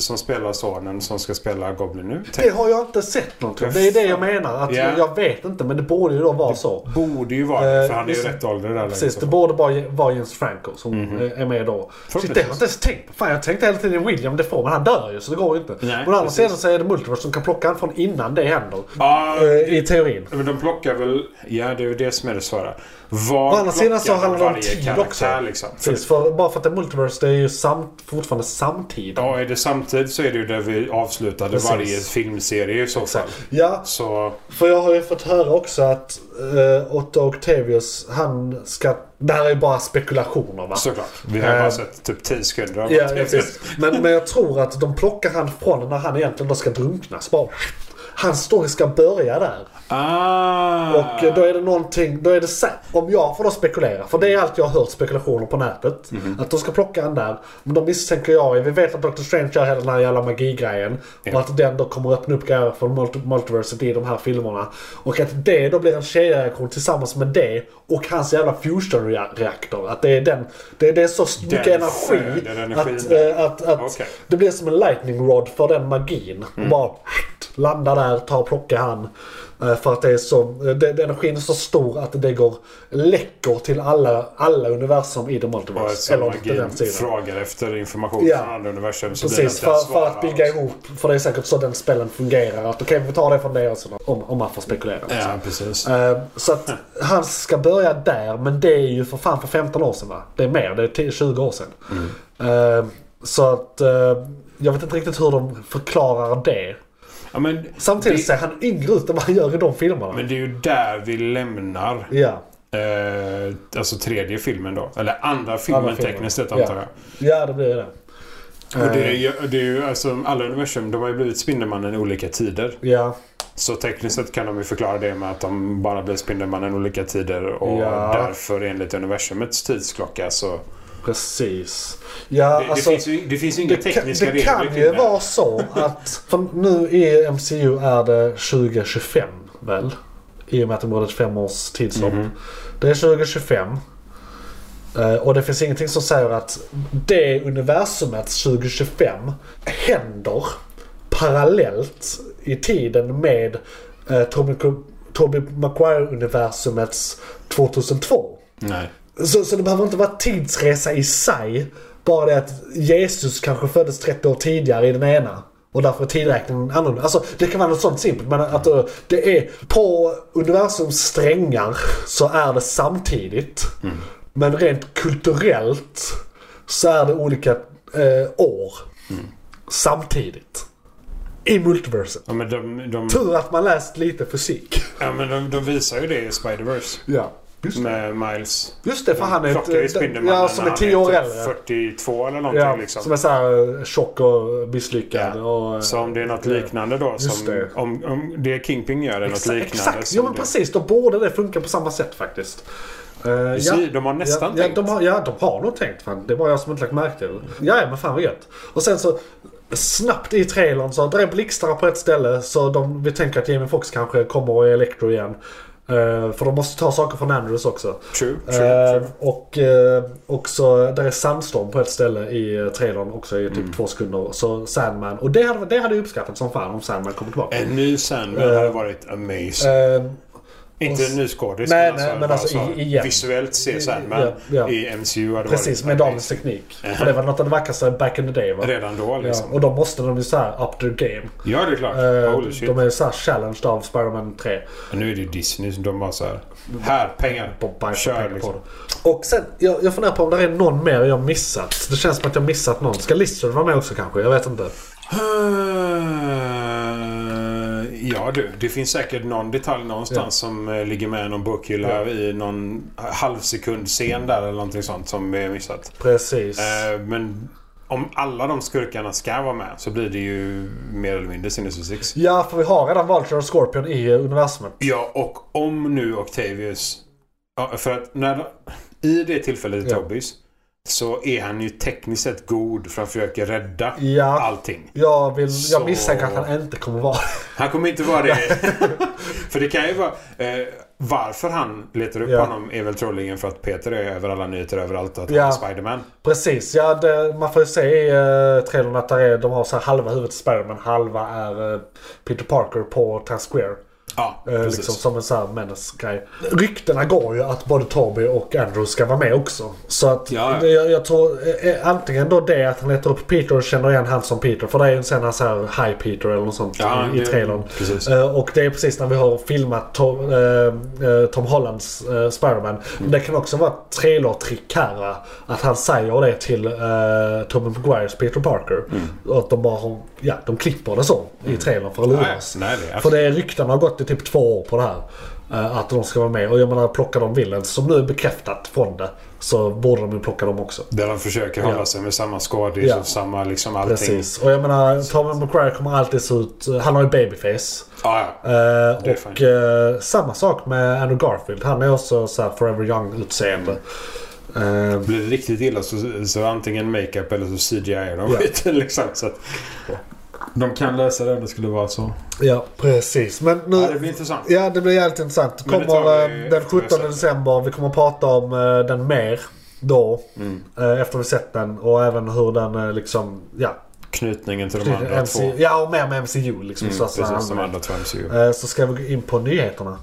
Speaker 4: som spelar sonen som ska spela Goblin nu.
Speaker 3: Det har jag inte sett någonting. Det är det jag menar. Att
Speaker 4: Ja.
Speaker 3: Jag vet inte, men det borde ju då vara så.
Speaker 4: Borde ju vara det, för
Speaker 3: Eh,
Speaker 4: han är ju
Speaker 3: just-
Speaker 4: rätt ålder där. liksom.
Speaker 3: Precis, det borde bara vara James Franco som
Speaker 4: Mhm.
Speaker 3: eh, är med då. Shit, det har jag inte ens tänkt på. Fan, jag tänkte hela tiden William Defoe, men han dör ju så det går ju inte.
Speaker 4: Nej,
Speaker 3: men å andra
Speaker 4: precis.
Speaker 3: sidan så är det Multiverse som kan plocka honom från innan det händer.
Speaker 4: Ja,
Speaker 3: Eh, I teorin.
Speaker 4: men de plockar väl... Ja, det är ju det som är det svåra. Var
Speaker 3: Å andra sidan så
Speaker 4: plockar
Speaker 3: handlar det om
Speaker 4: varje
Speaker 3: tid
Speaker 4: karaktär,
Speaker 3: också.
Speaker 4: Liksom? För
Speaker 3: Precis, för, bara för att det är Multiverse, det är ju samt, fortfarande samtid.
Speaker 4: Ja, är det samtidigt så är det ju där vi avslutade
Speaker 3: Precis.
Speaker 4: varje filmserie i så fall.
Speaker 3: Ja,
Speaker 4: Så...
Speaker 3: För jag har ju fått höra också att eh, Otto Octavius, han ska... Det här är ju bara spekulationer va?
Speaker 4: Såklart. Vi har bara
Speaker 3: Eh,
Speaker 4: sett typ 10 sekunder av
Speaker 3: Ja, ja,
Speaker 4: det.
Speaker 3: precis. Men, men jag tror att de plockar han från när han egentligen då ska drunknas bara. Hans story ska börja där.
Speaker 4: Ah!
Speaker 3: Och eh, då är det någonting, då är det sä- Om jag får då spekulera, för det är allt jag har hört spekulationer på nätet.
Speaker 4: Mhm.
Speaker 3: Att de ska plocka han där. Men de misstänker jag, vi vet att Dr. Strange gör hela den här jävla magigrejen. Och att den då kommer öppna upp grejer för multi- multiverset i de här filmerna. Och att det då blir en kedjereaktion tillsammans med det och hans jävla fusion-reaktor. Att det är den, det, det är så mycket energi.
Speaker 4: skörden, energin
Speaker 3: Att,
Speaker 4: där.
Speaker 3: eh, att, att
Speaker 4: Okej. Mm.
Speaker 3: det blir som en lightning rod för den magin. Och bara landa där, ta och plocka han. Eh, För att det är så, eh, det, det- energin är så stor att det går läckor till alla, alla universum i The
Speaker 4: Och
Speaker 3: Multiverse.
Speaker 4: som
Speaker 3: Eller till
Speaker 4: magin
Speaker 3: den sidan.
Speaker 4: frågar efter information
Speaker 3: Ja.
Speaker 4: från andra universum. Så blir det
Speaker 3: Precis,
Speaker 4: inte
Speaker 3: för,
Speaker 4: ens
Speaker 3: för att
Speaker 4: svarar.
Speaker 3: bygga ihop. För det är säkert så den spelen fungerar. Att okej, vi tar det från det och så, om, om man får spekulera.
Speaker 4: Ja, precis.
Speaker 3: Eh, Så att han ska börja där, men det är ju för fan för 15 år sedan va? Det är mer, det är 10 20 år sedan.
Speaker 4: Mm.
Speaker 3: Eh, Så att eh, jag vet inte riktigt hur de förklarar det.
Speaker 4: Ja, men,
Speaker 3: Samtidigt
Speaker 4: det,
Speaker 3: ser han yngre ut än vad han gör i de filmerna.
Speaker 4: men det är ju där vi lämnar
Speaker 3: Ja.
Speaker 4: eh, alltså tredje filmen då. Eller andra filmen
Speaker 3: Andra filmen.
Speaker 4: tekniskt sett
Speaker 3: Ja. Eh.
Speaker 4: antar jag.
Speaker 3: ja, det blir ju det.
Speaker 4: Och det är, ju- det är ju alltså alla universum, de har ju blivit Spindelmannen i olika tider.
Speaker 3: Ja,
Speaker 4: Så tekniskt sett kan de ju förklara det med att de bara blev Spindelmannen i olika tider och
Speaker 3: Ja.
Speaker 4: därför enligt universumets tidsklocka så...
Speaker 3: precis. Ja,
Speaker 4: Det,
Speaker 3: alltså,
Speaker 4: det, finns, ju, det finns ju inga tekniska
Speaker 3: kan, det
Speaker 4: regler
Speaker 3: kan
Speaker 4: kring
Speaker 3: ju
Speaker 4: det.
Speaker 3: vara så att... För nu i MCU är det 2025 väl? I och med att det var ett fem års tidshopp.
Speaker 4: Mhm.
Speaker 3: Det är 2025. eh, Och det finns ingenting som säger att det universumet 2025 händer parallellt i tiden med eh, Tobey Tobey Maguire-universumets 2002.
Speaker 4: Nej.
Speaker 3: Så, så det behöver inte vara tidsresa i sig. Bara det att Jesus kanske föddes 30 år tidigare i den ena. Och därför är tidräkningen annorlunda. Alltså det kan vara något sånt simpelt. Men att eh, det är på universums strängar så är det samtidigt.
Speaker 4: Mm.
Speaker 3: Men rent kulturellt så är det olika eh, år.
Speaker 4: Mm.
Speaker 3: Samtidigt. I multiverset.
Speaker 4: Ja, men de, de,
Speaker 3: Tur att man läst lite fysik.
Speaker 4: ja, men de, de visar ju det i Spider-Verse
Speaker 3: Ja. Just det.
Speaker 4: med Miles.
Speaker 3: Just det, för han är...
Speaker 4: Plockar ju
Speaker 3: ett- eh,
Speaker 4: Spindelmannen
Speaker 3: Ja, som
Speaker 4: när
Speaker 3: är
Speaker 4: han
Speaker 3: 10 år
Speaker 4: typ
Speaker 3: äldre.
Speaker 4: 42 eller någonting
Speaker 3: Ja,
Speaker 4: liksom.
Speaker 3: Som är så här eh, tjock och misslyckad.
Speaker 4: Ja.
Speaker 3: Och, eh,
Speaker 4: Så om det är något liknande då,
Speaker 3: Just
Speaker 4: som,
Speaker 3: det.
Speaker 4: Om, om det Kingpin gör är något
Speaker 3: Exa-
Speaker 4: liknande.
Speaker 3: Exakt,
Speaker 4: som
Speaker 3: ja men
Speaker 4: det-
Speaker 3: precis. Då borde det funka på samma sätt faktiskt. Eh, ja.
Speaker 4: Precis, de har nästan
Speaker 3: ja, ja,
Speaker 4: tänkt.
Speaker 3: de har, ja, de har nog tänkt. Fan. Det var jag som inte lagt märke till det. Ja, men fan vad gött. Och sen så snabbt i trailern så där är blixtar på ett ställe så de, vi tänker att Jamie Foxx kanske kommer och är Electro igen. Eh, för de måste ta saker från Andrews också.
Speaker 4: True, true,
Speaker 3: Eh,
Speaker 4: true.
Speaker 3: och eh, också, där är sandstorm på ett ställe i eh, trailern också i typ
Speaker 4: Mm.
Speaker 3: två sekunder. Så Sandman, och det hade, det hade jag uppskattat som fan om Sandman kommer tillbaka.
Speaker 4: En ny Sandman hade varit amazing.
Speaker 3: Eh,
Speaker 4: Inte en ny skådis,
Speaker 3: Nej,
Speaker 4: alltså,
Speaker 3: nej, men
Speaker 4: bara
Speaker 3: alltså,
Speaker 4: så
Speaker 3: i- igen.
Speaker 4: visuellt se Sandman
Speaker 3: Ja, ja.
Speaker 4: i MCU hade
Speaker 3: precis,
Speaker 4: varit
Speaker 3: med dagens teknik.
Speaker 4: eh.
Speaker 3: För det var något av det vackraste back in the day va?
Speaker 4: Redan då
Speaker 3: Ja,
Speaker 4: liksom.
Speaker 3: och då måste de ju såhär up their game.
Speaker 4: Ja, det är klart.
Speaker 3: Eh,
Speaker 4: Holy shit.
Speaker 3: de är såhär challenged av Spider-Man 3.
Speaker 4: Nu är det ju Disney som de bara så här. Här, pengar.
Speaker 3: på bank
Speaker 4: Kör,
Speaker 3: pengar
Speaker 4: liksom.
Speaker 3: på det. Och sen, jag, jag funderar på om det är någon mer jag missat. Det känns som att jag missat någon. Ska Lizard vara med också kanske? Jag vet inte.
Speaker 4: Eh, Ja du, det finns säkert någon detalj någonstans som eh, ligger med i någon bokhylla i någon halvsekund scen där eller någonting sånt som är missat.
Speaker 3: Precis.
Speaker 4: Eh, men
Speaker 2: om alla de skurkarna ska vara med så blir det ju mer eller mindre Sinister Six.
Speaker 9: Ja, för vi har redan Vulture och Scorpion i eh, universumet.
Speaker 2: Ja, och om nu Octavius... Ja, för att när, i det tillfället i
Speaker 9: Ja.
Speaker 2: Tobbys så är han ju tekniskt sett god för han försöker rädda
Speaker 9: Ja.
Speaker 2: allting.
Speaker 9: Jag, vill,
Speaker 2: Så-
Speaker 9: jag misstänker att han inte kommer vara
Speaker 2: Han kommer inte vara det. för det kan ju vara... Eh, varför han letar upp
Speaker 9: Ja.
Speaker 2: honom är väl troligen för att Peter är över alla nyheter överallt att
Speaker 9: Ja.
Speaker 2: han är Spiderman.
Speaker 9: Precis, ja det, man får ju se i uh, trailern att där är, de har så här halva huvudet i Spiderman, halva är eh, Peter Parker på Times Square.
Speaker 2: Ja,
Speaker 9: Eh,
Speaker 2: precis.
Speaker 9: liksom som en sån här menace-grej. Ryktena går ju att både Toby och Andrew ska vara med också. Så att
Speaker 2: Ja, ja.
Speaker 9: det- jag, jag tror eh, eh, antingen då det att han letar upp Peter och känner igen han som Peter. För det är ju en sån här, så här Hi Peter eller något sånt
Speaker 2: Ja,
Speaker 9: i, i
Speaker 2: det-
Speaker 9: trailern.
Speaker 2: precis.
Speaker 9: Eh, och det är precis när vi har filmat Tom, eh, eh, Tom Hollands eh, Spiderman. Men det kan också vara ett trailertrick här. va? Att han säger det till eh, Tobey Maguires Peter Parker.
Speaker 2: Mm.
Speaker 9: Och att de bara har, ja, de klipper det så i trailern för att lura
Speaker 2: Nej,
Speaker 9: oss.
Speaker 2: nej, det är
Speaker 9: För det är ryktena har gått i typ två år på det här. eh, Att de ska vara med. Och jag menar plockar de Villains som nu är bekräftat från det. Så borde de ju plocka dem också.
Speaker 2: Där de försöker hålla
Speaker 9: Ja.
Speaker 2: sig med samma skådis
Speaker 9: Ja.
Speaker 2: och samma liksom allting.
Speaker 9: Precis. Och jag menar Tommy McQuarrie kommer alltid se ut... eh, Han har ju babyface.
Speaker 2: Ja, ja.
Speaker 9: Eh,
Speaker 2: Det är
Speaker 9: och eh, samma sak med Andrew Garfield. Han är också så här forever young-utseende. Eh,
Speaker 2: Blir det riktigt illa så, så antingen makeup eller så CGI är de
Speaker 9: Ja.
Speaker 2: skiten liksom. Så att, de kan lösa det om det skulle vara så.
Speaker 9: ja, precis. Men nu...
Speaker 2: Ja, det blir intressant.
Speaker 9: Ja, det blir jävligt intressant.
Speaker 2: Men det tar
Speaker 9: Kommer
Speaker 2: vi
Speaker 9: eh, den
Speaker 2: efter vi har
Speaker 9: 17
Speaker 2: sett den.
Speaker 9: december. Vi kommer att prata om eh, den mer då.
Speaker 2: Mm.
Speaker 9: eh, Efter vi sett den och även hur den eh, liksom, ja.
Speaker 2: Knytningen till de andra
Speaker 9: MC,
Speaker 2: två.
Speaker 9: ja, och mer med MCU liksom.
Speaker 2: Mm,
Speaker 9: så, att säga.
Speaker 2: precis, de andra två MCU.
Speaker 9: Eh, så ska vi gå in på nyheterna.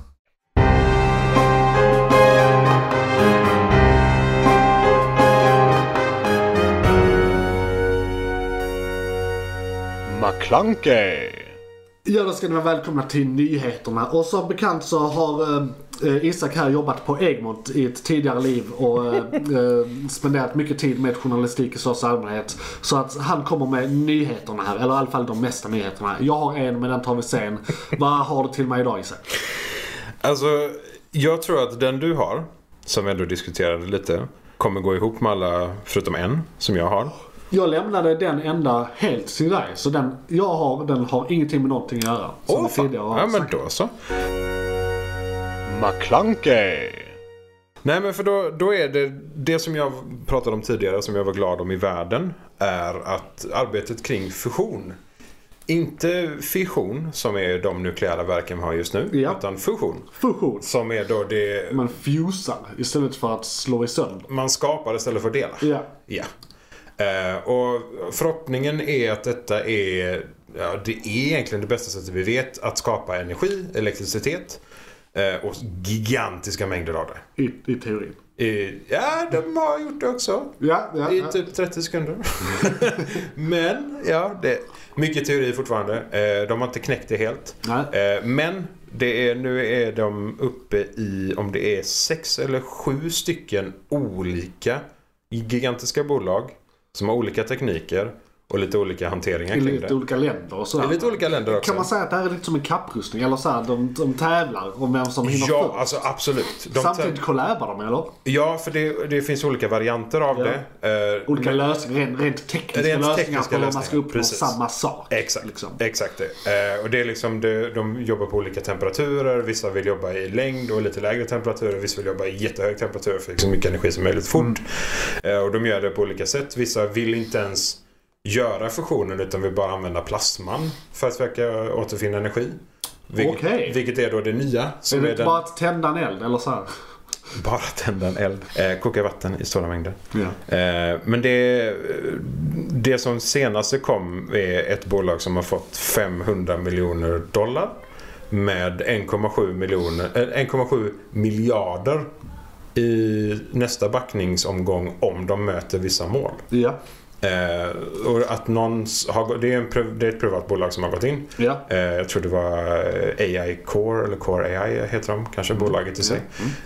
Speaker 3: Ja, då ska ni vara välkomna till nyheterna. Och som bekant så har eh, eh, Isak här jobbat på Egmont i ett tidigare liv och eh, eh, spenderat mycket tid med journalistik i största allmänhet. Så att han kommer med nyheterna här, eller i alla fall de mesta nyheterna. Jag har en, men den tar vi sen. Vad har du till mig idag Isak?
Speaker 4: Alltså, jag tror att den du har, som vi ändå diskuterade lite, kommer gå ihop med alla förutom en som jag har.
Speaker 3: Jag lämnade den enda helt till dig, så den jag har, den har ingenting med någonting att göra. Som vi
Speaker 4: fan.
Speaker 3: tidigare har
Speaker 4: Ja, men
Speaker 3: sagt.
Speaker 4: då så. McClunkey. Nej, men för då, då är det det som jag pratade om tidigare som jag var glad om i världen är att arbetet kring fusion. Inte fission som är de nukleära verken vi har just nu
Speaker 3: Ja.
Speaker 4: utan fusion.
Speaker 3: Fusion.
Speaker 4: Som är då det
Speaker 3: Man fusar istället för att slå i sönder.
Speaker 4: man skapar istället för att dela.
Speaker 3: Ja.
Speaker 4: Ja. Eh, och förhoppningen är att detta är, ja, det är egentligen det bästa sättet vi vet att skapa energi, elektricitet eh, och gigantiska mängder av det.
Speaker 3: I, i teorin.
Speaker 4: Eh, ja, de har gjort det också.
Speaker 3: Ja, ja,
Speaker 4: I
Speaker 3: ja.
Speaker 4: typ 30 sekunder. Men, ja, det mycket teori fortfarande. Eh, de har inte knäckt det helt.
Speaker 3: Nej.
Speaker 4: Eh, Men det är, nu är de uppe i om det är sex eller sju stycken olika gigantiska bolag som har olika tekniker och lite olika hanteringar
Speaker 3: I
Speaker 4: kring
Speaker 3: lite
Speaker 4: det.
Speaker 3: olika länder och sådär.
Speaker 4: I lite olika länder också.
Speaker 3: Kan man säga att det här är lite som en kapprustning? Eller så här, de, de tävlar om vem som hinner
Speaker 4: Ja,
Speaker 3: först.
Speaker 4: alltså absolut. De
Speaker 3: Samtidigt kollabar de eller?
Speaker 4: ja, för det, det finns olika varianter av
Speaker 3: Ja.
Speaker 4: det. Eh,
Speaker 3: Olika lösningar, rent, rent tekniska
Speaker 4: Rent
Speaker 3: lösningar
Speaker 4: tekniska
Speaker 3: på hur man ska
Speaker 4: lösningar,
Speaker 3: uppnå
Speaker 4: precis.
Speaker 3: samma sak.
Speaker 4: Exakt,
Speaker 3: Liksom.
Speaker 4: exakt det. Eh, och det är liksom det, de jobbar på olika temperaturer. Vissa vill jobba i längd och lite lägre temperaturer. Vissa vill jobba i jättehög temperatur för så mycket energi som möjligt fort.
Speaker 3: Mm.
Speaker 4: Eh, och de gör det på olika sätt. Vissa vill inte ens göra fusionen utan vill bara använda plasman för att försöka återfinna energi. Vilket,
Speaker 3: Okej.
Speaker 4: vilket är då det nya. Som
Speaker 3: Är det
Speaker 4: är
Speaker 3: inte
Speaker 4: den,
Speaker 3: bara
Speaker 4: bara...
Speaker 3: att tända en eld eller så här?
Speaker 4: tända en eld. Eh, koka vatten i stora mängder.
Speaker 3: Ja.
Speaker 4: Eh, Men det, det som senaste kom är ett bolag som har fått 500 miljoner dollar med 1,7 miljoner, eh, 1,7 miljarder i nästa backningsomgång om de möter vissa mål.
Speaker 3: Ja.
Speaker 4: Eh, och att någon s- har, gå- det, är en, priv- det är ett privat bolag som har gått in.
Speaker 3: Ja.
Speaker 4: Eh, jag tror det var eh, AI Core, eller Core AI heter de, kanske
Speaker 3: Mm.
Speaker 4: bolaget i sig.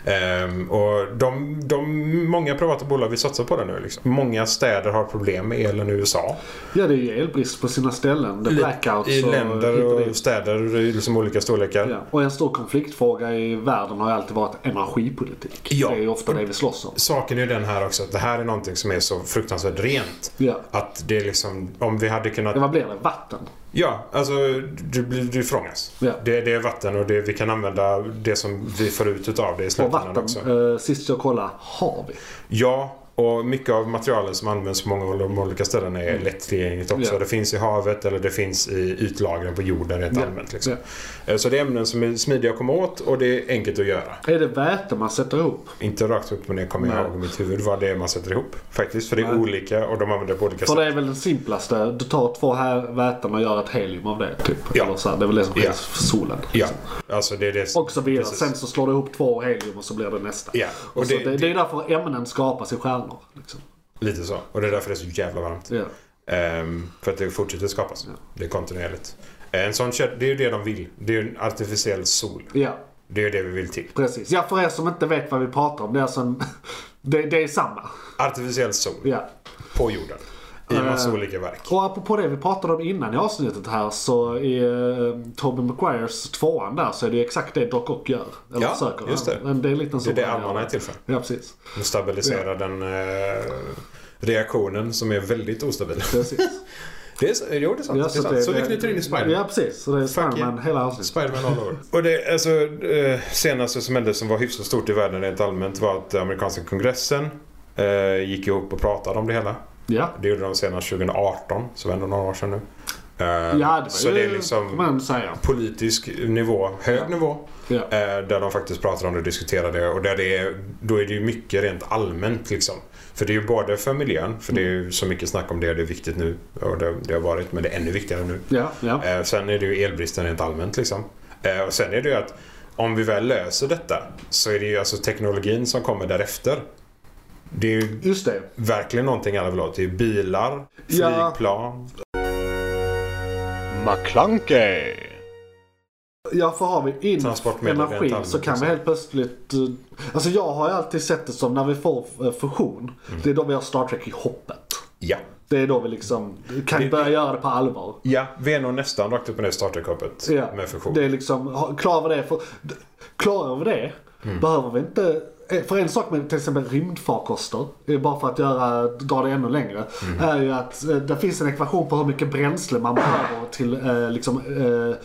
Speaker 4: Ehm, och de, de, många privata bolag vill satsa på det nu. Liksom. Många städer har problem med elen i USA.
Speaker 3: ja, det är ju elbrist på sina ställen. Det är blackouts
Speaker 4: I
Speaker 3: och hit
Speaker 4: länder
Speaker 3: och
Speaker 4: och
Speaker 3: dit.
Speaker 4: städer i liksom olika storlekar.
Speaker 3: Ja. Och en stor konfliktfråga i världen har ju alltid varit energipolitik.
Speaker 4: Ja.
Speaker 3: Det är ju ofta det vi slåss om.
Speaker 4: Saken är den här också att det här är någonting som är så fruktansvärt rent.
Speaker 3: Ja. Ja.
Speaker 4: Att det är liksom, om vi hade kunnat
Speaker 3: Ja, vad blir det? Vatten?
Speaker 4: Ja, alltså du, blir- du fångas.
Speaker 3: Ja.
Speaker 4: Det, det är vatten och det, vi kan använda det som vi får ut utav det i
Speaker 3: Och
Speaker 4: slutändan
Speaker 3: vatten,
Speaker 4: också.
Speaker 3: eh, sist jag kollade, har vi.
Speaker 4: Ja, och mycket av materialen som används på många av de olika ställena är lättillgängligt också.
Speaker 3: Mm. Ja.
Speaker 4: Det finns i havet eller det finns i ytlagren på jorden rent
Speaker 3: Ja.
Speaker 4: allmänt. Liksom. Eh, Så det är ämnen som är smidiga att komma åt och det är enkelt att göra.
Speaker 3: Är det väte man sätter ihop?
Speaker 4: Inte rakt upp och ner kommer jag
Speaker 3: Nej.
Speaker 4: ihåg i mitt huvud vad det är man sätter ihop faktiskt. För det är olika och de använder det på olika
Speaker 3: För
Speaker 4: sätt.
Speaker 3: det är väl den simplaste. Du tar två här väten och gör ett helium av det. Typ.
Speaker 4: Ja.
Speaker 3: Eller så här, det är väl det som sker
Speaker 4: Ja.
Speaker 3: för solen.
Speaker 4: Ja, alltså det är det.
Speaker 3: Och så vidare.
Speaker 4: Precis.
Speaker 3: Sen så slår du ihop två helium och så blir det nästa.
Speaker 4: Ja, och
Speaker 3: Och så
Speaker 4: det-
Speaker 3: det, det, är därför ämnen skapas i stjärnor. Liksom.
Speaker 4: Lite så. Och det är därför det är så jävla varmt.
Speaker 3: Ja.
Speaker 4: Ehm, för att det fortsätter skapas. Det är kontinuerligt. En sån kär, det är ju det de vill. Det är ju en artificiell sol.
Speaker 3: ja,
Speaker 4: Det är ju det vi vill till.
Speaker 3: precis. Ja, för er som inte vet vad vi pratar om. Det är alltså en, det, det är samma.
Speaker 4: Artificiell sol
Speaker 3: Ja.
Speaker 4: på jorden. I en massa
Speaker 3: Eh.
Speaker 4: olika verk.
Speaker 3: Och apropå det vi pratade om innan i avsnittet här så i eh, Tobey Maguires tvåan där så är det ju exakt det Doc Ock gör. Eller
Speaker 4: Ja,
Speaker 3: försöker.
Speaker 4: just det.
Speaker 3: Men det är en liten
Speaker 4: Det är det
Speaker 3: han gör.
Speaker 4: armarna är till för.
Speaker 3: Ja, precis.
Speaker 4: De stabiliserar den eh, reaktionen som är väldigt ostabil.
Speaker 3: Precis.
Speaker 4: Det är, så- jo, det är sant.
Speaker 3: Ja,
Speaker 4: det är sant. så vi knyter in i Spiderman.
Speaker 3: Ja, precis. Så det är Spiderman
Speaker 4: yeah.
Speaker 3: hela avsnittet.
Speaker 4: Spiderman all over. Och det alltså, eh, senaste som hände som var hyfsat stort i världen rent allmänt var att amerikanska kongressen eh, gick ihop och pratade om det hela.
Speaker 3: Ja.
Speaker 4: Det gjorde de senast 2018, så det var ändå några år sedan nu. Eh,
Speaker 3: Ja, det var
Speaker 4: så
Speaker 3: ju,
Speaker 4: det är
Speaker 3: kan
Speaker 4: liksom
Speaker 3: man säga.
Speaker 4: politisk nivå, hög nivå.
Speaker 3: Ja.
Speaker 4: eh, Där de faktiskt pratar om det och diskuterar det. Och där det är, då är det ju mycket rent allmänt liksom. För det är ju både för miljön, för det är ju så mycket snack om det och det är viktigt nu. Och det, det har varit, men det är ännu viktigare nu.
Speaker 3: Ja, ja.
Speaker 4: Eh, Sen är det ju elbristen rent allmänt liksom. Eh, Och sen är det ju att om vi väl löser detta så är det ju alltså teknologin som kommer därefter. Det är ju
Speaker 3: Just det.
Speaker 4: verkligen någonting alla vill ha. Det är bilar,
Speaker 3: Ja.
Speaker 4: flygplan.
Speaker 2: McClunkey.
Speaker 3: Ja, för har vi in
Speaker 4: Transportmedel rent
Speaker 3: energi
Speaker 4: allmänt alltså.
Speaker 3: så kan
Speaker 4: också.
Speaker 3: vi helt plötsligt... eh, Alltså jag har ju alltid sett det som när vi får eh, fusion.
Speaker 4: Mm.
Speaker 3: Det är då vi har Star Trek i hoppet.
Speaker 4: Ja.
Speaker 3: Det är då vi liksom kan
Speaker 4: Det-
Speaker 3: börja göra det på allvar.
Speaker 4: Ja, vi är nog nästan rakt upp och ner i starterkoppet
Speaker 3: Ja,
Speaker 4: med fusion.
Speaker 3: Det är liksom, ha- klarar vi det, för, d- klarar vi det
Speaker 4: Mm.
Speaker 3: behöver vi inte eh, för en sak med till exempel rymdfarkoster, eh, bara för att göra, dra det ännu längre,
Speaker 4: Mm.
Speaker 3: är ju att eh, det finns en ekvation på hur mycket bränsle man behöver till eh, liksom, eh,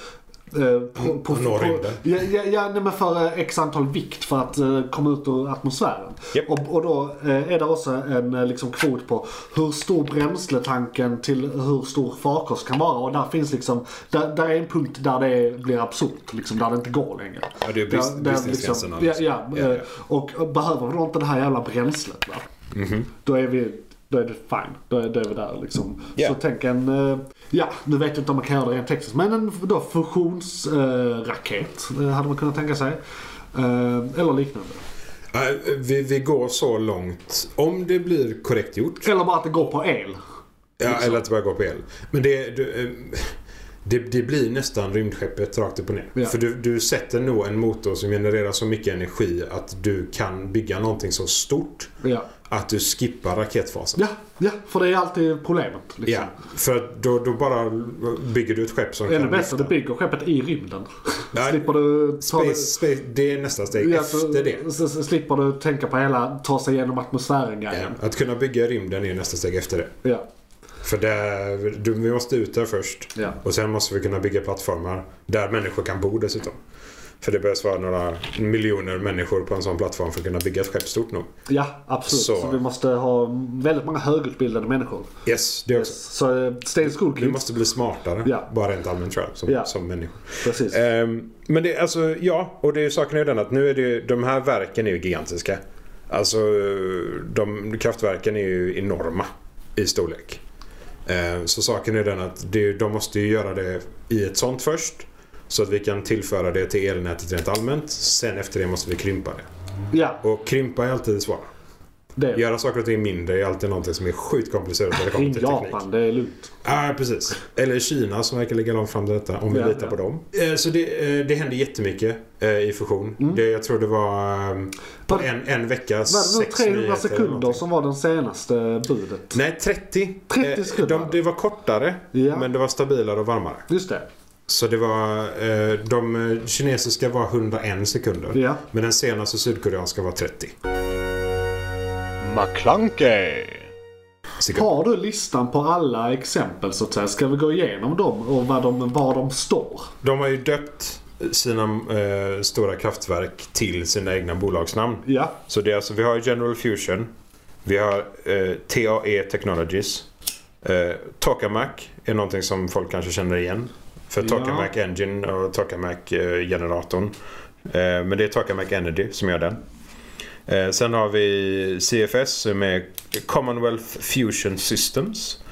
Speaker 3: eh, på, på,
Speaker 4: Nå
Speaker 3: på,
Speaker 4: rymden.
Speaker 3: ja, ja, ja, nej, men för eh, x antal vikt för att eh, komma ut ur atmosfären.
Speaker 4: Japp.
Speaker 3: Och, och då eh, är det också en eh, liksom, kvot på hur stor bränsletanken till hur stor farkost kan vara. Och där finns liksom, där, där är en punkt där det blir absurt, liksom, där det inte går längre.
Speaker 4: Ja, det är brist-
Speaker 3: Där- där
Speaker 4: bristningsgränsen,
Speaker 3: ja,
Speaker 4: alltså.
Speaker 3: ja,
Speaker 4: Ja, ja.
Speaker 3: eh, Och eh, behöver vi då inte det här jävla bränslet va?
Speaker 4: Mhm.
Speaker 3: Då är vi då är det fine. Då är, då är vi där liksom.
Speaker 4: Ja.
Speaker 3: Så tänk en, eh, ja nu vet jag inte om man kan göra det rent tekniskt. Men en då fusionsraket eh, hade man kunnat tänka sig. Eh, eller liknande.
Speaker 4: Nej, Äh, Vi, vi går så långt, om det blir korrekt gjort,
Speaker 3: Eller bara att det går på el.
Speaker 4: ja, eller att det börjar gå på el. Men det, du, eh, det, det blir nästan rymdskeppet rakt upp och ner.
Speaker 3: Ja.
Speaker 4: För du, du sätter nog en motor som genererar så mycket energi att du kan bygga någonting så stort
Speaker 3: Ja,
Speaker 4: att du skippar raketfasen.
Speaker 3: ja, ja för det är alltid problemet. Liksom.
Speaker 4: Ja, för att då, då bara bygger du ett skepp som
Speaker 3: Ännu
Speaker 4: kan
Speaker 3: bättre, du
Speaker 4: lyfta.
Speaker 3: bygger skeppet i rymden.
Speaker 4: Ja,
Speaker 3: Slipper du ta
Speaker 4: Space, space, det är nästa steg
Speaker 3: Ja, så-
Speaker 4: efter det.
Speaker 3: så- så Slipper du tänka på hela ta sig igenom atmosfären
Speaker 4: Ja,
Speaker 3: grejen.
Speaker 4: Att kunna bygga i rymden är nästa steg efter det.
Speaker 3: Ja.
Speaker 4: För det, du, vi måste ut där först.
Speaker 3: Ja.
Speaker 4: Och sen måste vi kunna bygga plattformar där människor kan bo dessutom. För det behövs vara några miljoner människor på en sån plattform för att kunna bygga ett skepp stort nog.
Speaker 3: Ja, absolut.
Speaker 4: Så.
Speaker 3: Så. vi måste ha väldigt många högutbildade människor.
Speaker 4: Yes, det också.
Speaker 3: Så eh, Sten
Speaker 4: Vi
Speaker 3: Schoolkids.
Speaker 4: måste bli smartare.
Speaker 3: Ja.
Speaker 4: Bara rent allmänt tror jag. Som,
Speaker 3: Ja.
Speaker 4: som människor.
Speaker 3: Precis.
Speaker 4: Ehm, men det, alltså, ja. Och det är ju saken är ju den att nu är det ju, de här verken är ju gigantiska. Alltså, de, kraftverken är ju enorma i storlek. Ehm, så saken är den att det, de måste ju göra det i ett sånt först. Så att vi kan tillföra det till elnätet rent allmänt. Sen efter det måste vi krympa det.
Speaker 3: Ja,
Speaker 4: Och krympa är alltid det svåra.
Speaker 3: det.
Speaker 4: Göra saker och ting mindre är alltid någonting som är sjukt komplicerat när det kommer
Speaker 3: Kring
Speaker 4: till teknik.
Speaker 3: Japan, det är lugnt.
Speaker 4: Ja, precis. Eller Kina som verkar ligga långt fram till detta, om vi
Speaker 3: Ja,
Speaker 4: litar
Speaker 3: ja.
Speaker 4: på dem. Eh, Så det, eh, det händer jättemycket eh, i fusion. Det, jag tror det var eh, på
Speaker 3: Mm. Var-
Speaker 4: en, en vecka
Speaker 3: Var det nu
Speaker 4: sex
Speaker 3: 300
Speaker 4: nyheter eller
Speaker 3: sekunder
Speaker 4: någonting.
Speaker 3: som var den senaste budet?
Speaker 4: Nej, 30.
Speaker 3: 30
Speaker 4: Eh,
Speaker 3: sekunder
Speaker 4: De,
Speaker 3: var det.
Speaker 4: det var kortare,
Speaker 3: Ja.
Speaker 4: men det var stabilare och varmare.
Speaker 3: Just det.
Speaker 4: Så det var... eh, De eh, kinesiska var 101 sekunder.
Speaker 3: Ja.
Speaker 4: Men den senaste sydkoreanska var 30.
Speaker 2: McClunkey.
Speaker 10: Sticker.
Speaker 3: Har du listan på alla exempel så att säga? Ska vi gå igenom dem och vad de, var de står?
Speaker 10: De har ju döpt sina eh, stora kraftverk till sina egna bolagsnamn.
Speaker 3: Ja,
Speaker 10: Så det är alltså, vi har General Fusion. Vi har eh, TAE Technologies. Eh, Tokamak är någonting som folk kanske känner igen. För
Speaker 3: Ja.
Speaker 10: Tokamak Engine och Tokamak eh, generatorn. Eh, men det är Tokamak Energy som gör den. Eh, sen har vi CFS som är Commonwealth Fusion Systems.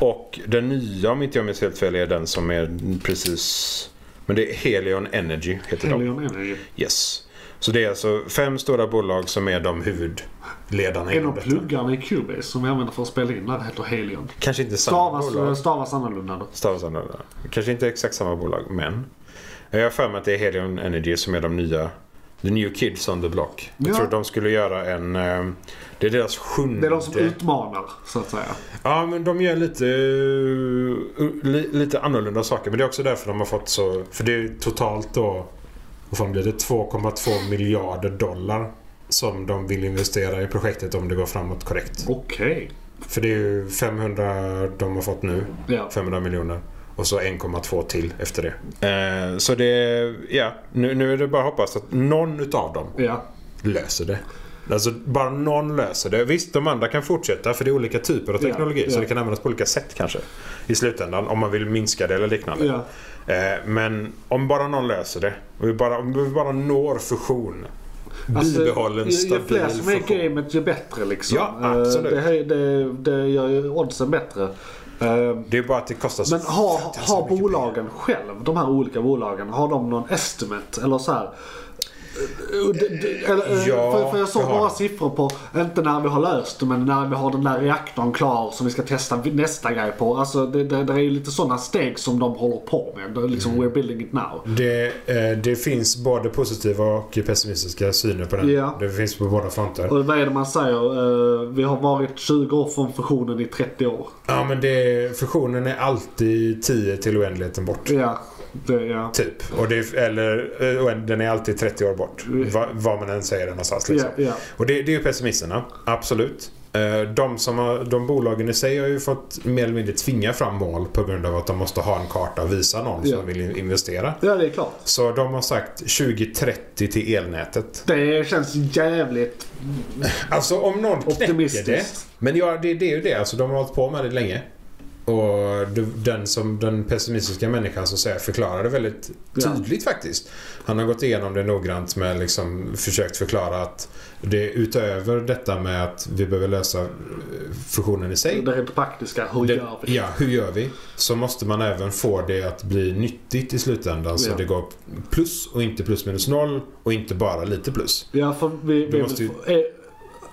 Speaker 10: Och den nya om inte jag minns helt fel är den som är precis... Men det är Helion Energy heter de.
Speaker 3: Helion Energy.
Speaker 10: Yes. Så det är alltså fem stora bolag som är de huvudledarna
Speaker 3: En
Speaker 10: inom
Speaker 3: av
Speaker 10: detta.
Speaker 3: pluggarna i Cubase som vi använder för att spela in där heter Helion.
Speaker 10: Kanske inte samma bolag.
Speaker 3: Stavas, stavas annorlunda då.
Speaker 10: Stavas annorlunda. Kanske inte exakt samma bolag, men. Jag har för mig att det är Helion Energy som är de nya. The New Kids on the Block. Jag
Speaker 3: Ja.
Speaker 10: tror de skulle göra en... eh, Det är deras sjunde...
Speaker 3: Det är de
Speaker 4: Mm,
Speaker 3: som utmanar så att säga.
Speaker 10: Ja, men de gör lite, eh, li, lite annorlunda saker. Men det är också därför de har fått så...
Speaker 4: För det är totalt då... Vad fan blir det? 2,2 miljarder dollar. Som de vill investera i projektet om det går framåt korrekt.
Speaker 3: Okej.
Speaker 4: För det är ju 500 de har fått nu.
Speaker 3: Ja.
Speaker 4: 500 miljoner. Och så 1,2 till efter det.
Speaker 10: Eh, så det... Ja, nu, nu är det bara att hoppas att någon utav dem
Speaker 3: ja.
Speaker 10: löser det. Alltså bara någon löser det. Visst, de andra kan fortsätta för det är olika typer av
Speaker 3: Ja,
Speaker 10: teknologi så
Speaker 3: ja.
Speaker 10: det kan användas på olika sätt kanske. I slutändan om man vill minska det eller liknande.
Speaker 3: Ja.
Speaker 10: Eh, men om bara någon löser det och vi bara, om vi bara når fusion. Bibehållen
Speaker 3: Alltså, ju, ju
Speaker 10: stabil
Speaker 3: fler som är
Speaker 10: funktion.
Speaker 3: i gamet ju bättre liksom.
Speaker 10: Ja,
Speaker 3: Eh,
Speaker 10: absolut.
Speaker 3: Det, här- det, det gör ju oddsen bättre. Eh,
Speaker 10: Det är bara att det kostar så
Speaker 3: Men har,
Speaker 10: fruktansvärt
Speaker 3: har
Speaker 10: mycket
Speaker 3: bolagen själv, de här olika bolagen, har de någon estimate eller så här? Eh, eh, d- d- Eller, eh,
Speaker 10: Ja,
Speaker 3: för, för jag såg
Speaker 10: det har
Speaker 3: några
Speaker 10: de.
Speaker 3: siffror på, inte när vi har löst det, men när vi har den där reaktorn klar som vi ska testa vi- nästa grej på. Alltså det, det, det är ju lite sådana steg som de håller på med. Det är liksom
Speaker 10: Mm.
Speaker 3: we're building it now.
Speaker 4: Det, eh, det finns både positiva och pessimistiska syner på den.
Speaker 3: Ja.
Speaker 4: Det finns på båda fronter.
Speaker 3: Och vad är det man säger? Eh, vi har varit 20 år från fusionen i 30 år.
Speaker 4: Ja, men det, fusionen är alltid 10 till oändligheten bort.
Speaker 3: Ja, det, ja.
Speaker 4: Typ. Och det, eller, eh, oänd- den är alltid 30 år bort. Va, vad man än säger den någonstans.
Speaker 3: Ja,
Speaker 4: Liksom.
Speaker 3: Mm. ja.
Speaker 4: Och det, det är ju pessimisterna, absolut. Eh, De, som har, de bolagen i sig har ju fått mer eller mindre tvinga fram mål på grund av att de måste ha en karta och visa någon
Speaker 3: Ja.
Speaker 4: som vill in- investera.
Speaker 3: ja, det är klart.
Speaker 4: Så de har sagt 2030 till elnätet.
Speaker 3: Det känns jävligt
Speaker 4: Alltså om någon knäcker det.
Speaker 3: optimistiskt.
Speaker 4: Men ja, det, det är ju det. Alltså, de har hållit på med det länge. Och du- den, som, den pessimistiska människan så att säga, förklarar det väldigt
Speaker 3: Ja.
Speaker 4: tydligt faktiskt. Han har gått igenom det noggrant med liksom försökt förklara att det utöver detta med att vi behöver lösa eh, fusionen i sig.
Speaker 3: Det rent praktiska, hur
Speaker 4: Det,
Speaker 3: gör vi?
Speaker 4: ja, hur gör vi? Så måste man även få det att bli nyttigt i slutändan så
Speaker 3: Ja.
Speaker 4: det går plus och inte plus minus noll och inte bara lite plus.
Speaker 3: Ja, för vi, vi
Speaker 4: måste ju-
Speaker 3: är,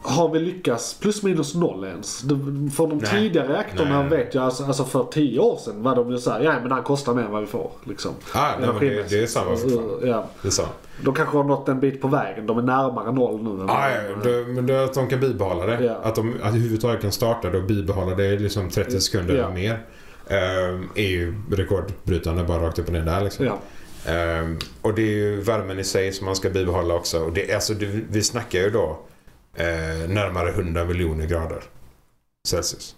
Speaker 3: har vi lyckats plus minus noll ens? Det- För de
Speaker 4: Nej.
Speaker 3: tidiga reaktorerna
Speaker 4: Nej.
Speaker 3: vet jag, alltså, alltså för tio år sedan var de ju såhär, ja men den kostar mer än vad vi får. Liksom.
Speaker 4: Ah, nej, men det, det är samma fortfarande.
Speaker 3: Uh, ja.
Speaker 4: Det är samma.
Speaker 3: De kanske har nått en bit på vägen, de är närmare noll nu. än
Speaker 4: Ah,
Speaker 3: vad-
Speaker 4: ja, det, men det, är att de kan bibehålla det.
Speaker 3: Ja.
Speaker 4: Att de att överhuvudtaget kan starta det och bibehålla det i liksom 30 sekunder
Speaker 3: Ja.
Speaker 4: eller mer. ehm, är ju rekordbrytande bara rakt upp och ner där. Liksom.
Speaker 3: ja.
Speaker 4: Ehm, och det är ju värmen i sig som man ska bibehålla också. Och det, alltså, det, vi snackar ju då eh, närmare 100 miljoner grader Celsius.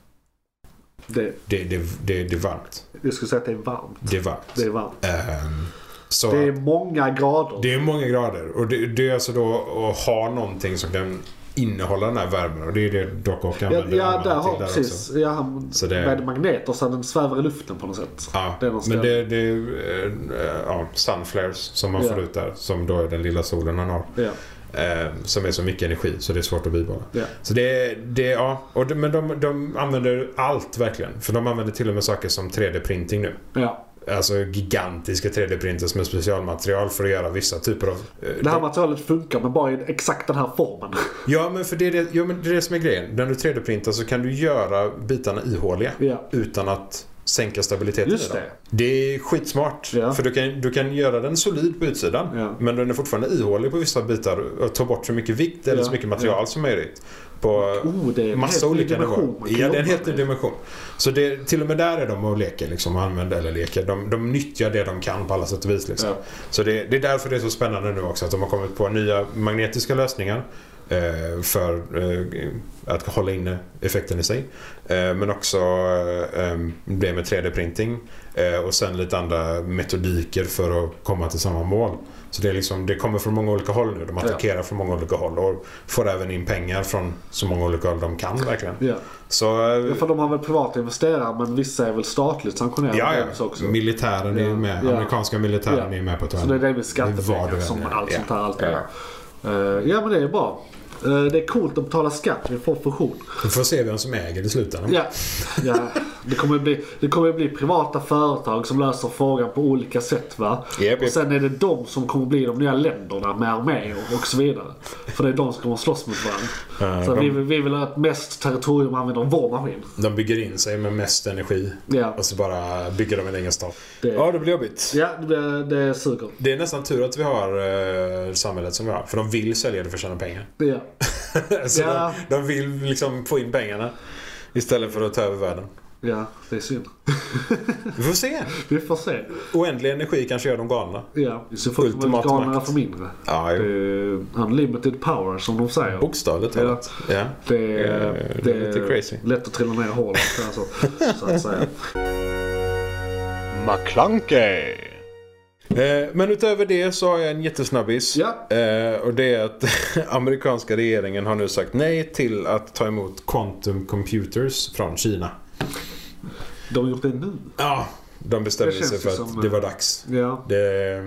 Speaker 3: Det,
Speaker 4: Det, det, det, det är varmt.
Speaker 3: jag skulle säga att det är varmt.
Speaker 4: Det är varmt.
Speaker 3: Det är varmt.
Speaker 4: Ehm, så
Speaker 3: Det är många grader.
Speaker 4: Det är många grader och det, det är alltså då att ha någonting som kan innehålla den här värmen och det är det Doc Ock
Speaker 3: Ja,
Speaker 4: använder.
Speaker 3: ja
Speaker 4: använder
Speaker 3: där
Speaker 4: till
Speaker 3: har precis.
Speaker 4: också.
Speaker 3: Ja, han,
Speaker 4: Så det-
Speaker 3: Med magneter så den svävar i luften på något sätt.
Speaker 4: Ja,
Speaker 3: Det är någon
Speaker 4: men
Speaker 3: ställe.
Speaker 4: det, det är eh, ja, sunflares som man
Speaker 3: Ja.
Speaker 4: får ut där som då är den lilla solen han har.
Speaker 3: Ja,
Speaker 4: Eh, som är så mycket energi så det är svårt att bibehålla.
Speaker 3: ja.
Speaker 4: Så det, det ja, och de, men de, de använder allt verkligen. För de använder till och med saker som 3D-printing nu.
Speaker 3: ja.
Speaker 4: Alltså gigantiska 3D-printers med specialmaterial för att göra vissa typer av... eh,
Speaker 3: Det här materialet funkar men bara i exakt den här formen.
Speaker 4: Ja, men för det är det, ja, men det, är det som är grejen. När du 3D-printar så kan du göra bitarna ihåliga
Speaker 3: Ja.
Speaker 4: utan att sänka stabiliteten
Speaker 3: Just
Speaker 4: i dem.
Speaker 3: det.
Speaker 4: Det är skitsmart.
Speaker 3: Ja.
Speaker 4: För du kan, du kan göra den solid på utsidan
Speaker 3: Ja.
Speaker 4: men den är fortfarande ihålig på vissa bitar och ta bort så mycket vikt eller
Speaker 3: Ja,
Speaker 4: så mycket material som möjligt. På
Speaker 3: Oh, det är en
Speaker 4: massa
Speaker 3: helt ny
Speaker 4: olika
Speaker 3: dimension
Speaker 4: nivåer.
Speaker 3: man kan
Speaker 4: Ja, det är en
Speaker 3: jobba
Speaker 4: helt ny dimension. Så det, till och med där är de och leker liksom, och använder eller leker. De, de nyttjar det de kan på alla sätt och vis. Liksom.
Speaker 3: Ja.
Speaker 4: Så det, det är därför det är så spännande nu också att de har kommit på nya magnetiska lösningar. eh, För eh, att hålla inne effekten i sig. Eh, Men också eh, eh, det med 3D-printing. eh, Och sen lite andra metodiker för att komma till samma mål. Så det, är liksom, det kommer från många olika håll nu. De attackerar från många olika håll och får även in pengar från så många olika håll de kan verkligen.
Speaker 3: Ja.
Speaker 4: Så eh,
Speaker 3: Ja, För de har väl privata investerare men vissa är väl statligt sanktionerade
Speaker 4: ja,
Speaker 3: också.
Speaker 4: ja.
Speaker 3: också.
Speaker 4: militären är ju med.
Speaker 3: Ja.
Speaker 4: Amerikanska militären
Speaker 3: Ja.
Speaker 4: är ju med på ett
Speaker 3: Så
Speaker 4: hörn.
Speaker 3: det är delvis
Speaker 4: Vad du
Speaker 3: skattepengar
Speaker 4: än
Speaker 3: som
Speaker 4: gör.
Speaker 3: allt
Speaker 4: Ja.
Speaker 3: sånt här alltid
Speaker 4: Ja.
Speaker 3: är. Eh, Ja men det är bra. Eh, Det är coolt att betala skatt vid profession.
Speaker 4: Vi får se vem som äger det i slutändan.
Speaker 3: Ja, ja. Det, kommer ju bli, det kommer ju bli privata företag som löser frågan på olika sätt va?
Speaker 4: Japp, japp.
Speaker 3: och sen är det de som kommer bli de nya länderna med arméer och så vidare. För det är de som kommer slåss mot varandra.
Speaker 4: Ja,
Speaker 3: så
Speaker 4: de-
Speaker 3: vi, vill- vi vill att mest territorium använder vår maskin.
Speaker 4: De bygger in sig med mest energi
Speaker 3: Ja,
Speaker 4: och så bara bygger de en egen stat.
Speaker 3: det,
Speaker 4: Ja, det blir jobbigt.
Speaker 3: ja det, det suger.
Speaker 4: Det är nästan tur att vi har eh, samhället som vi har. För de vill sälja det för att tjäna pengar.
Speaker 3: Ja.
Speaker 4: så
Speaker 3: Ja.
Speaker 4: de, de vill liksom få in pengarna istället för att ta över världen.
Speaker 3: ja, det är synd.
Speaker 4: Vi får se.
Speaker 3: Vi får se.
Speaker 4: Oändlig energi kanske gör dem galna.
Speaker 3: Ja, så får man
Speaker 4: Ultimat
Speaker 3: galna
Speaker 4: makt.
Speaker 3: för mindre.
Speaker 4: Ja,
Speaker 3: Det är unlimited power som de säger.
Speaker 4: Bokstavligt talat. Ja.
Speaker 3: Det är,
Speaker 4: Oh. Eh,
Speaker 3: det
Speaker 4: det är lite
Speaker 3: är
Speaker 4: crazy.
Speaker 3: lätt att trilla ner i hålet alltså, så att säga.
Speaker 2: McClunkey.
Speaker 4: Eh, Men utöver det så har jag en jättesnabbis.
Speaker 3: Ja.
Speaker 4: Eh, Och det är att amerikanska regeringen har nu sagt nej till att ta emot quantum computers från Kina.
Speaker 3: De har gjort det nu.
Speaker 4: Ja, de bestämde
Speaker 3: Det känns
Speaker 4: sig för
Speaker 3: ju
Speaker 4: att
Speaker 3: som,
Speaker 4: det
Speaker 3: eh,
Speaker 4: var dags.
Speaker 3: Ja,
Speaker 4: Det,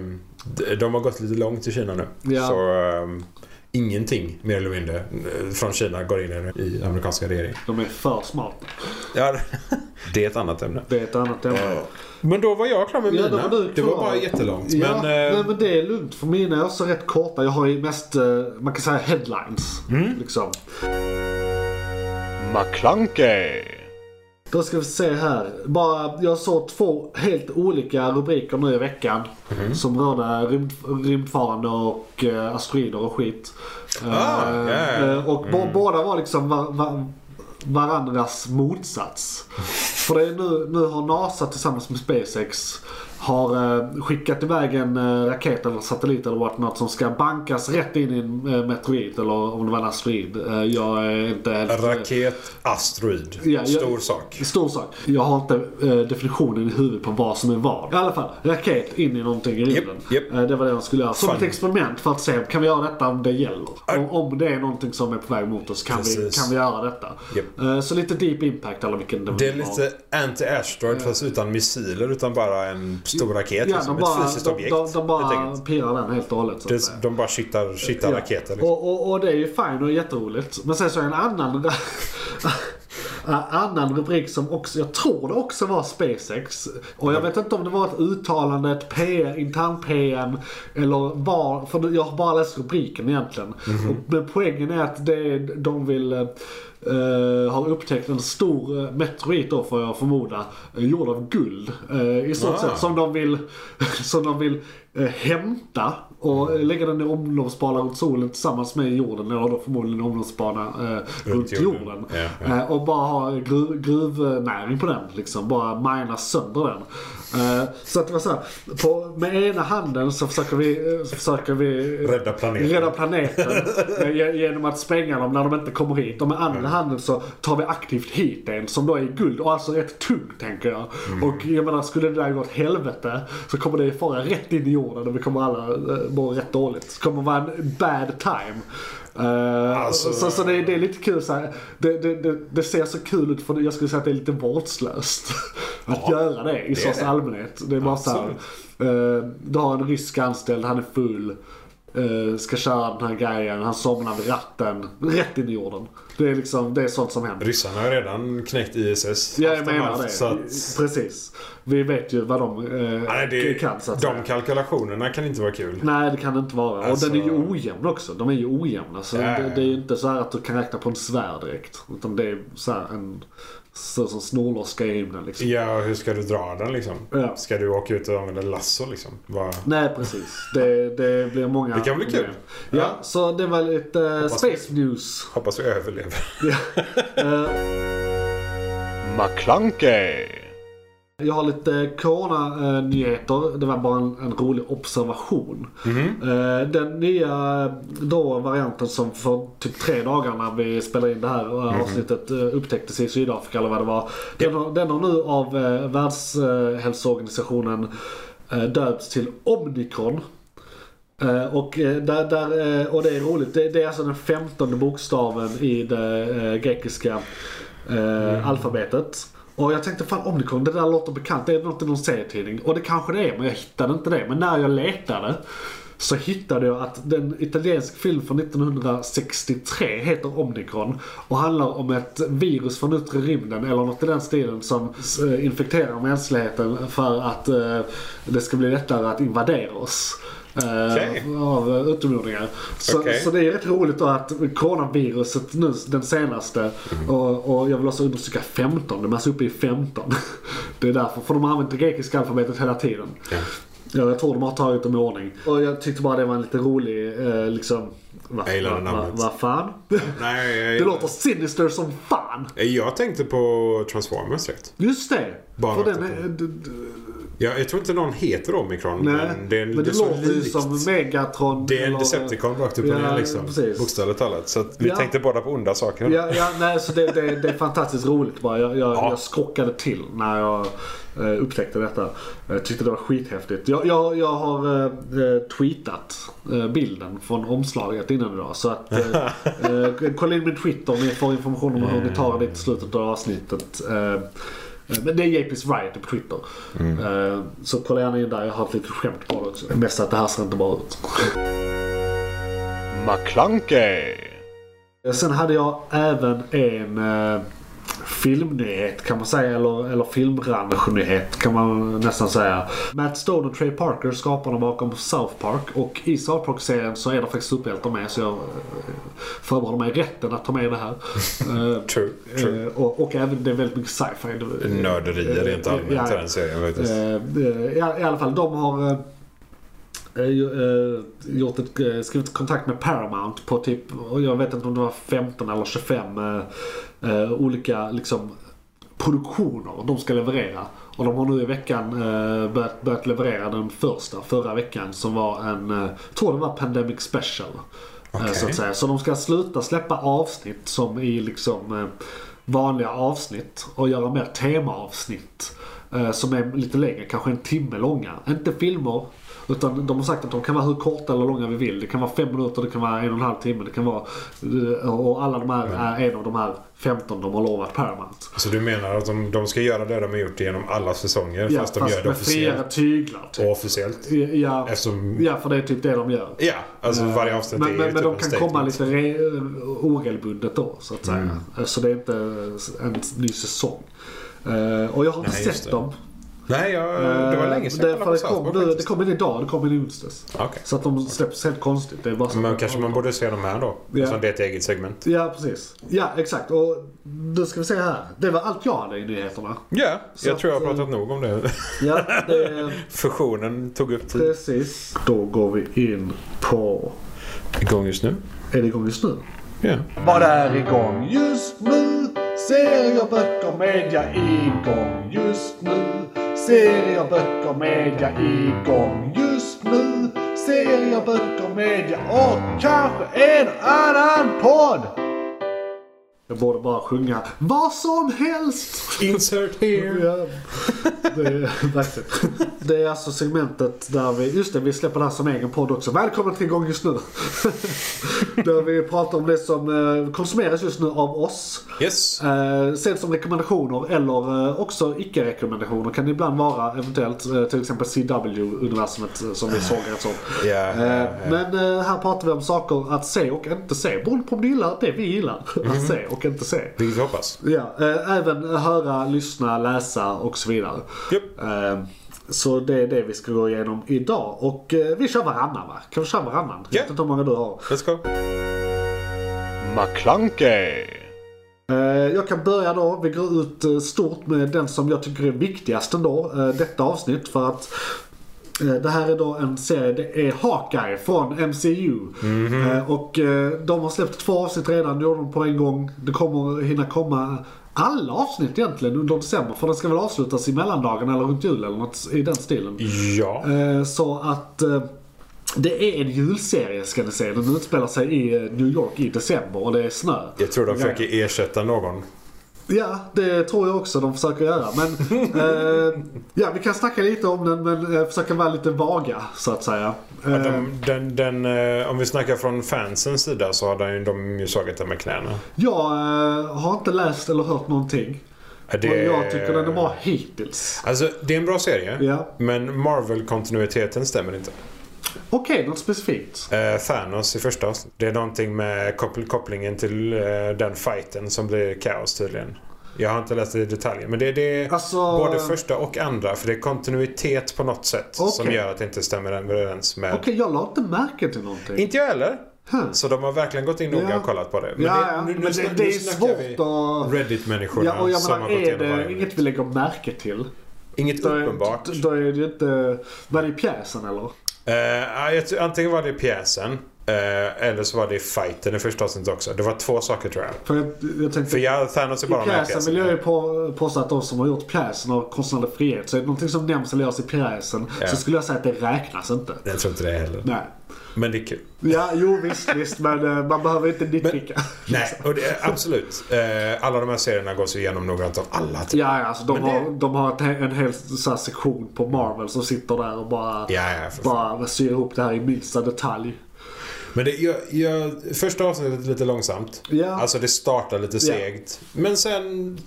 Speaker 4: de har gått lite långt i Kina nu.
Speaker 3: Ja.
Speaker 4: Så ehm, ingenting mer eller mindre eh, från Kina går in i- i amerikanska regeringen.
Speaker 3: de är för smarta.
Speaker 4: Ja, det är ett annat ämne.
Speaker 3: Det är ett annat ämne.
Speaker 4: Men då var jag klar med
Speaker 3: Ja,
Speaker 4: mina.
Speaker 3: då var du
Speaker 4: det var
Speaker 3: klar.
Speaker 4: bara jättelångt.
Speaker 3: Ja,
Speaker 4: men, eh,
Speaker 3: nej, men det är lugnt för mina är också rätt korta. Jag har ju mest, eh, man kan säga headlines. Liksom.
Speaker 2: McClunkey.
Speaker 3: Då ska vi se här. Bara, jag såg två helt olika rubriker nu i veckan.
Speaker 4: Mhm.
Speaker 3: Som rörde rymd, rymdfarande och eh, asteroider och skit.
Speaker 4: Ah,
Speaker 3: Eh,
Speaker 4: ja, Mm. ja.
Speaker 3: eh, och bo- båda var liksom va, va, varandras motsats. För det är nu, nu har NASA tillsammans med SpaceX har eh, skickat iväg en eh, raket eller satellit eller whatnot som ska bankas rätt in i en eh, meteorit eller om det var en asteroid. Eh, jag är inte helt...
Speaker 4: Raket, asteroid.
Speaker 3: Ja, jag-
Speaker 4: Stor sak.
Speaker 3: Stor sak. Jag har inte eh, definitionen i huvudet på vad som är vad. I alla fall, raket in i någonting i rymden.
Speaker 4: Japp, japp.
Speaker 3: Eh, det var det de skulle göra. Som
Speaker 4: Fan.
Speaker 3: ett experiment för att se, kan vi göra detta om det gäller?
Speaker 4: Ja.
Speaker 3: Om, om det är någonting som är på väg mot oss, kan, vi,
Speaker 4: Precis.
Speaker 3: kan vi göra detta?
Speaker 4: Japp.
Speaker 3: Eh, så lite deep impact eller vilken
Speaker 4: Det är
Speaker 3: var.
Speaker 4: lite anti-asteroid fast utan missiler utan bara en stor raket.
Speaker 3: Ja,
Speaker 4: liksom,
Speaker 3: de bara,
Speaker 4: ett fysiskt
Speaker 3: de,
Speaker 4: objekt.
Speaker 3: de, de
Speaker 4: helt
Speaker 3: bara
Speaker 4: enkelt.
Speaker 3: pirrar den helt och hållet. Så att säga.
Speaker 4: Det- de bara kittar, kittar
Speaker 3: Ja.
Speaker 4: raketer. Liksom.
Speaker 3: Och, och, och det är ju fint och jätteroligt. Men sen så är en annan, en annan rubrik som också, jag tror det också var SpaceX. Och jag vet inte om det var ett uttalande, ett P, intern PM eller var, för jag har bara läst rubriken egentligen.
Speaker 4: Mhm.
Speaker 3: Och, men poängen är att det, är- de vill eh, ha upptäckt en stor eh, meteorit då får jag förmoda, eh, gjord av guld. eh, I stort
Speaker 4: Ah.
Speaker 3: sett som de vill, som de vill eh, hämta och eh, lägga den i omloppsbana runt solen tillsammans med jorden. Eller då förmodligen omloppsbana eh, runt, jorden.
Speaker 4: jorden. Ja, ja.
Speaker 3: Eh, och bara ha gruv, gruvnäring på den. Liksom. Bara mina sönder den. Eh, så att det var så här, på, med ena handen så försöker vi, eh, så försöker vi
Speaker 4: Rädda planeten.
Speaker 3: rädda planeten eh, ge- genom att spränga dem när de inte kommer hit. Och med
Speaker 4: Mm.
Speaker 3: andra handen så tar vi aktivt hit en som då är i guld och alltså rätt tung tänker jag.
Speaker 4: Mm.
Speaker 3: Och jag menar skulle det där gå åt helvete så kommer det fara rätt in i jorden och vi kommer alla eh, må rätt dåligt. Det kommer vara en bad time. Eh,
Speaker 4: Alltså-
Speaker 3: så, så det, är- det är lite kul så här. Det, det, det, det ser så kul ut för jag skulle säga att det är lite vårdslöst. Att göra det i största allmänhet. Det är bara så här, eh, Du har en rysk anställd, han är full. eh, ska köra den här grejen, han somnar vid ratten. Rätt in i jorden. Det är liksom, det är sånt som händer.
Speaker 4: Ryssarna har redan knäckt ISS.
Speaker 3: Ja, jag
Speaker 4: Haft dem
Speaker 3: menar
Speaker 4: allt,
Speaker 3: det.
Speaker 4: Så att,
Speaker 3: Precis. Vi vet ju vad de eh,
Speaker 4: nej, det,
Speaker 3: kan så att
Speaker 4: de
Speaker 3: säga.
Speaker 4: kalkylationerna kan inte vara kul.
Speaker 3: Nej det kan det inte vara.
Speaker 4: Alltså-
Speaker 3: Och den är ju ojämn också. De är ju ojämna. Så
Speaker 4: Ja, ja, ja.
Speaker 3: det, det är ju inte så här att du kan räkna på en svär direkt. Utan det är så här en så, som snorloska i himlen liksom.
Speaker 4: Ja, hur ska du dra den liksom?
Speaker 3: Ja.
Speaker 4: Ska du åka ut och använda lasso liksom? Vad-
Speaker 3: Nej precis. Det, det blir många
Speaker 4: Det kan bli kul.
Speaker 3: Ja, så det var lite eh,
Speaker 4: vi-
Speaker 3: Space News. Eh,
Speaker 4: Hoppas vi överlever. lever.
Speaker 2: McClunkey.
Speaker 3: Jag har lite corona-nyheter. Det var bara en, en rolig observation. Eh, Den nya eh, då varianten som för typ tre dagar när vi spelade in det här eh, avsnittet eh, upptäcktes i Sydafrika eller vad det var. Den har, den har nu av eh, Världshälsoorganisationen eh, döpts till Omnicron. Eh, Och, eh, där, där, eh, och det är roligt, det, det är alltså den femtonde bokstaven i det eh, grekiska eh, alfabetet. Och jag tänkte fan Omnicron, det där låter bekant, det är något i någon serietidning. Och det kanske det är, men jag hittade inte det. Men när jag letade så hittade jag att den italiensk film från 1963 heter Omnicron och handlar om ett virus från yttre rymden eller något i den stilen som eh, infekterar mänskligheten för att eh, det ska bli lättare att invadera oss. eh,
Speaker 4: Okej.
Speaker 3: Av eh, utomjordingar. Så,
Speaker 4: Okej.
Speaker 3: så det är rätt roligt då att coronaviruset nu, den senaste, och, och jag vill också understryka 15, de är alltså uppe i 15. Det är därför, för de har använt det grekiska alfabetet hela tiden. Ja, jag tror de har tagit dem i ordning. Och jag tyckte bara det var en lite rolig, eh, liksom... Vad
Speaker 4: Jag gillar
Speaker 3: va,
Speaker 4: det
Speaker 3: va,
Speaker 4: namnet.
Speaker 3: va fan?
Speaker 4: Nej, jag,
Speaker 3: Det låter sinister som fan!
Speaker 4: Eh, jag tänkte på Transformers rätt.
Speaker 3: Just det!
Speaker 4: Bara
Speaker 3: För
Speaker 4: rakt
Speaker 3: den
Speaker 4: upp
Speaker 3: är,
Speaker 4: och-
Speaker 3: d, d,
Speaker 4: Jag, jag tror inte någon heter Omikron,
Speaker 3: nej,
Speaker 4: men det,
Speaker 3: men det,
Speaker 4: är så
Speaker 3: låter ju
Speaker 4: likt.
Speaker 3: som Megatron.
Speaker 4: Det är en
Speaker 3: eller-
Speaker 4: Decepticon rakt upp och
Speaker 3: Ja,
Speaker 4: ner liksom.
Speaker 3: precis.
Speaker 4: Bokstavligt talat. Så att vi
Speaker 3: Ja.
Speaker 4: tänkte båda på onda saker.
Speaker 3: Ja, ja, nej, så det, det, det är fantastiskt roligt bara. Jag, jag,
Speaker 4: Ja.
Speaker 3: jag skrockade till när jag eh, upptäckte detta. Jag tyckte det var skithäftigt. Jag, jag, jag har eh, eh, tweetat eh, bilden från omslaget innan idag. Så att, eh, eh, kolla in min Twitter om ni får information om hur ni tar det till slutet av avsnittet. Eh, men det är JP's Riot på Twitter. Eh, Så kolla gärna in där, jag har ett litet skämt på det också. Mest att det här ser inte bra ut.
Speaker 2: McClunkey.
Speaker 3: Eh, Sen hade jag även en eh, filmnyhet kan man säga, eller, eller filmbranschnyhet kan man nästan säga. Matt Stone och Trey Parker, skaparna bakom South Park. Och i South Park-serien så är det faktiskt superhjältar med så jag eh, förbehåller mig rätten att ta med det här. Eh,
Speaker 4: True, true.
Speaker 3: eh, och, och även det är väldigt mycket sci-fi. Det-
Speaker 4: Nörderier rent
Speaker 3: eh,
Speaker 4: allmänt i den serien faktiskt.
Speaker 3: Eh, eh, I, all- I alla fall, de har eh, eh, ju- eh, gjort ett, eh, skrivit kontakt med Paramount på typ, och jag vet inte om det var 15 eller 25 eh, eh, olika liksom, produktioner de ska leverera. Och de har nu i veckan eh, börjat, börjat leverera den första, förra veckan, som var en, eh, jag tror det var Pandemic Special. eh,
Speaker 4: Okej.
Speaker 3: Så att säga. Så de ska sluta släppa avsnitt som i liksom eh, vanliga avsnitt och göra mer temaavsnitt. eh, Som är lite längre, kanske en timme långa. Inte filmer, utan de har sagt att de kan vara hur korta eller långa vi vill. Det kan vara fem minuter, det kan vara en och en halv timme, det kan vara... eh, Och alla de här
Speaker 4: Mm.
Speaker 3: är en av de här 15 de har lovat Paramount.
Speaker 4: Så du menar att de, de ska göra det de har gjort genom alla säsonger
Speaker 3: Ja,
Speaker 4: fast de gör
Speaker 3: fast
Speaker 4: det
Speaker 3: med friare
Speaker 4: officiellt?
Speaker 3: tyglar. typ.
Speaker 4: Och officiellt?
Speaker 3: Ja,
Speaker 4: Eftersom...
Speaker 3: ja, för det är typ det de gör.
Speaker 4: Ja, alltså varje avsnitt är
Speaker 3: Men,
Speaker 4: ju
Speaker 3: men, men
Speaker 4: typ
Speaker 3: de
Speaker 4: en
Speaker 3: kan
Speaker 4: statement.
Speaker 3: komma lite re- eh, oregelbundet då så att säga. Så det är inte en ny säsong. Eh, Och jag har inte
Speaker 4: Nej, just
Speaker 3: sett
Speaker 4: det.
Speaker 3: dem.
Speaker 4: Nej, jag, det var länge sedan
Speaker 3: Eh,
Speaker 4: jag
Speaker 3: det,
Speaker 4: kollade
Speaker 3: för
Speaker 4: på South
Speaker 3: det, kom,
Speaker 4: Park
Speaker 3: nu, det
Speaker 4: faktiskt.
Speaker 3: kom in idag, det kom in i onsdags.
Speaker 4: Okej.
Speaker 3: Så att de släpps helt konstigt. Det är bara så.
Speaker 4: Men kanske man borde se de här då?
Speaker 3: Ja.
Speaker 4: Som det är ett eget segment.
Speaker 3: Ja, precis. Ja, exakt. Och då ska vi se här. Det var allt jag hade i nyheterna.
Speaker 4: Ja, jag
Speaker 3: att,
Speaker 4: tror jag har
Speaker 3: eh,
Speaker 4: pratat nog om det.
Speaker 3: Ja, det är...
Speaker 4: Fusionen tog upp tid.
Speaker 3: precis. Då går vi in på...
Speaker 4: Igång just nu.
Speaker 3: Är det igång just nu?
Speaker 4: Ja.
Speaker 3: Vad är igång just nu? Serier, böcker, media igång just nu. Serier, böcker, media igång just nu. Serier, böcker, media och kanske en annan podd. Jag borde bara sjunga vad som helst.
Speaker 4: Insert here.
Speaker 3: Ja, det, är, verkligen. det är alltså segmentet där vi, just det, vi släpper det här som egen podd också. Välkommen till igång just nu. där vi pratar om det som eh, konsumeras just nu av oss.
Speaker 4: Yes.
Speaker 3: Eh, Sen som rekommendationer eller eh, också icke-rekommendationer kan det ibland vara eventuellt eh, till exempel CW-universumet eh, som vi såg rätt så.
Speaker 4: Ja, ja,
Speaker 3: Eh,
Speaker 4: ja.
Speaker 3: Men eh, här pratar vi om saker att se och inte se beroende på om du gillar det vi gillar att se och inte se.
Speaker 4: Vilket vi hoppas.
Speaker 3: Ja, eh, även höra, lyssna, läsa och så vidare.
Speaker 4: Japp.
Speaker 3: Eh, så det är det vi ska gå igenom idag. Och eh, vi kör varannan va? Kan vi köra varannan?
Speaker 4: Ja.
Speaker 3: Jag vet inte hur många du har.
Speaker 4: Let's go.
Speaker 2: McClunkey.
Speaker 3: Eh, Jag kan börja då. Vi går ut eh, stort med den som jag tycker är viktigast ändå, eh, detta avsnitt. För att Eh, Det här är då en serie, det är Hawkeye från MCU.
Speaker 4: Mhm.
Speaker 3: Eh, Och eh, de har släppt två avsnitt redan, det gjorde de på en gång. Det kommer hinna komma alla avsnitt egentligen under december. För den ska väl avslutas i mellandagen eller runt jul eller något i den stilen.
Speaker 2: Ja.
Speaker 3: Eh, Så att eh, det är en julserie ska ni se. Den utspelar sig i eh, New York i december och det är snö.
Speaker 4: Jag
Speaker 3: Eh.
Speaker 4: tror de försöker ersätta någon.
Speaker 3: Ja, det tror jag också de försöker göra. Men eh, ja, vi kan snacka lite om den men eh, försöka vara lite vaga så att säga.
Speaker 4: Ja,
Speaker 3: Eh,
Speaker 4: de, den, den, eh, om vi snackar från fansens sida så har de, de ju slagit den med knäna.
Speaker 3: Jag eh, har inte läst eller hört någonting.
Speaker 4: Ja, det-
Speaker 3: Och jag tycker den är bra hittills.
Speaker 4: Alltså, det är en bra serie.
Speaker 3: Ja.
Speaker 4: Men Marvel-kontinuiteten stämmer inte.
Speaker 3: Okej, något specifikt.
Speaker 4: Eh, Thanos i första avsnittet. Det är någonting med koppl- kopplingen till eh, den fighten som blir kaos tydligen. Jag har inte läst det i detalj. Men det, det är
Speaker 3: Alltså-
Speaker 4: både första och andra. För det är kontinuitet på något sätt som
Speaker 3: Okej.
Speaker 4: gör att det inte stämmer överens med...
Speaker 3: Okej, jag la inte märke till någonting.
Speaker 4: Inte jag heller.
Speaker 3: Huh.
Speaker 4: Så de har verkligen gått in noga
Speaker 3: Ja.
Speaker 4: och kollat på det. Men
Speaker 3: Ja,
Speaker 4: det,
Speaker 3: ja.
Speaker 4: nu- nu
Speaker 3: Men det,
Speaker 4: snack-
Speaker 3: det är
Speaker 4: nu snackar
Speaker 3: svårt
Speaker 4: vi
Speaker 3: att...
Speaker 4: Reddit-människorna
Speaker 3: Ja, och jag
Speaker 4: som har
Speaker 3: menar,
Speaker 4: gått
Speaker 3: är
Speaker 4: igenom
Speaker 3: det
Speaker 4: varje...
Speaker 3: inget vi lägger märke till?
Speaker 4: Inget
Speaker 3: Då
Speaker 4: uppenbart.
Speaker 3: är, då är det ju inte... Var det i pjäsen eller?
Speaker 4: Eh, ja, jag tror- antingen var det i pjäsen eh, eller så var det i fighten i första avsnittet också. Det var två saker tror jag.
Speaker 3: För jag, jag tänkte...
Speaker 4: För jag Thanos är bara
Speaker 3: I
Speaker 4: med i
Speaker 3: pjäsen vill jag ju på- påstå att de som har gjort pjäsen har konstnärlig frihet. Så är det någonting som nämns eller görs i pjäsen så skulle jag säga att det räknas inte.
Speaker 4: Jag tror inte det heller.
Speaker 3: Nej.
Speaker 4: Men det är kul.
Speaker 3: Ja, jo visst, visst. Men eh, man behöver inte nitpicka.
Speaker 4: Nej, och det, absolut. Eh, alla de här serierna går sig igenom noggrant av alla. Typ.
Speaker 3: Ja, ja, alltså de, har, de har ett, en hel så här, sektion på Marvel som sitter där och bara,
Speaker 4: Ja, ja, för fan.
Speaker 3: bara syr ihop det här i minsta detalj.
Speaker 4: Men det, jag, jag, första avsnittet är lite långsamt.
Speaker 3: Ja.
Speaker 4: Alltså det startar lite segt. Men sen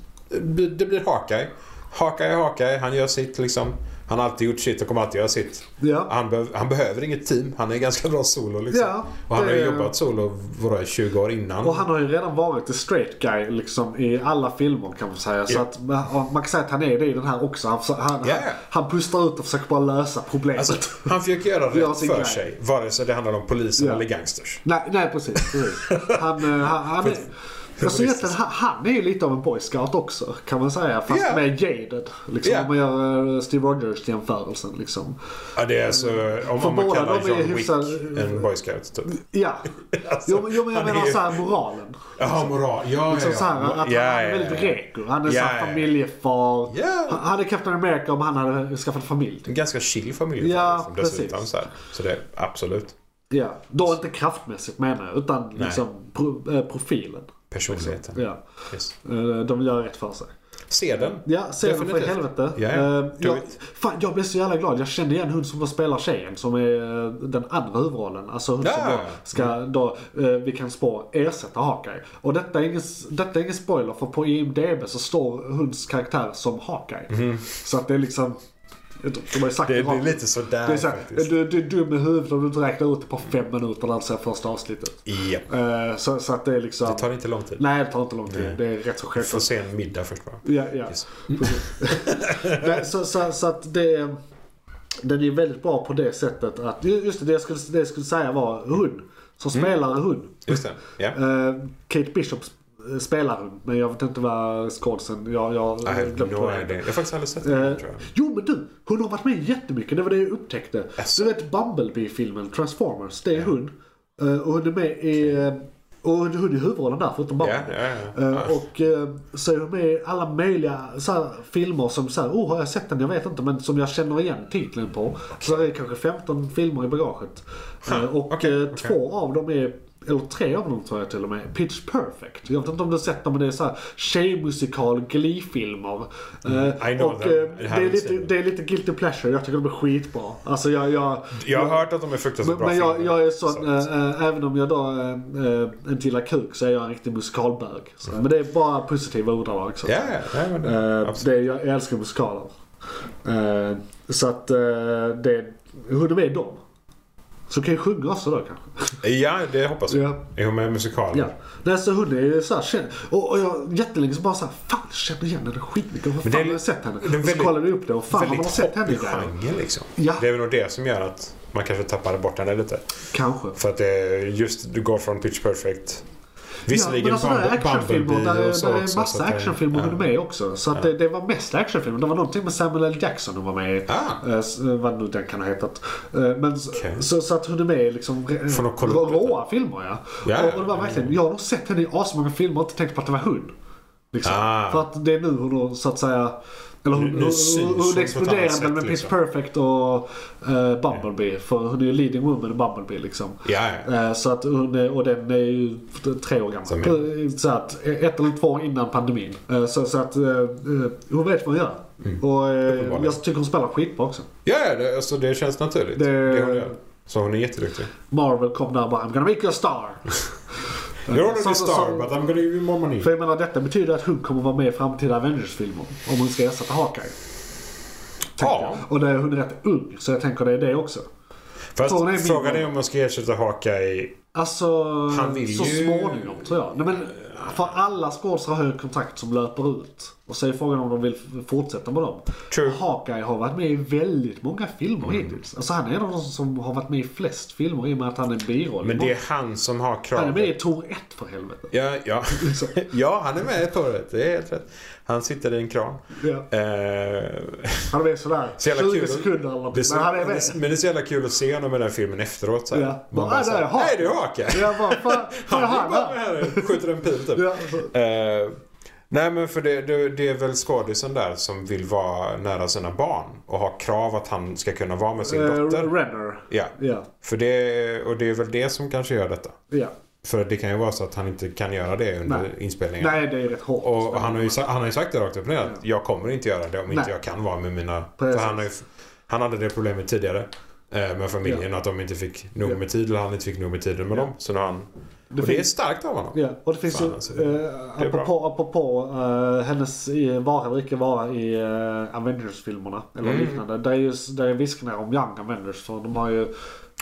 Speaker 4: blir- det blir Hawkeye. Hawkeye är Hawkeye. Han gör sitt liksom. Han har alltid gjort sitt och kommer alltid göra sitt.
Speaker 3: Ja.
Speaker 4: Han, behöv, han behöver inget team. Han är ganska bra solo liksom.
Speaker 3: Ja,
Speaker 4: och han
Speaker 3: det-
Speaker 4: har ju jobbat solo våra 20 år innan.
Speaker 3: Och han har ju redan varit the straight guy liksom, i alla filmer kan man säga. Så
Speaker 4: Ja.
Speaker 3: att, man man kan säga att han är det i den här också. Han, han,
Speaker 4: Ja, ja.
Speaker 3: han, han pustar ut och försöker bara lösa problemet.
Speaker 4: Alltså, han försöker göra
Speaker 3: Gör
Speaker 4: rätt
Speaker 3: sin
Speaker 4: för
Speaker 3: grej.
Speaker 4: sig. Vare sig det handlar om polisen
Speaker 3: Ja.
Speaker 4: eller gangsters.
Speaker 3: Nej, nej precis. precis. Han, eh, han, han, är, alltså, egentligen, han, han är ju lite av en boy scout också kan man säga. Fast
Speaker 4: Ja.
Speaker 3: mer jaded. Liksom,
Speaker 4: Ja.
Speaker 3: Om man gör eh, Steve Rogers jämförelsen. Liksom.
Speaker 4: Ja, det är alltså, om,
Speaker 3: För
Speaker 4: om man
Speaker 3: båda
Speaker 4: kallar
Speaker 3: de är
Speaker 4: John Wick
Speaker 3: hyfsad-
Speaker 4: en boy scout. Typ.
Speaker 3: Ja.
Speaker 4: Alltså,
Speaker 3: jo, men- jo men jag
Speaker 4: han
Speaker 3: menar
Speaker 4: är-
Speaker 3: såhär moralen.
Speaker 4: Jaha, moral. Ja,
Speaker 3: Liksom
Speaker 4: ja,
Speaker 3: så här,
Speaker 4: ja.
Speaker 3: att han
Speaker 4: ja,
Speaker 3: han är
Speaker 4: ja, ja.
Speaker 3: väldigt reko. Han är
Speaker 4: Ja,
Speaker 3: såhär
Speaker 4: ja, ja.
Speaker 3: familjefar.
Speaker 4: Ja.
Speaker 3: Han, han är Captain America om han hade skaffat familj. typ.
Speaker 4: En ganska chill familj.
Speaker 3: Ja,
Speaker 4: liksom, dessutom,
Speaker 3: precis.
Speaker 4: så, här. så det är absolut
Speaker 3: Ja. Då inte kraftmässigt menar jag, utan liksom pro, eh, profilen.
Speaker 4: personligheten.
Speaker 3: Ja.
Speaker 4: Yes.
Speaker 3: Eh, De gör rätt för sig.
Speaker 4: Se den.
Speaker 3: Ja, se den för
Speaker 4: Definitivt.
Speaker 3: helvete.
Speaker 4: Ja,
Speaker 3: Eh,
Speaker 4: ja. Do
Speaker 3: jag,
Speaker 4: it.
Speaker 3: fan, jag blev så jävla glad. Jag kände igen hon som spelar tjejen som är eh, den andra huvudrollen. Alltså hon som
Speaker 4: Ja.
Speaker 3: då ska, då, eh, vi kan spå, ersätta Hawkeye. Och detta är, ingen, detta är ingen spoiler för på IMDB så står hunds karaktär som Hawkeye. Så att det är liksom, de de har ju sagt
Speaker 4: Mhm. Det, det är
Speaker 3: rakt.
Speaker 4: lite sådär
Speaker 3: Det är så här,
Speaker 4: faktiskt.
Speaker 3: du, du är dum i huvudet om du inte räknar ut det på fem minuter när du ser första avsnittet.
Speaker 4: Ja.
Speaker 3: Eh, Så, så att det är liksom...
Speaker 4: Det tar inte lång tid.
Speaker 3: Nej, det tar inte lång tid. Det är rätt så
Speaker 4: Vi får
Speaker 3: självklart.
Speaker 4: se en middag först bara.
Speaker 3: Ja, ja.
Speaker 4: Yes.
Speaker 3: Nej, så, så, så att det... Den är väldigt bra på det sättet att... ju- Just det, det jag skulle, det jag skulle säga var hon. Som spelar hon.
Speaker 4: Just det. Ja.
Speaker 3: Eh, Kate Bishop sp- spelar hon. Men jag vet inte vad skådisen... Jag, jag
Speaker 4: I have
Speaker 3: glömt
Speaker 4: no
Speaker 3: vad det
Speaker 4: idea.
Speaker 3: heter.
Speaker 4: Jag har faktiskt aldrig sett
Speaker 3: Eh,
Speaker 4: den tror jag.
Speaker 3: jo men du, hon har varit med jättemycket. Det var det jag upptäckte.
Speaker 4: Jaså?
Speaker 3: Du vet Bumblebee-filmen, Transformers, det är hon. Eh, och hon är med i... eh, Och hon hon är huvudrollen där förutom
Speaker 4: Ja,
Speaker 3: Bumblebee.
Speaker 4: ja, ja.
Speaker 3: Eh, Och eh, så är hon med i alla möjliga så här, filmer som så här, oh har jag sett den? Jag vet inte. Men som jag känner igen titeln på. Så det är kanske 15 filmer i bagaget.
Speaker 4: Ah,
Speaker 3: Eh, Och eh, två av dem är, eller tre av dem tror jag till och med, Pitch Perfect. Jag vet inte om du har sett dem men det är så här tjejmusikal, Glee-filmer. Eh,
Speaker 4: I know
Speaker 3: och
Speaker 4: them.
Speaker 3: eh,
Speaker 4: I haven't
Speaker 3: det, är
Speaker 4: seen
Speaker 3: lite,
Speaker 4: them.
Speaker 3: det är lite guilty pleasure. Jag tycker de är skitbra. Alltså jag... jag
Speaker 4: Jag har hört att de är fruktansvärt
Speaker 3: men,
Speaker 4: bra
Speaker 3: men jag,
Speaker 4: filmer.
Speaker 3: jag är sån,
Speaker 4: Så-
Speaker 3: eh, eh, även om jag då eh, eh, en till kuk så är jag en riktig musikalbög. Så, Men det är bara positiva ordalag. Så.
Speaker 4: Ja, ja. Nej, men det-
Speaker 3: Eh,
Speaker 4: absolut.
Speaker 3: det, jag, jag älskar musikaler. Eh, så att eh, det, hur det är dem. Så kan jag sjunga också då kanske.
Speaker 4: Ja, det hoppas jag.
Speaker 3: Ja.
Speaker 4: Är hon med i musikalen?
Speaker 3: Ja. Nej, så hon är ju såhär känd. Och, och jag jättelänge så bara såhär, fan jag känner igen henne skitmycket. Var fan
Speaker 4: det är
Speaker 3: har
Speaker 4: li-
Speaker 3: jag sett henne?
Speaker 4: det är
Speaker 3: Och så
Speaker 4: väldigt-
Speaker 3: kollade jag upp det och fan har man
Speaker 4: Väldigt
Speaker 3: sett henne
Speaker 4: hoppig
Speaker 3: där?
Speaker 4: genre liksom.
Speaker 3: Ja.
Speaker 4: Det är väl nog det som gör att man kanske tappade bort henne lite.
Speaker 3: Kanske.
Speaker 4: För att det är just, du går från Pitch Perfect Visserligen
Speaker 3: ja, men alltså,
Speaker 4: Bumble-
Speaker 3: det är actionfilmer.
Speaker 4: Bumblebee
Speaker 3: Där, är-
Speaker 4: och så
Speaker 3: där
Speaker 4: också,
Speaker 3: är
Speaker 4: så
Speaker 3: massa
Speaker 4: att det-
Speaker 3: actionfilmer ja. med också. Så att det, det var mest actionfilmer. Det var någonting med Samuel L. Jackson som var med i.
Speaker 4: Ah.
Speaker 3: Eh, s- eh, vad nu den kan ha hetat. Eh, Men s- så, så att hon är med i liksom re-
Speaker 4: Får nog kolla
Speaker 3: rå-
Speaker 4: upp detta.
Speaker 3: råa filmer ja.
Speaker 4: Ja,
Speaker 3: och, och det var
Speaker 4: ja,
Speaker 3: verkligen, jag har nog sett henne i asmånga filmer och inte tänkt på att det var hon. Liksom.
Speaker 4: Ah.
Speaker 3: För att det är nu hon har, så att säga eller hon,
Speaker 4: Nu- nu syns hon på ett
Speaker 3: hon
Speaker 4: annat
Speaker 3: exploderar
Speaker 4: sätt,
Speaker 3: väl med Pitch
Speaker 4: liksom.
Speaker 3: Perfect och eh, Bumblebee. För hon är ju leading woman i Bumblebee liksom.
Speaker 4: Ja, ja.
Speaker 3: Eh, Så att, hon är- och den är ju tre år gammal.
Speaker 4: Som
Speaker 3: Så att ett eller två år innan pandemin. Eh, Så, så att eh, eh, hon vet vad hon gör.
Speaker 4: Mm.
Speaker 3: Och eh, jag tycker hon spelar skitbra också.
Speaker 4: Ja, ja, det, alltså, det känns naturligt. Det...
Speaker 3: Det-
Speaker 4: hon gör. Så hon är jätteduktig.
Speaker 3: Marvel kom där och bara I'm gonna make you a star.
Speaker 4: You're already
Speaker 3: Som-
Speaker 4: a star,
Speaker 3: som-
Speaker 4: but I'm gonna give you more money.
Speaker 3: För jag menar detta betyder att hon kommer vara med i framtida Avengers-filmer. Om hon ska ersätta Hawkeye.
Speaker 4: Ja,
Speaker 3: Och det, hon är rätt ung så jag tänker det är det också.
Speaker 4: fast
Speaker 3: Frågan är min
Speaker 4: frågan är
Speaker 3: roll.
Speaker 4: om man ska ersätta Hawkeye.
Speaker 3: Alltså
Speaker 4: Han vill
Speaker 3: så
Speaker 4: ju-
Speaker 3: småningom tror jag. Nej, men, eh, för alla skådespelare har ju kontrakt som löper ut. Och så är frågan om de vill f- fortsätta med dem.
Speaker 4: True. Mm.
Speaker 3: Hawkeye har varit med i väldigt många filmer hittills. Alltså han är en av de som har varit med i flest filmer i och med att han är en biroll.
Speaker 4: Men det är han som har
Speaker 3: Han är med i
Speaker 4: kravet.
Speaker 3: Tor 1 för helvete.
Speaker 4: Ja, ja. ja, han är med i torret. Det är helt rätt. Han sitter i en kran.
Speaker 3: Ja.
Speaker 4: Eh,
Speaker 3: Han är med sådär
Speaker 4: Så jävla
Speaker 3: 20
Speaker 4: kul.
Speaker 3: sekunder eller
Speaker 4: Det är
Speaker 3: någonting.
Speaker 4: så,
Speaker 3: Men han är
Speaker 4: men
Speaker 3: med.
Speaker 4: det är så jävla kul att se honom i den här filmen efteråt. Så här.
Speaker 3: Ja.
Speaker 4: Man
Speaker 3: Bara,
Speaker 4: bara
Speaker 3: "Ah,
Speaker 4: så
Speaker 3: där
Speaker 4: här,
Speaker 3: är Hawkeye."
Speaker 4: "Nej, det är Hawkeye.
Speaker 3: Jag bara, fan,
Speaker 4: Han
Speaker 3: fan,
Speaker 4: är
Speaker 3: han,
Speaker 4: bara
Speaker 3: han,
Speaker 4: med här och skjuter en pil typ.
Speaker 3: Ja, alltså,
Speaker 4: Eh, nej men för det, det, det är väl skådisen där som vill vara nära sina barn och har krav att han ska kunna vara med sin
Speaker 3: eh,
Speaker 4: dotter.
Speaker 3: Renner.
Speaker 4: Ja,
Speaker 3: Ja,
Speaker 4: för det, och det är väl det som kanske gör detta.
Speaker 3: ja.
Speaker 4: För det kan ju vara så att han inte kan göra det under
Speaker 3: Nej.
Speaker 4: inspelningen.
Speaker 3: Nej, det är rätt hårt.
Speaker 4: Och och han har, ju, sa- han har ju sagt det rakt upp och ner att jag kommer inte göra det om inte
Speaker 3: Nej.
Speaker 4: jag kan vara med mina... För
Speaker 3: Precis.
Speaker 4: han, har ju, f- han hade det problemet tidigare eh, med familjen att de inte fick nog
Speaker 3: Ja.
Speaker 4: med tid eller han inte fick nog med tiden med dem. Så nu har han,
Speaker 3: Det
Speaker 4: och det är
Speaker 3: finns-
Speaker 4: starkt av honom.
Speaker 3: Ja, och det finns
Speaker 4: Fan,
Speaker 3: ju,
Speaker 4: alltså,
Speaker 3: eh,
Speaker 4: det är bra.
Speaker 3: apropå, apropå eh, hennes eh, vara eller icke vara i eh, Avengers-filmerna eller
Speaker 4: Mm.
Speaker 3: liknande. Där är ju där är viskningar om Young Avengers för de har ju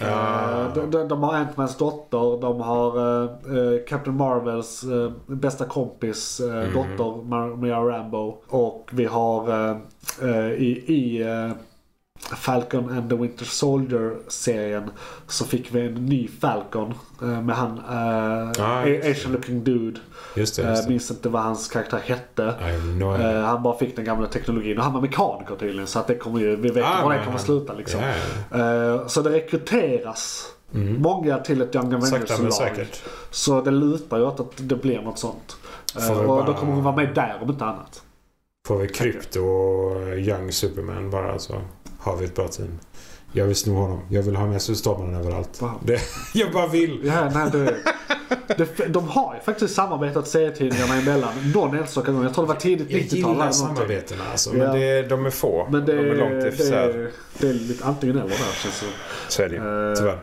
Speaker 3: eh,
Speaker 4: Ah.
Speaker 3: de, de, de har Ant-Mans dotter, de har eh, eh, Captain Marvels eh, bästa kompis eh,
Speaker 4: Mhm.
Speaker 3: dotter Maria Rambo. Och vi har eh, eh, i, i eh, Falcon and the Winter Soldier-serien så fick vi en ny Falcon eh, med han eh,
Speaker 4: Ah, just det.
Speaker 3: Asian looking dude.
Speaker 4: Just det, just
Speaker 3: Eh,
Speaker 4: det.
Speaker 3: minns inte vad hans karaktär hette.
Speaker 4: I have no idea.
Speaker 3: Eh, han bara fick den gamla teknologin och han var mekaniker tydligen så att det kommer ju, vi vet
Speaker 4: Ah,
Speaker 3: var det
Speaker 4: men
Speaker 3: kommer
Speaker 4: han-
Speaker 3: sluta liksom.
Speaker 4: Ja,
Speaker 3: Eh, så det rekryteras många till ett Young
Speaker 4: Mm. Sakta men
Speaker 3: Avengers-lag.
Speaker 4: säkert.
Speaker 3: Så det lutar ju åt att det blir något sånt. Eh,
Speaker 4: Får vi
Speaker 3: och då
Speaker 4: bara-
Speaker 3: kommer hon vara med där om inte annat.
Speaker 4: Får vi krypto och Young Superman bara så har vi ett bra team. Jag vill sno honom. Jag vill ha med Solstolpen överallt.
Speaker 3: Wow.
Speaker 4: Det, jag bara vill.
Speaker 3: Ja, nej, det, det, de har ju faktiskt samarbetat serietidningarna emellan någon enstaka gång. Jag tror det var tidigt
Speaker 4: Jag
Speaker 3: 90-tal. eller
Speaker 4: gillar
Speaker 3: någonting.
Speaker 4: samarbetena alltså.
Speaker 3: Ja.
Speaker 4: Men det, de är få.
Speaker 3: Men det,
Speaker 4: de är långt
Speaker 3: det,
Speaker 4: isär.
Speaker 3: det, är lite antingen eller där känns det som.
Speaker 4: Så är det ju.
Speaker 3: Eh,
Speaker 4: Tyvärr.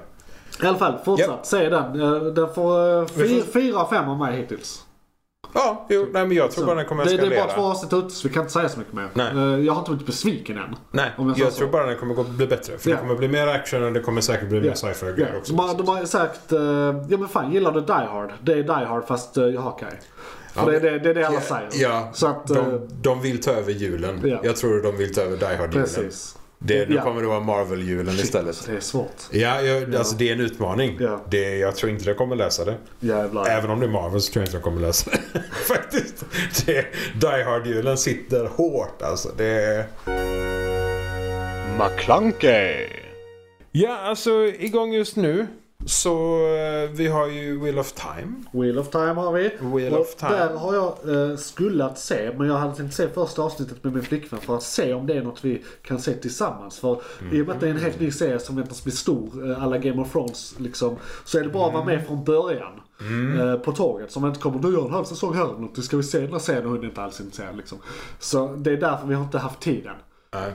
Speaker 3: I alla fall, fortsatt.
Speaker 4: Japp.
Speaker 3: Se den. Eh, Den får eh,
Speaker 4: Vi
Speaker 3: fy- fyra av fem av mig hittills.
Speaker 4: Ja, jo, nej, men jag tror bara den kommer
Speaker 3: det, det
Speaker 4: eskalera.
Speaker 3: är bara två avsnitt ute så vi kan inte säga så mycket mer.
Speaker 4: Nej.
Speaker 3: Eh, Jag har inte blivit besviken än.
Speaker 4: Nej,
Speaker 3: Om jag
Speaker 4: jag,
Speaker 3: säger så.
Speaker 4: tror bara den kommer gå, bli bättre. För
Speaker 3: Ja.
Speaker 4: det kommer bli mer action och det kommer säkert bli mer
Speaker 3: Ja.
Speaker 4: sci-fi och
Speaker 3: Ja,
Speaker 4: grejer också.
Speaker 3: de, har, de har sagt, eh, ja men fan gillar du Die Hard? Det är Die Hard fast uh, Hawkeye. För
Speaker 4: Ja,
Speaker 3: det,
Speaker 4: men-
Speaker 3: är det, det är det alla
Speaker 4: Ja,
Speaker 3: säger.
Speaker 4: Ja,
Speaker 3: Så att, eh,
Speaker 4: de, de vill ta över julen.
Speaker 3: Ja.
Speaker 4: Jag tror de vill ta över Die Hard-julen.
Speaker 3: precis.
Speaker 4: Det, nu
Speaker 3: Ja.
Speaker 4: kommer det vara Marvel-julen istället.
Speaker 3: Det är svårt.
Speaker 4: Ja, jag, alltså det är en utmaning.
Speaker 3: Ja.
Speaker 4: Det, jag tror inte jag kommer lösa det.
Speaker 3: Jävlar.
Speaker 4: Även om det är Marvel så tror jag inte jag kommer lösa det. Faktiskt. Det, Die Hard-julen sitter hårt alltså. Det,
Speaker 11: McClunkey.
Speaker 4: ja, alltså igång just nu. Så eh, vi har ju Wheel of Time.
Speaker 3: Wheel of Time har vi.
Speaker 4: Wheel
Speaker 3: och
Speaker 4: of Time.
Speaker 3: Där har jag eh, skulle att se, men jag hade tänkt se första avsnittet med min flickvän för att se om det är något vi kan se tillsammans. För i och med att det är en helt ny serie som väntas bli stor, eh, alla Game of Thrones, liksom, så är det bara att vara med från början.
Speaker 4: Mm.
Speaker 3: Eh, på tåget. Som inte kommer, du gör en halv säsong här eller något, du ska vi se den här serien och hon är inte alls intresserad. Liksom. Så det är därför vi har inte haft tiden.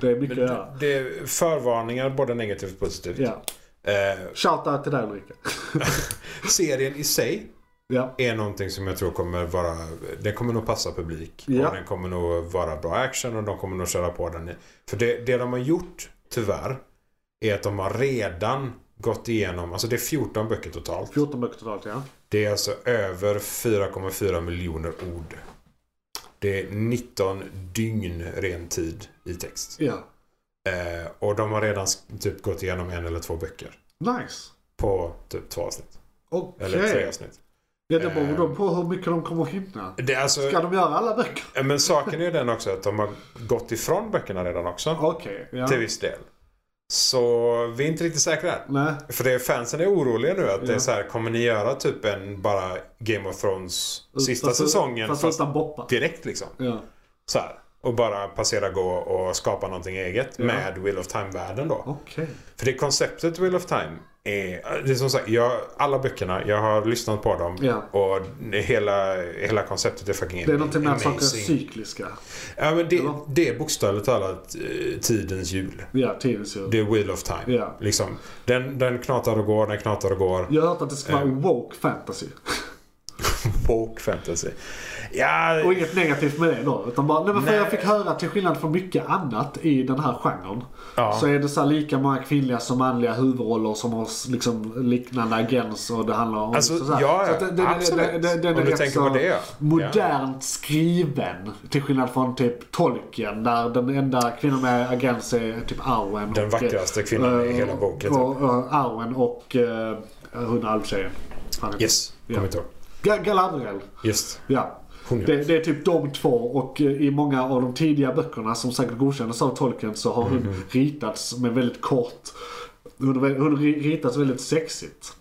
Speaker 3: Det är mycket att
Speaker 4: Det,
Speaker 3: göra.
Speaker 4: det är förvarningar både negativt och positivt.
Speaker 3: Ja.
Speaker 4: Eh,
Speaker 3: Shoutout till dig Ulrika.
Speaker 4: serien i sig
Speaker 3: ja.
Speaker 4: är någonting som jag tror kommer vara... Den kommer nog passa publik.
Speaker 3: Ja.
Speaker 4: Och den kommer nog vara bra action och de kommer nog köra på den. i- För det, det de har gjort, tyvärr, är att de har redan gått igenom... Alltså det är 14 böcker totalt.
Speaker 3: 14 böcker totalt ja.
Speaker 4: Det är alltså över 4,4 miljoner ord. Det är 19 dygn ren tid i text.
Speaker 3: Ja.
Speaker 4: Eh, och de har redan sk- typ gått igenom en eller två böcker.
Speaker 3: Nice.
Speaker 4: på typ två avsnitt.
Speaker 3: Okej.
Speaker 4: Eller tre avsnitt.
Speaker 3: Ja, det beror de på hur mycket de kommer hinna.
Speaker 4: Det, är alltså,
Speaker 3: Ska de göra alla böcker?
Speaker 4: Men saken är den också att de har gått ifrån böckerna redan också.
Speaker 3: Okej, ja.
Speaker 4: Till viss del. Så vi är inte riktigt säkra än.
Speaker 3: Nej.
Speaker 4: För det, fansen är oroliga nu att det
Speaker 3: Ja.
Speaker 4: är så här, kommer ni göra typ en bara Game of Thrones sista
Speaker 3: Fast-
Speaker 4: säsongen
Speaker 3: Fast
Speaker 4: fast
Speaker 3: utan boppa.
Speaker 4: direkt liksom?
Speaker 3: Ja.
Speaker 4: Så här. Och bara passera gå och skapa någonting eget med Wheel of Time-världen då.
Speaker 3: Okej.
Speaker 4: För det konceptet Wheel of Time är, det är som sagt, jag, alla böckerna, jag har lyssnat på dem
Speaker 3: Ja.
Speaker 4: och det, hela, hela konceptet är fucking
Speaker 3: Det är någonting med att saker är
Speaker 4: amazing.
Speaker 3: cykliska.
Speaker 4: Ja, men det,
Speaker 3: Ja.
Speaker 4: det är bokstavligt talat eh, tidens hjul.
Speaker 3: Ja, tidens ju.
Speaker 4: Det är Wheel of Time.
Speaker 3: Ja.
Speaker 4: Liksom. Den, den knatar och går, den knatar och går.
Speaker 3: Jag har hört att det ska vara woke fantasy.
Speaker 4: Woke fantasy. Ja,
Speaker 3: Och inget negativt med det då. Utan bara, nej men för
Speaker 4: Nej.
Speaker 3: jag fick höra till skillnad från mycket annat i den här genren.
Speaker 4: Ja.
Speaker 3: Så är det så här lika många kvinnliga som manliga huvudroller som har s- liksom liknande agens och det handlar om...
Speaker 4: Alltså,
Speaker 3: så här.
Speaker 4: ja,
Speaker 3: så att den- den-
Speaker 4: absolut.
Speaker 3: den- den- den är
Speaker 4: Om du
Speaker 3: rätt
Speaker 4: tänker
Speaker 3: så
Speaker 4: på det, ja.
Speaker 3: Modernt skriven. Till skillnad från typ Tolkien där den enda kvinnan med agens är typ Arwen.
Speaker 4: Den
Speaker 3: och,
Speaker 4: vackraste kvinnan i
Speaker 3: eh,
Speaker 4: hela boken, typ.
Speaker 3: Och, och, Arwen och eh, hon alvtjejen. Han heter-
Speaker 4: yes.
Speaker 3: Ja.
Speaker 4: Kommer inte ihåg.
Speaker 3: Ga- Galadriel.
Speaker 4: Just.
Speaker 3: Ja.
Speaker 4: Hon gör
Speaker 3: Det, det är typ de två och eh, i många av de tidiga böckerna som säkert godkändes av Tolkien så har hon ritats med väldigt kort. Hon, har- hon har ri- ritats väldigt sexigt.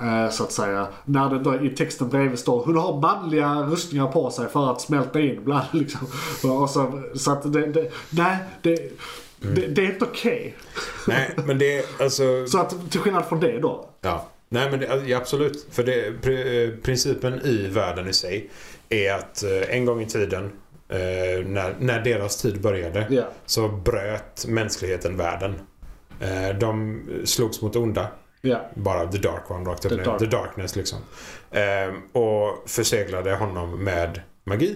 Speaker 3: eh, Så att säga. När det då i texten bredvid står hon har manliga rustningar på sig för att smälta in. Bland, liksom. och så, så att det, det, nej, det, det, det är inte okej.
Speaker 4: Nej, men det är alltså...
Speaker 3: Så att till skillnad från det då.
Speaker 4: Ja. Nej, men det, alltså, ja, absolut. För det, pri- eh, principen i världen i sig är att eh, en gång i tiden, eh, när, när deras tid började,
Speaker 3: Ja.
Speaker 4: så bröt mänskligheten världen. Eh, de slogs mot onda.
Speaker 3: Ja.
Speaker 4: Bara the dark one rakt upp
Speaker 3: The
Speaker 4: ner.
Speaker 3: Dark.
Speaker 4: The darkness liksom. Ehm, och förseglade honom med magi.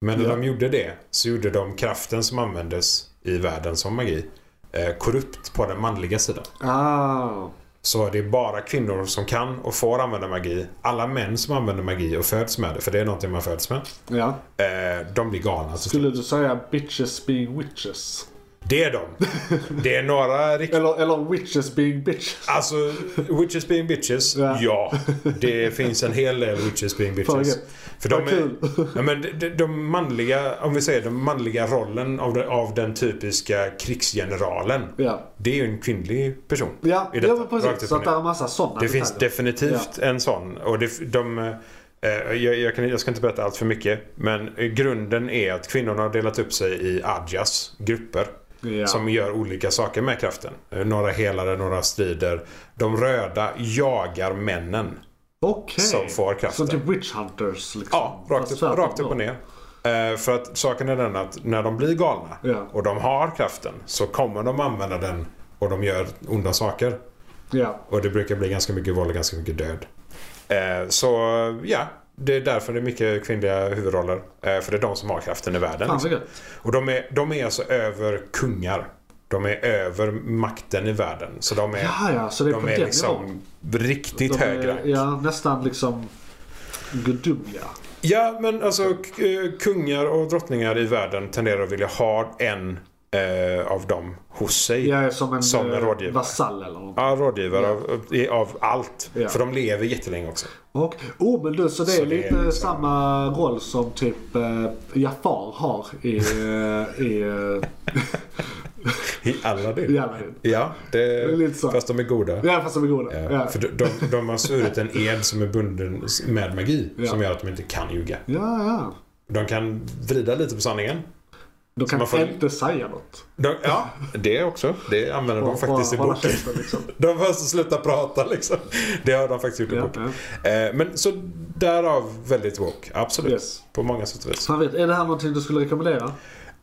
Speaker 4: Men när
Speaker 3: Ja.
Speaker 4: de gjorde det så gjorde de kraften som användes i världen som magi eh, korrupt på den manliga sidan.
Speaker 3: Ah.
Speaker 4: Så det är bara kvinnor som kan och får använda magi. Alla män som använder magi och föds med det, för det är någonting man föds med,
Speaker 3: Ja.
Speaker 4: eh, de blir galna. till
Speaker 3: Skulle
Speaker 4: slut.
Speaker 3: du säga bitches being witches?
Speaker 4: Det är de. Det är några riktiga...
Speaker 3: Eller, eller witches being bitches.
Speaker 4: Alltså, witches being bitches,
Speaker 3: Ja.
Speaker 4: ja. Det finns en hel del witches being bitches.
Speaker 3: Fan, vilket-
Speaker 4: För
Speaker 3: vad
Speaker 4: de, är,
Speaker 3: kul.
Speaker 4: ja, men de- de, de manliga, om vi säger den manliga rollen av, den- av den typiska krigsgeneralen.
Speaker 3: Ja.
Speaker 4: Det är ju en kvinnlig person.
Speaker 3: Ja,
Speaker 4: i detta,
Speaker 3: ja men
Speaker 4: rakt
Speaker 3: precis.
Speaker 4: upp
Speaker 3: Så
Speaker 4: och
Speaker 3: att
Speaker 4: ner.
Speaker 3: det är en massa sådana
Speaker 4: Det finns
Speaker 3: detaljer.
Speaker 4: definitivt en sån. Och det, de, eh, jag, jag, kan, jag ska inte berätta allt för mycket. Men eh, grunden är att kvinnorna har delat upp sig i adjas, grupper.
Speaker 3: ja.
Speaker 4: Som gör olika saker med kraften. Eh, Några helare, några strider. De röda jagar männen.
Speaker 3: Okej.
Speaker 4: som får kraften.
Speaker 3: Som typ witch hunters liksom.
Speaker 4: Ja, rakt upp,
Speaker 3: Fast tvärtom
Speaker 4: rakt upp
Speaker 3: då.
Speaker 4: och ner. Eh, För att saken är den att när de blir galna
Speaker 3: Ja.
Speaker 4: och de har kraften så kommer de använda den och de gör onda saker.
Speaker 3: Ja.
Speaker 4: Och det brukar bli ganska mycket våld och ganska mycket död. Eh, så ja, det är därför det är mycket kvinnliga huvudroller. Eh, för det är de som har kraften i världen.
Speaker 3: Fan
Speaker 4: liksom.
Speaker 3: vad gött.
Speaker 4: Och de är, de är alltså över kungar. De är över makten i världen. Så de är,
Speaker 3: Ja, ja. Så det är på
Speaker 4: de är
Speaker 3: den nivån.
Speaker 4: liksom riktigt
Speaker 3: De är-
Speaker 4: högre. Ja.
Speaker 3: Ja, nästan liksom gudomliga.
Speaker 4: men alltså k- eh, kungar och drottningar i världen tenderar att vilja ha en eh, av dem hos sig.
Speaker 3: Jag är som en,
Speaker 4: Som en
Speaker 3: eh,
Speaker 4: rådgivare.
Speaker 3: vasall eller något.
Speaker 4: Ja, rådgivare Av, av allt.
Speaker 3: Ja.
Speaker 4: För de lever jättelänge också.
Speaker 3: Och, oh men du, så det är
Speaker 4: Så det är
Speaker 3: lite
Speaker 4: liksom-
Speaker 3: samma roll som typ eh, Jafar har i... eh, i eh,
Speaker 4: I alla det.
Speaker 3: I alla det.
Speaker 4: Ja, det,
Speaker 3: är lite så.
Speaker 4: fast de är goda.
Speaker 3: ja, fast de är goda.
Speaker 4: Ja,
Speaker 3: Ja.
Speaker 4: För de, de, de har svurit en ed som är bunden med magi
Speaker 3: Ja.
Speaker 4: som gör att de inte kan ljuga.
Speaker 3: Ja, ja.
Speaker 4: De kan vrida lite på sanningen.
Speaker 3: De kan
Speaker 4: man får-
Speaker 3: inte säga något.
Speaker 4: De, ja, det också. Det använder de faktiskt i
Speaker 3: Bara- bara
Speaker 4: boken.
Speaker 3: käften, liksom.
Speaker 4: De måste sluta prata liksom. Det har de faktiskt gjort i
Speaker 3: Ja,
Speaker 4: boken. Eh, Men så därav väldigt woke. Absolut.
Speaker 3: Yes.
Speaker 4: På många sätt och vis.
Speaker 3: Fan vet, är det här någonting du skulle rekommendera?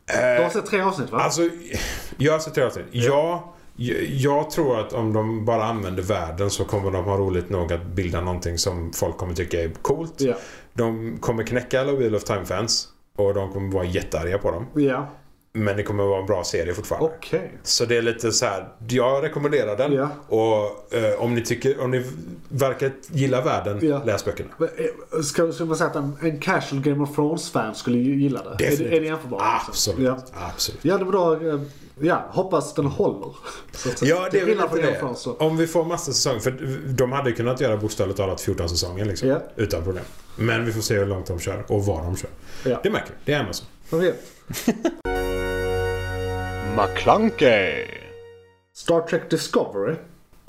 Speaker 3: Du har sett tre avsnitt va?
Speaker 4: Eh, Alltså, jag accepterar det. Ja, jag, jag tror att om de bara använder världen så kommer de ha roligt nog att bilda någonting som folk kommer tycka är coolt.
Speaker 3: ja.
Speaker 4: De kommer knäcka alla Wheel of Time-fans. Och de kommer vara jättearga på dem.
Speaker 3: ja.
Speaker 4: Men det kommer vara en bra serie fortfarande.
Speaker 3: Okej.
Speaker 4: Så det är lite så här, jag rekommenderar den.
Speaker 3: Ja.
Speaker 4: Och eh, om ni tycker, om ni verkar gilla världen,
Speaker 3: Ja.
Speaker 4: läs böckerna.
Speaker 3: Men, eh, Ska, ska man säga att en, en casual Game of Thrones-fan skulle ju gilla det? Är, det- är det jämförbart? liksom?
Speaker 4: Absolut.
Speaker 3: Ja.
Speaker 4: Absolut.
Speaker 3: Ja, det var då, eh, ja, hoppas den håller. Så att säga.
Speaker 4: Ja, det är väl
Speaker 3: skillnad från
Speaker 4: lite
Speaker 3: Game of Thrones,
Speaker 4: det.
Speaker 3: så.
Speaker 4: Om vi får massa säsonger. För de hade ju kunnat göra bokstavligt talat 14 säsonger liksom.
Speaker 3: Ja.
Speaker 4: Utan problem. Men vi får se hur långt de kör och vad de kör.
Speaker 3: Ja.
Speaker 4: Det märker vi. Det är Amazon.
Speaker 3: Man vet.
Speaker 2: McClunkey.
Speaker 3: Star Trek Discovery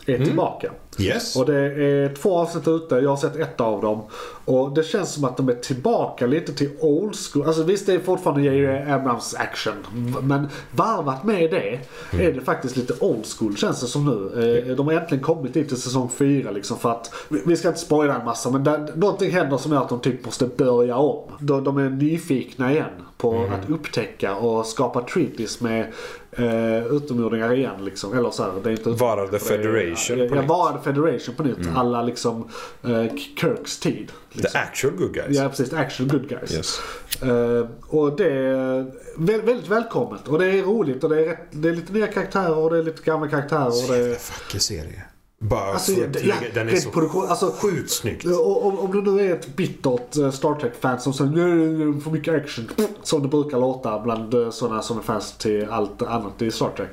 Speaker 3: är
Speaker 4: Mm.
Speaker 3: tillbaka.
Speaker 4: Yes.
Speaker 3: Och det är två avsnitt ute, jag har sett ett av dem. Och det känns som att de är tillbaka lite till old school. Alltså visst det är fortfarande J.J. Abrams action. v- Men varvat med det är det faktiskt lite old school känns det som nu. Eh, De har äntligen kommit dit till säsong fyra liksom för att, vi vi ska inte spoila en massa men där, någonting händer som gör att de typ måste börja om. De, de är nyfikna igen på att upptäcka och skapa treaties med eh, utomjordingar igen liksom. Eller så här, det är inte
Speaker 4: Vara the Federation
Speaker 3: Ja,
Speaker 4: på
Speaker 3: ja,
Speaker 4: nytt. Mm.
Speaker 3: var Federation på nytt. Alla liksom eh, Kirks tid.
Speaker 4: The actual good guys.
Speaker 3: Ja precis, actual good guys.
Speaker 4: Yes.
Speaker 3: Eh, och det är vä- väldigt välkommet. Och det är roligt och det är, rätt, det är lite nya karaktärer och det är lite gamla karaktärer. Och det är,
Speaker 4: Fucking serie. Bara
Speaker 3: eh, Alltså,
Speaker 4: för
Speaker 3: ja,
Speaker 4: att
Speaker 3: ja,
Speaker 4: lägga- den är
Speaker 3: rent
Speaker 4: så
Speaker 3: produktion- alltså-
Speaker 4: sjukt snygg.
Speaker 3: och om, om det nu är ett bittert eh, Star Trek-fan som säger "Nej, nej, nej, för mycket action. Som det brukar låta bland eh, sådana som är fans till allt annat i Star Trek.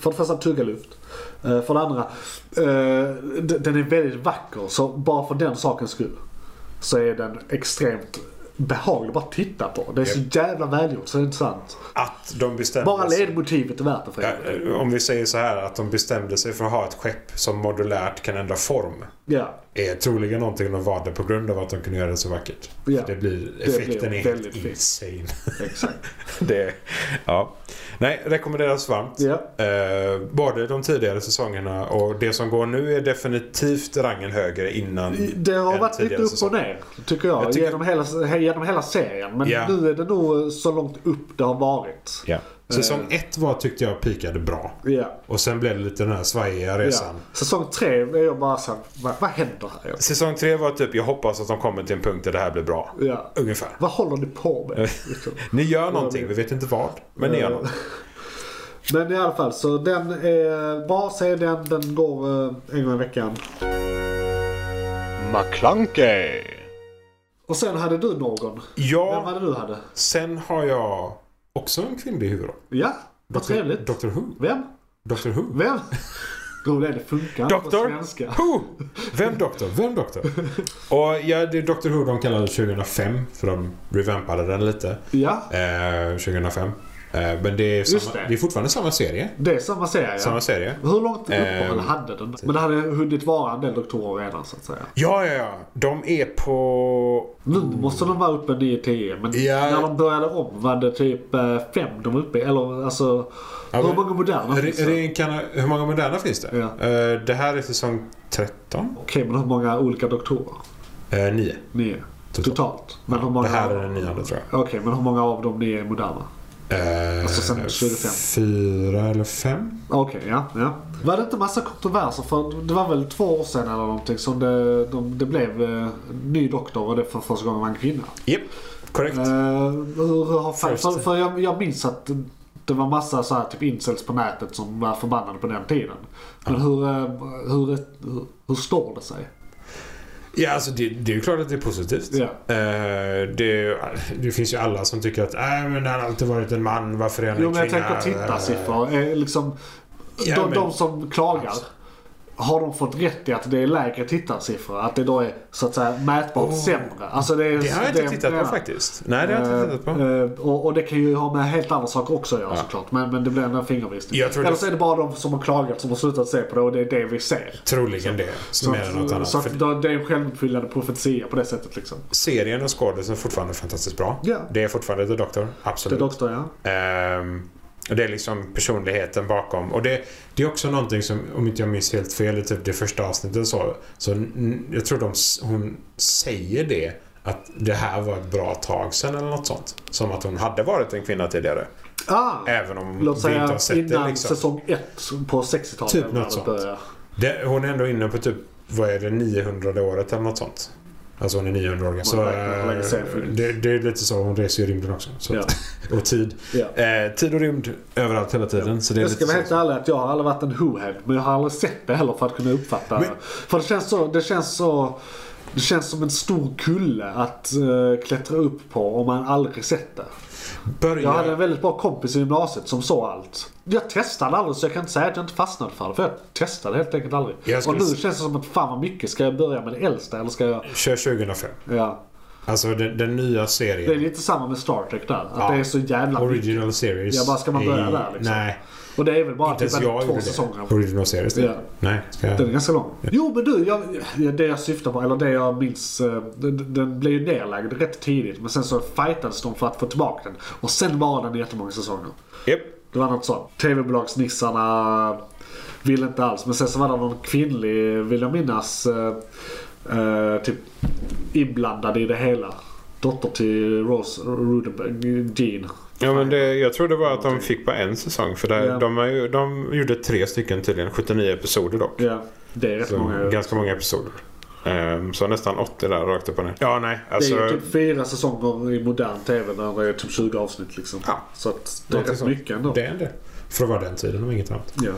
Speaker 3: För det första, tugga luft. Eh, För det andra, eh, d- den är väldigt vacker. Så bara för den sakens skull så är den extremt behaglig att bara titta på. Det är så jävla välgjort så det är inte sant.
Speaker 4: Att de bestämde
Speaker 3: Bara
Speaker 4: sig-
Speaker 3: ledmotivet är värt det för
Speaker 4: Ja, eh,
Speaker 3: er.
Speaker 4: Om vi säger så här att de bestämde sig för att ha ett skepp som modulärt kan ändra form.
Speaker 3: Ja,
Speaker 4: Är troligen någonting de valde på grund av att de kunde göra det så vackert.
Speaker 3: Ja.
Speaker 4: Det blir, effekten
Speaker 3: blir
Speaker 4: är
Speaker 3: väldigt
Speaker 4: helt
Speaker 3: fint.
Speaker 4: insane.
Speaker 3: exakt.
Speaker 4: det, ja. Nej, rekommenderas varmt.
Speaker 3: Ja.
Speaker 4: Eh, både de tidigare säsongerna och det som går nu är definitivt rangen högre innan.
Speaker 3: Det har
Speaker 4: än
Speaker 3: varit lite
Speaker 4: tidigare
Speaker 3: upp och
Speaker 4: säsonger.
Speaker 3: ner, tycker jag.
Speaker 4: Jag tycker-
Speaker 3: Genom, hela, he- genom hela serien. Men
Speaker 4: Ja.
Speaker 3: nu är det nog så långt upp det har varit.
Speaker 4: Ja. Säsong ett var tyckte jag pikade bra.
Speaker 3: Ja.
Speaker 4: Och sen blev det lite den här svajiga
Speaker 3: Ja.
Speaker 4: resan.
Speaker 3: Säsong tre är jag bara såhär, vad, vad händer här?
Speaker 4: Säsong tre var typ, jag hoppas att de kommer till en punkt där det här blir bra.
Speaker 3: Ja.
Speaker 4: Ungefär.
Speaker 3: Vad håller ni på med? Liksom.
Speaker 4: Ni gör någonting, vi vet inte vad. Men ni gör
Speaker 3: Eh,
Speaker 4: något.
Speaker 3: Men i alla fall, så den är bra. Se den, den går eh, en gång i veckan.
Speaker 2: McClunkey.
Speaker 3: Och sen hade du någon. Vem
Speaker 4: Ja,
Speaker 3: var det du hade?
Speaker 4: sen har jag också en kvinnlig huvudroll.
Speaker 3: Ja, vad trevligt.
Speaker 4: Dr Who.
Speaker 3: Vem?
Speaker 4: Dr Who.
Speaker 3: Vem? Roligt, det funkar inte på
Speaker 4: Doktor
Speaker 3: svenska.
Speaker 4: Who! Vem doktor? Vem doktor? Och ja, det är Dr Who de kallade 2005 för de revampade den lite.
Speaker 3: Ja,
Speaker 4: Eh, 2005. Eh, men det är,
Speaker 3: Just
Speaker 4: samma,
Speaker 3: det.
Speaker 4: det. är fortfarande samma serie.
Speaker 3: det är samma serie.
Speaker 4: Samma serie.
Speaker 3: Hur långt
Speaker 4: Ehm,
Speaker 3: uppehåll hade den? Men det hade hunnit vara en del doktorer redan så att säga.
Speaker 4: Ja, ja, ja. De är på...
Speaker 3: Nu måste de vara uppe 9-10 men
Speaker 4: Mm. Ja.
Speaker 3: när de började om var det typ 5 de var uppe i. Eller alltså,
Speaker 4: Ja,
Speaker 3: hur
Speaker 4: men-
Speaker 3: många moderna
Speaker 4: Re,
Speaker 3: finns det?
Speaker 4: reinkarna- hur många moderna finns det?
Speaker 3: Ja.
Speaker 4: Eh, det här är säsong 13?
Speaker 3: Okej, men hur många olika doktorer?
Speaker 4: Eh, 9.
Speaker 3: 9
Speaker 4: Totalt.
Speaker 3: totalt. Men hur många...
Speaker 4: Det här är den nionde tror jag.
Speaker 3: Okej, men hur många av dem ni är moderna?
Speaker 4: Eh,
Speaker 3: Alltså sen 25.
Speaker 4: Fyra eller fem?
Speaker 3: Okej, ja, ja. Var det inte massa kontroverser? För det var väl två år sedan eller någonting som det, de, det blev eh, ny doktor och det för första gången var en kvinna.
Speaker 4: Japp, korrekt.
Speaker 3: Eh, hur, hur har fan,
Speaker 4: First.
Speaker 3: för, för jag, jag minns att det var massa så här, typ incels på nätet som var förbannade på den tiden. Men hur, eh, hur, hur, hur står det sig?
Speaker 4: Ja, alltså det, det är ju klart att det är positivt.
Speaker 3: Ja.
Speaker 4: Eh, det, det finns ju alla som tycker att äh, men han har alltid varit en man, varför är han
Speaker 3: Jo
Speaker 4: en
Speaker 3: men jag
Speaker 4: kvinna?
Speaker 3: tänker tittarsiffror. Eh, liksom,
Speaker 4: Ja,
Speaker 3: de,
Speaker 4: men-
Speaker 3: de som klagar. Har de fått rätt i att det är lägre tittarsiffror? Att det då är så att säga mätbart sämre? Alltså det, är,
Speaker 4: Det har jag inte
Speaker 3: är-
Speaker 4: tittat på
Speaker 3: ja.
Speaker 4: faktiskt. Nej, det har jag inte tittat på.
Speaker 3: Eh, och, och det kan ju ha med helt andra saker också att göra såklart. Men, men det blir ändå en fingervisning.
Speaker 4: Jag tror
Speaker 3: Eller
Speaker 4: det-
Speaker 3: så är det bara de som har klagat som har slutat se på det och det är det vi ser.
Speaker 4: Troligen det, som är något annat.
Speaker 3: så att
Speaker 4: För
Speaker 3: då- det är en självuppfyllande profetia på det sättet liksom.
Speaker 4: serien och skådisen är fortfarande fantastiskt bra.
Speaker 3: Ja.
Speaker 4: Det är fortfarande The Doctor,
Speaker 3: Det
Speaker 4: absolut.
Speaker 3: är doktor, ja.
Speaker 4: Ehm, och det är liksom personligheten bakom. Och det, det är också någonting som, om inte jag minns helt fel, i typ det första avsnittet så, så n- jag tror de, s- hon säger det att det här var ett bra tag sedan eller något sånt. Som att hon hade varit en kvinna tidigare.
Speaker 3: Ah,
Speaker 4: Även om
Speaker 3: låt
Speaker 4: vi inte
Speaker 3: säga
Speaker 4: har sett det
Speaker 3: innan
Speaker 4: liksom.
Speaker 3: säsong 1 på 60-talet.
Speaker 4: Typ
Speaker 3: eller när
Speaker 4: något
Speaker 3: det
Speaker 4: sånt.
Speaker 3: börjar.
Speaker 4: Det, hon är ändå inne på typ, vad är det, 900 året eller något sånt. Alltså hon är 900 år gammal. Så,
Speaker 3: räknar- lägger sig för-
Speaker 4: eh, det, det är lite så. Hon reser ju i rymden också. Så att, Och tid.
Speaker 3: Ja.
Speaker 4: Eh, tid och rymd överallt hela tiden. Så det är
Speaker 3: Jag ska
Speaker 4: lite
Speaker 3: vara
Speaker 4: så.
Speaker 3: helt ärlig att jag har aldrig varit en hohead men jag har aldrig sett det heller för att kunna uppfatta det. För det känns så, det känns så, det känns som en stor kulle att eh, klättra upp på om man aldrig sett det.
Speaker 4: Börja...
Speaker 3: Jag hade en väldigt bra kompis i gymnasiet som såg allt. Jag testade aldrig så jag kan inte säga att jag inte fastnade för det. För jag testade helt enkelt aldrig.
Speaker 4: Jag
Speaker 3: Och
Speaker 4: skulle
Speaker 3: nu
Speaker 4: s-
Speaker 3: känns det som att fan vad mycket. Ska jag börja med det äldsta eller ska jag...
Speaker 4: Kör 2005.
Speaker 3: Ja.
Speaker 4: Alltså den, den nya serien.
Speaker 3: Det är lite samma med Star Trek där. Att
Speaker 4: Ja.
Speaker 3: det är så jävla mycket.
Speaker 4: Original series.
Speaker 3: Ja, bara ska man börja
Speaker 4: i-
Speaker 3: där, liksom?
Speaker 4: Nej.
Speaker 3: Och det är väl bara
Speaker 4: Inte
Speaker 3: typ
Speaker 4: ens
Speaker 3: en-
Speaker 4: jag
Speaker 3: två
Speaker 4: gjorde
Speaker 3: säsonger.
Speaker 4: det. Original series. typ.
Speaker 3: Ja.
Speaker 4: Nej. Ska
Speaker 3: Den är
Speaker 4: jag...
Speaker 3: ganska lång. Jo men du, jag, det jag syftar på, eller det jag minns, eh, den, den blev ju nedlagd rätt tidigt. Men sen så fightades de för att få tillbaka den. Och sen var den jättemånga säsonger.
Speaker 4: Japp.
Speaker 3: Det var något sånt. TV-bolagsnissarna ville inte alls. Men sen så var det någon kvinnlig, vill jag minnas, eh, eh, typ inblandad i det hela. Dotter till Rose Rudenberg, Jean.
Speaker 4: Ja, men det, jag tror det var att de fick bara en säsong. För det,
Speaker 3: Ja.
Speaker 4: de, har ju, de gjorde tre stycken tydligen. 79 episoder dock.
Speaker 3: Ja, det är rätt
Speaker 4: Så,
Speaker 3: många.
Speaker 4: Ganska många episoder. Ehm, så nästan 80 där rakt upp och ner. Ja, nej. Alltså,
Speaker 3: det är ju typ fyra säsonger i modern TV där det är typ 20 avsnitt liksom.
Speaker 4: Ja.
Speaker 3: Så att det är
Speaker 4: Någonting
Speaker 3: rätt
Speaker 4: sånt.
Speaker 3: mycket ändå.
Speaker 4: det är det. För att vara den tiden om inget annat.
Speaker 3: Ja.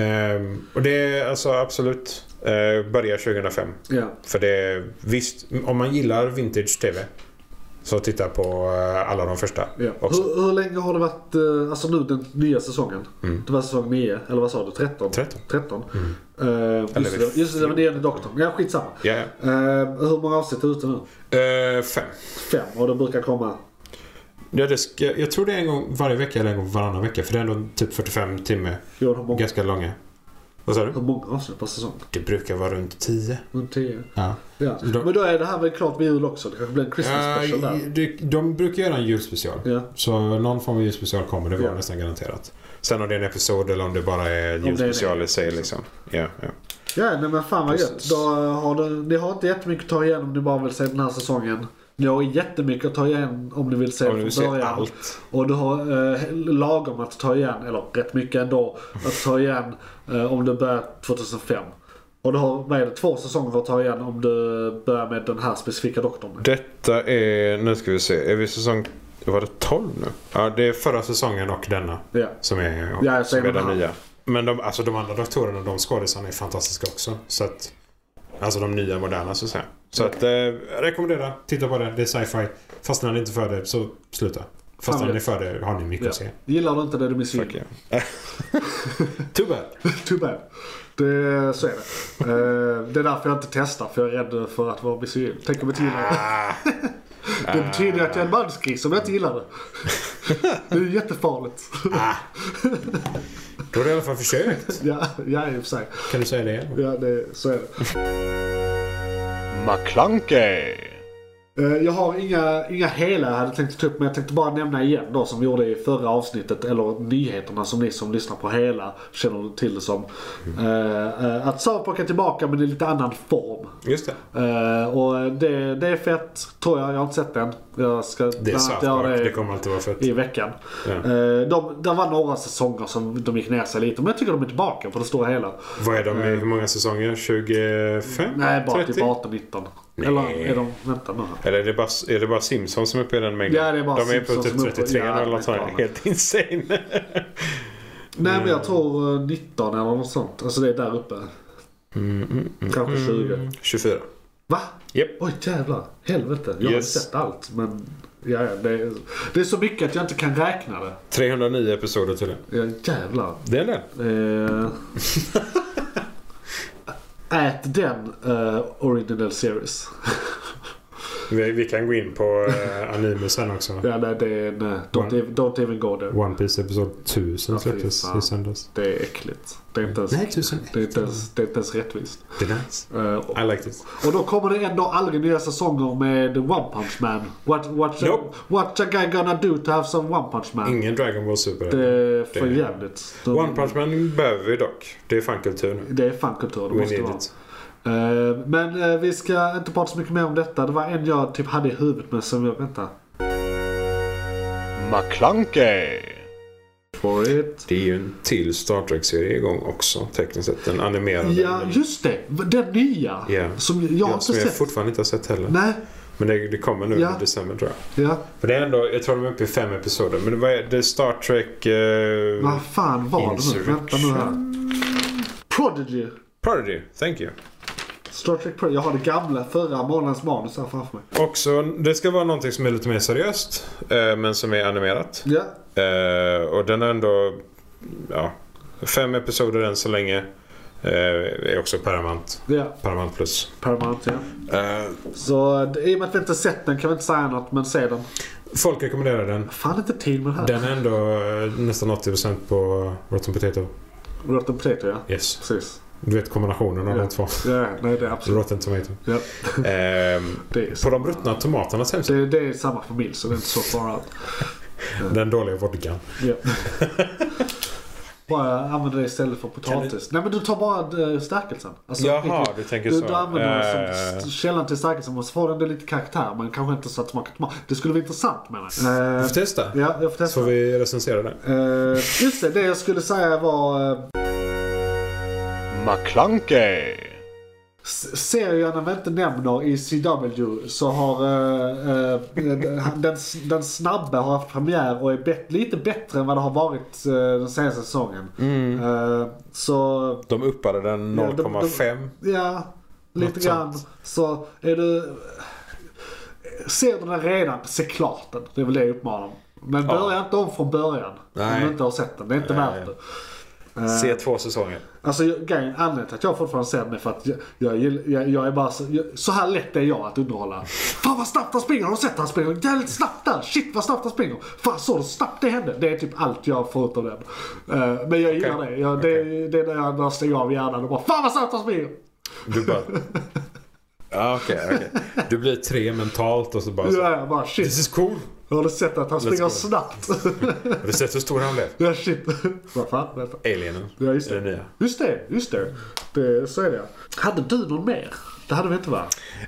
Speaker 4: Ehm, och det är alltså absolut. Uh, börja 2005.
Speaker 3: Ja.
Speaker 4: För det visst, om man gillar vintage TV så titta på eh, alla de första
Speaker 3: Ja.
Speaker 4: också.
Speaker 3: Hur, hur länge har det varit, eh, alltså nu den nya säsongen?
Speaker 4: Mm.
Speaker 3: Det var säsong 9, eller vad sa du? 13?
Speaker 4: 13.
Speaker 3: 13.
Speaker 4: Mm.
Speaker 3: Eh, just,
Speaker 4: Eller
Speaker 3: det, just det, det var nionde doktorn. Ja, skitsamma.
Speaker 4: Ja, ja.
Speaker 3: Eh, hur många avsnitt är ute nu?
Speaker 4: Eh, fem.
Speaker 3: Fem, och det brukar komma...
Speaker 4: Ja, det ska, jag tror det är en gång varje vecka eller en gång varannan vecka för det är ändå typ 45 timmar.
Speaker 3: Jo, hur många,
Speaker 4: Ganska långa. Vad sa du?
Speaker 3: hur många avsnitt per säsong?
Speaker 4: Det brukar vara runt 10.
Speaker 3: Runt tio?
Speaker 4: Ja.
Speaker 3: Ja.
Speaker 4: Då-
Speaker 3: Men då är det här väl klart vid jul också? Det kanske blir en Christmas special
Speaker 4: Eh,
Speaker 3: där?
Speaker 4: de, de brukar göra en julspecial.
Speaker 3: Ja.
Speaker 4: Så någon form av julspecial kommer det vara
Speaker 3: Ja.
Speaker 4: nästan garanterat. Sen om det är en episod eller om det bara är
Speaker 3: det är
Speaker 4: julspecial
Speaker 3: det.
Speaker 4: i sig liksom. Ja, ja.
Speaker 3: Ja, nej, men fan vad gött.
Speaker 4: Precis.
Speaker 3: Då har du, ni har inte jättemycket att ta igen om ni bara vill se den här säsongen. Ni har jättemycket att ta igen om ni vill se
Speaker 4: Om du
Speaker 3: den
Speaker 4: ser
Speaker 3: från början.
Speaker 4: allt.
Speaker 3: Och du har eh, lagom att ta igen, eller rätt mycket ändå, att ta igen eh, om du börjar 2005. Och du har, vad är det, två säsonger att ta igen om du börjar med den här specifika doktorn.
Speaker 4: Detta är, nu ska vi se, är vi säsong, var det 12 nu? Ja, det är förra säsongen och denna
Speaker 3: Ja.
Speaker 4: som är,
Speaker 3: Ja, jag
Speaker 4: som
Speaker 3: säger
Speaker 4: är
Speaker 3: den här.
Speaker 4: den nya. Men de, alltså de andra doktorerna och de skådisarna är fantastiska också. Så att, alltså de nya moderna så att säga. Så att, eh, jag rekommenderar, titta på det, det är sci-fi. Fastnar ni inte för det så sluta.
Speaker 3: Fan,
Speaker 4: Fastnar
Speaker 3: ja.
Speaker 4: ni för det har ni mycket
Speaker 3: Ja.
Speaker 4: att se.
Speaker 3: Gillar du inte det du missgillar?
Speaker 4: Fuck yeah. Too bad.
Speaker 3: Too bad. Det, så är det. Eh, det är därför jag inte testar, för jag är rädd för att vara misogyn. Tänk om jag inte gillar det.
Speaker 4: Ah,
Speaker 3: Det betyder ju att jag är en mansgris om jag inte gillar det. Det är ju jättefarligt.
Speaker 4: ah. Då har du i alla fall försökt.
Speaker 3: Ja, ja i och för sig.
Speaker 4: Kan du säga det?
Speaker 3: Ja, det, så är det.
Speaker 2: McClunkey.
Speaker 3: Eh, Jag har inga, inga hela jag hade tänkt ta upp, men jag tänkte bara nämna igen då som vi gjorde i förra avsnittet, eller nyheterna som ni som lyssnar på hela känner till det som. Eh, eh, Att South Park är tillbaka men i lite annan form.
Speaker 4: Just det.
Speaker 3: Eh, Och det, det är fett, tror jag. Jag har inte sett den. Jag ska
Speaker 4: Det är
Speaker 3: bland annat
Speaker 4: South
Speaker 3: göra
Speaker 4: Park. Det
Speaker 3: det
Speaker 4: kommer alltid vara fett.
Speaker 3: i veckan.
Speaker 4: Ja.
Speaker 3: Eh, De, det var några säsonger som de gick ner sig lite, men jag tycker de är tillbaka på det stora hela.
Speaker 4: Vad är de i hur många säsonger? 25?
Speaker 3: eh, Nej, bara
Speaker 4: 30?
Speaker 3: typ 18-19. Eller är de, vänta nu här.
Speaker 4: Eller är det, bara, är det bara Simpsons som är uppe i den mängden?
Speaker 3: Ja, det är bara
Speaker 4: de är på typ
Speaker 3: Simpsons som är uppe.
Speaker 4: 33
Speaker 3: Ja,
Speaker 4: eller något sånt.
Speaker 3: fan.
Speaker 4: Helt insane.
Speaker 3: Nej men
Speaker 4: Mm.
Speaker 3: jag tror eh, 19 eller något sånt. Alltså det är där uppe.
Speaker 4: Mm,
Speaker 3: Kanske 20.
Speaker 4: 24.
Speaker 3: Va?
Speaker 4: mm. Japp.
Speaker 3: Oj jävlar. Helvete. Jag har inte
Speaker 4: Yes.
Speaker 3: sett allt. Men ja, ja, det, är, det är så mycket att jag inte kan räkna det.
Speaker 4: 309 episoder tydligen.
Speaker 3: Ja, jävlar.
Speaker 4: Det är det.
Speaker 3: Eh, ät den eh, Original Series.
Speaker 4: Vi, vi kan gå in på eh, anime sen också.
Speaker 3: ja, nej, det är, nej, don't, even, don't even go there.
Speaker 4: One Piece episod 1000
Speaker 3: Ja, fy
Speaker 4: släpptes
Speaker 3: fan.
Speaker 4: i söndags.
Speaker 3: Det är äckligt. Det är inte ens,
Speaker 4: Nej, 1001.
Speaker 3: det är inte ens, det är inte ens rättvist.
Speaker 4: Det är nice.
Speaker 3: Eh, och-
Speaker 4: I like this.
Speaker 3: Och då kommer det ändå aldrig nya säsonger med One Punch Man. What, what,
Speaker 4: Nope.
Speaker 3: what a guy gonna do to have some One Punch Man?
Speaker 4: Ingen Dragon Ball Super.
Speaker 3: Det är för
Speaker 4: Det-
Speaker 3: jävligt. De-
Speaker 4: One Punch Man behöver vi dock. Det är fankultur nu.
Speaker 3: Det är fankultur, det
Speaker 4: We
Speaker 3: måste
Speaker 4: need
Speaker 3: vara.
Speaker 4: it.
Speaker 3: Eh, Men eh, vi ska inte prata så mycket mer om detta. Det var en jag typ hade i huvudet men som jag... Vänta.
Speaker 2: McClunkey.
Speaker 3: for it.
Speaker 4: Det är ju en till Star Trek-serie igång också, tekniskt sett. Den animerade.
Speaker 3: Ja, just det. Den nya.
Speaker 4: Ja.
Speaker 3: Som jag har
Speaker 4: som
Speaker 3: inte
Speaker 4: jag
Speaker 3: sett.
Speaker 4: fortfarande inte har sett heller.
Speaker 3: Nej.
Speaker 4: Men det, det kommer nu
Speaker 3: Ja.
Speaker 4: i december tror jag.
Speaker 3: Ja.
Speaker 4: För det är ändå, jag tror de är uppe i fem episoder. Men det, var, det är Star Trek... eh,
Speaker 3: Vad fan var det nu?
Speaker 4: Insurrection.
Speaker 3: Vänta nu här. Prodigy.
Speaker 4: Prodigy, thank you.
Speaker 3: Star Trek Prodigy. Jag har det gamla förra månadens manus här framför mig.
Speaker 4: Också, det ska vara någonting som är lite mer seriöst. eh, men som är animerat.
Speaker 3: Ja.
Speaker 4: Eh, och den är ändå... Ja, fem episoder än så länge. Eh, är också Paramount.
Speaker 3: Ja.
Speaker 4: Paramount Plus.
Speaker 3: Paramount ja.
Speaker 4: Eh,
Speaker 3: Så eh, i och med att vi inte sett den kan vi inte säga något, men se den.
Speaker 4: folk rekommenderar den.
Speaker 3: Fan inte tid med det här.
Speaker 4: Den är ändå eh, nästan 80% på Rotten Potato.
Speaker 3: Rotten Potato ja.
Speaker 4: Yes.
Speaker 3: Precis.
Speaker 4: Du vet kombinationen av
Speaker 3: Ja.
Speaker 4: de två.
Speaker 3: Ja, nej det är absolut.
Speaker 4: Rotten Tomato.
Speaker 3: Ja.
Speaker 4: Ehm,
Speaker 3: Det är
Speaker 4: på
Speaker 3: så.
Speaker 4: de ruttna tomaternas hemsida.
Speaker 3: Det, det är samma familj så det är inte så far out.
Speaker 4: Den dåliga vodkan.
Speaker 3: Ja. bara använda det istället för potatis. Nej men du tar bara eh, stärkelsen. Alltså,
Speaker 4: Jaha,
Speaker 3: skit i-
Speaker 4: du tänker
Speaker 3: Du,
Speaker 4: så.
Speaker 3: du använder den
Speaker 4: Eh,
Speaker 3: som st- källan till stärkelsen och så får den det lite karaktär men kanske inte så att smaken tomat. Det skulle vara intressant menar jag.
Speaker 4: Vi
Speaker 3: Eh,
Speaker 4: får testa.
Speaker 3: ja, jag får
Speaker 4: Så
Speaker 3: testa.
Speaker 4: får vi recensera den.
Speaker 3: Eh, just det, det jag skulle säga var... eh,
Speaker 2: McClunkey.
Speaker 3: s- Serien vi inte nämner i CW så har eh, eh, den, den snabbe har haft premiär och är bet- lite bättre än vad det har varit eh, den senaste säsongen.
Speaker 4: Mm.
Speaker 3: Eh, så
Speaker 4: De uppade den
Speaker 3: Ja, de- de-
Speaker 4: 0,5.
Speaker 3: Ja, lite
Speaker 4: Något
Speaker 3: grann. Så är du... Ser du den redan, se klart den. Det är väl det jag uppmanar om. Men börja inte om från början. Om
Speaker 4: Nej.
Speaker 3: du inte har sett den. Det är inte värt det.
Speaker 4: Se två säsonger.
Speaker 3: Alltså jag- grejen, anledningen till att jag fortfarande ser den är för att jag, jag, gill- jag, jag är bara så, jag, så här lätt är jag att underhålla. Fan vad snabbt han springer, har du sett han springer? Jävligt snabbt där, shit vad snabbt han springer. Fan såg du hur snabbt det hände? Det är typ allt jag får ut av den. Eh, men jag gillar det. Jag, det. Det är när jag, när jag stänger av hjärnan och bara fan vad snabbt han springer.
Speaker 4: Du bara... Ja, okej. okej. Du blir tre mentalt och så bara så.
Speaker 3: Ja, jag bara shit.
Speaker 4: This is cool.
Speaker 3: Har du sett att han springer
Speaker 4: go.
Speaker 3: snabbt?
Speaker 4: Har du sett hur stor han blev?
Speaker 3: ja shit. Vad fan, vänta.
Speaker 4: Alienen.
Speaker 3: Ja just
Speaker 4: Den
Speaker 3: det.
Speaker 4: nya.
Speaker 3: Just det, just det. det så är det. Hade du någon mer? Det hade vi inte va?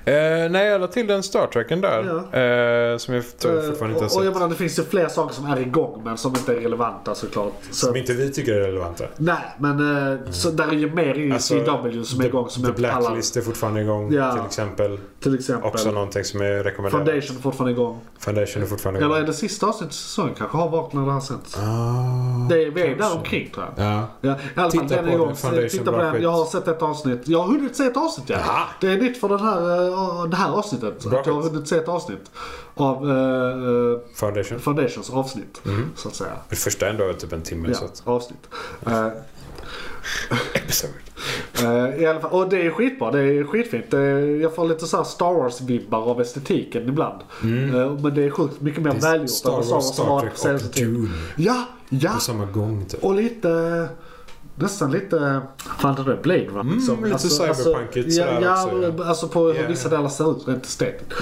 Speaker 4: Eh, nej, jag la till den Star Treken där.
Speaker 3: Ja.
Speaker 4: Eh, som jag tror jag fortfarande inte har
Speaker 3: och, och jag
Speaker 4: sett.
Speaker 3: menar det finns ju fler saker som är igång men som inte är relevanta såklart. Så,
Speaker 4: Som inte vi tycker är relevanta.
Speaker 3: nej men eh, så där är ju mer i
Speaker 4: Alltså,
Speaker 3: CW som är igång som
Speaker 4: The
Speaker 3: är alla.
Speaker 4: Blacklist är fortfarande igång
Speaker 3: Ja.
Speaker 4: till exempel.
Speaker 3: Till exempel.
Speaker 4: Också någonting som är rekommenderat.
Speaker 3: Foundation är fortfarande igång.
Speaker 4: Foundation är fortfarande
Speaker 3: Eller
Speaker 4: igång.
Speaker 3: är det sista avsnittet i säsongen kanske har varit när det här sänds? det är väl där omkring tror jag.
Speaker 4: Ah. Ja.
Speaker 3: Ja, i alla fall
Speaker 4: Titta
Speaker 3: den
Speaker 4: på
Speaker 3: är igång.
Speaker 4: den, Foundation
Speaker 3: Titta på
Speaker 4: Bra
Speaker 3: den.
Speaker 4: Skit.
Speaker 3: Jag har sett ett avsnitt. Jag har hunnit se ett avsnitt ja.
Speaker 4: Jaha.
Speaker 3: Det är nytt för den här, eh, det här avsnittet.
Speaker 4: Bra
Speaker 3: att jag har
Speaker 4: skit.
Speaker 3: hunnit se ett avsnitt av eh,
Speaker 4: Foundation.
Speaker 3: eh, Foundations avsnitt. Så att säga.
Speaker 4: Det första ändå är typ en timme
Speaker 3: Ja,
Speaker 4: Mhm. så att...
Speaker 3: avsnitt. Eh,
Speaker 4: Episode.
Speaker 3: eh, i alla fall, och det är skitbra. Det är skitfint. Det är, jag får lite så här Star Wars-vibbar av estetiken ibland. Eh, men det är sjukt mycket mer välgjort än vad
Speaker 4: Mm. Star Wars,
Speaker 3: var
Speaker 4: Star
Speaker 3: på
Speaker 4: Trek
Speaker 3: senaste
Speaker 4: och
Speaker 3: tiden.
Speaker 4: Dune.
Speaker 3: Ja, ja.
Speaker 4: På samma gång typ.
Speaker 3: Och lite... Nästan lite... Fan det är Blade Runner liksom.
Speaker 4: Mm, lite cyberpunkigt
Speaker 3: ja,
Speaker 4: sådär
Speaker 3: ja,
Speaker 4: också, ja. Mm.
Speaker 3: alltså på hur
Speaker 4: Ja,
Speaker 3: vissa
Speaker 4: ja.
Speaker 3: delar ser ut rent estetiskt.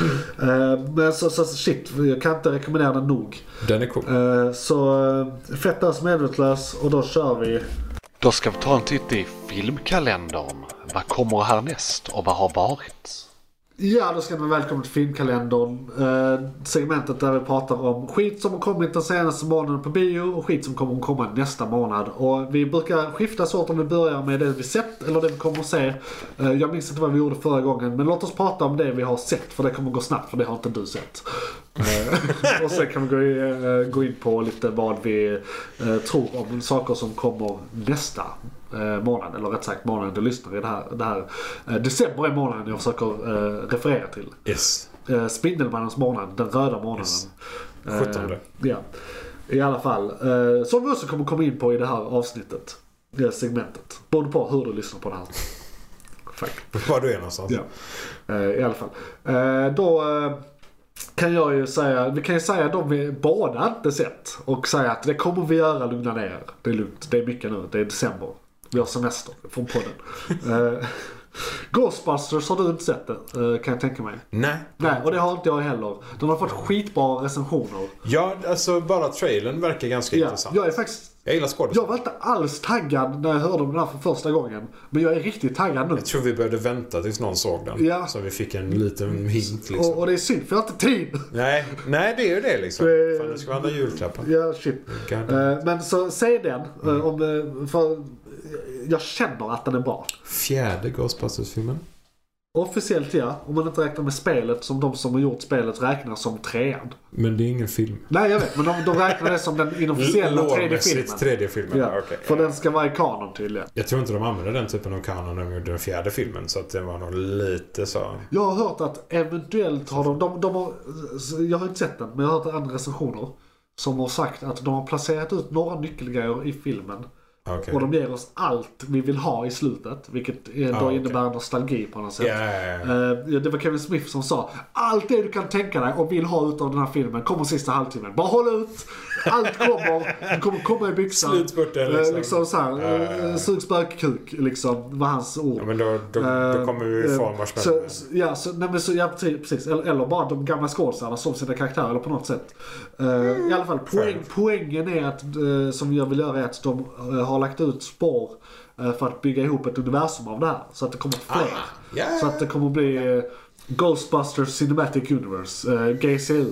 Speaker 3: Eh, men så, så shit, jag kan inte rekommendera den nog.
Speaker 4: Den är cool.
Speaker 3: Eh, så uh, fettas medvetslös och då kör vi.
Speaker 11: Då ska vi ta en titt i filmkalendern. Vad kommer härnäst och vad har varit?
Speaker 3: Ja, då ska ni vara välkomna till filmkalendern. Eh, segmentet där vi pratar om skit som har kommit den senaste månaden på bio och skit som kommer att komma nästa månad. Och vi brukar skifta så att om vi börjar med det vi sett eller det vi kommer att se. Eh, jag minns inte vad vi gjorde förra gången, men låt oss prata om det vi har sett för det kommer gå snabbt för det har inte du sett. Eh, och sen kan vi gå, i- eh, gå in på lite vad vi eh, tror om saker som kommer nästa eh, månad. Eller rätt sagt månaden du lyssnar i det här. Det här. Eh, december är månaden jag försöker eh, referera till.
Speaker 4: Yes.
Speaker 3: Eh, Spindelmannens månad, den röda månaden. Eh,
Speaker 4: 17.
Speaker 3: ja. I alla fall. Eh, som vi också kommer komma in på i det här avsnittet. Det segmentet. Beroende på hur du lyssnar på det här. Faktiskt.
Speaker 4: Var du är någonstans.
Speaker 3: Ja. Eh, I alla fall. Eh, Då eh, kan jag ju säga, vi kan ju säga att de vi båda inte sett och säga att det kommer vi göra, lugna ner er. Det är lugnt, det är mycket nu, det är december. Vi har semester från podden. Eh, Ghostbusters har du inte sett det, eh, kan jag tänka mig.
Speaker 4: Nej.
Speaker 3: Nej, och det har inte jag heller. Den har fått skitbara recensioner.
Speaker 4: Ja, alltså bara trailern verkar ganska
Speaker 3: Ja,
Speaker 4: intressant.
Speaker 3: jag är faktiskt...
Speaker 4: Jag gillar skådespel.
Speaker 3: Jag var inte alls taggad när jag hörde om den här för första gången. Men jag är riktigt taggad nu.
Speaker 4: Jag tror vi behövde vänta tills någon såg den.
Speaker 3: Ja.
Speaker 4: Så vi fick en liten hint liksom.
Speaker 3: Och, och det är synd för jag har inte tid.
Speaker 4: Nej, nej, det är ju det liksom.
Speaker 3: Det-
Speaker 4: Fan, nu ska vi handla julklappar.
Speaker 3: Ja, shit.
Speaker 4: Kan-
Speaker 3: Eh, Men så säg den. eh, Om, eh, för jag känner att den är bra.
Speaker 4: Fjärde Ghostbusters-filmen.
Speaker 3: Officiellt ja, om man inte räknar med spelet som de som har gjort spelet räknar som trean.
Speaker 4: Men det är ingen film.
Speaker 3: Nej jag vet, men de, de räknar det som den inofficiella tredje filmen.
Speaker 4: Lårmässigt tredje filmen.
Speaker 3: Ja,
Speaker 4: okej.
Speaker 3: För den ska vara i kanon tydligen.
Speaker 4: Jag tror inte de använde den typen av kanon när de gjorde den fjärde filmen. Så att det var nog lite så.
Speaker 3: Jag har hört att eventuellt har de, de, de har, jag har inte sett den, men jag har hört andra recensioner. Som har sagt att de har placerat ut några nyckelgrejer i filmen.
Speaker 4: Okej.
Speaker 3: Och de ger oss allt vi vill ha i slutet. Vilket eh, då
Speaker 4: Ah, okej.
Speaker 3: innebär nostalgi på något sätt.
Speaker 4: Ja, ja, ja.
Speaker 3: Eh, ja, det var Kevin Smith som sa allt det du kan tänka dig och vill ha utav den här filmen kommer sista halvtimmen. Bara håll ut! Allt kommer. Det kommer komma i byxan.
Speaker 4: Slutspurten,
Speaker 3: Eh,
Speaker 4: liksom.
Speaker 3: liksom så här,
Speaker 4: Ja, ja, ja.
Speaker 3: eh, Sugs bökkuk, liksom. var hans ord.
Speaker 4: Ja, men då, då, då
Speaker 3: Eh,
Speaker 4: kommer vi ju
Speaker 3: eh,
Speaker 4: få
Speaker 3: så,
Speaker 4: marshmallow.
Speaker 3: så, ja, så, nej, men så, ja, precis, precis. Eller, eller bara de gamla skådisarna som sina karaktärer eller på något sätt. Eh, I alla fall, poäng, poängen är att, eh, som jag vill göra är att de eh, har lagt ut spår eh, för att bygga ihop ett universum av det här. Så att det kommer fler.
Speaker 4: ja.
Speaker 3: Så att det kommer bli eh, Ghostbusters Cinematic Universe, eh, GCU.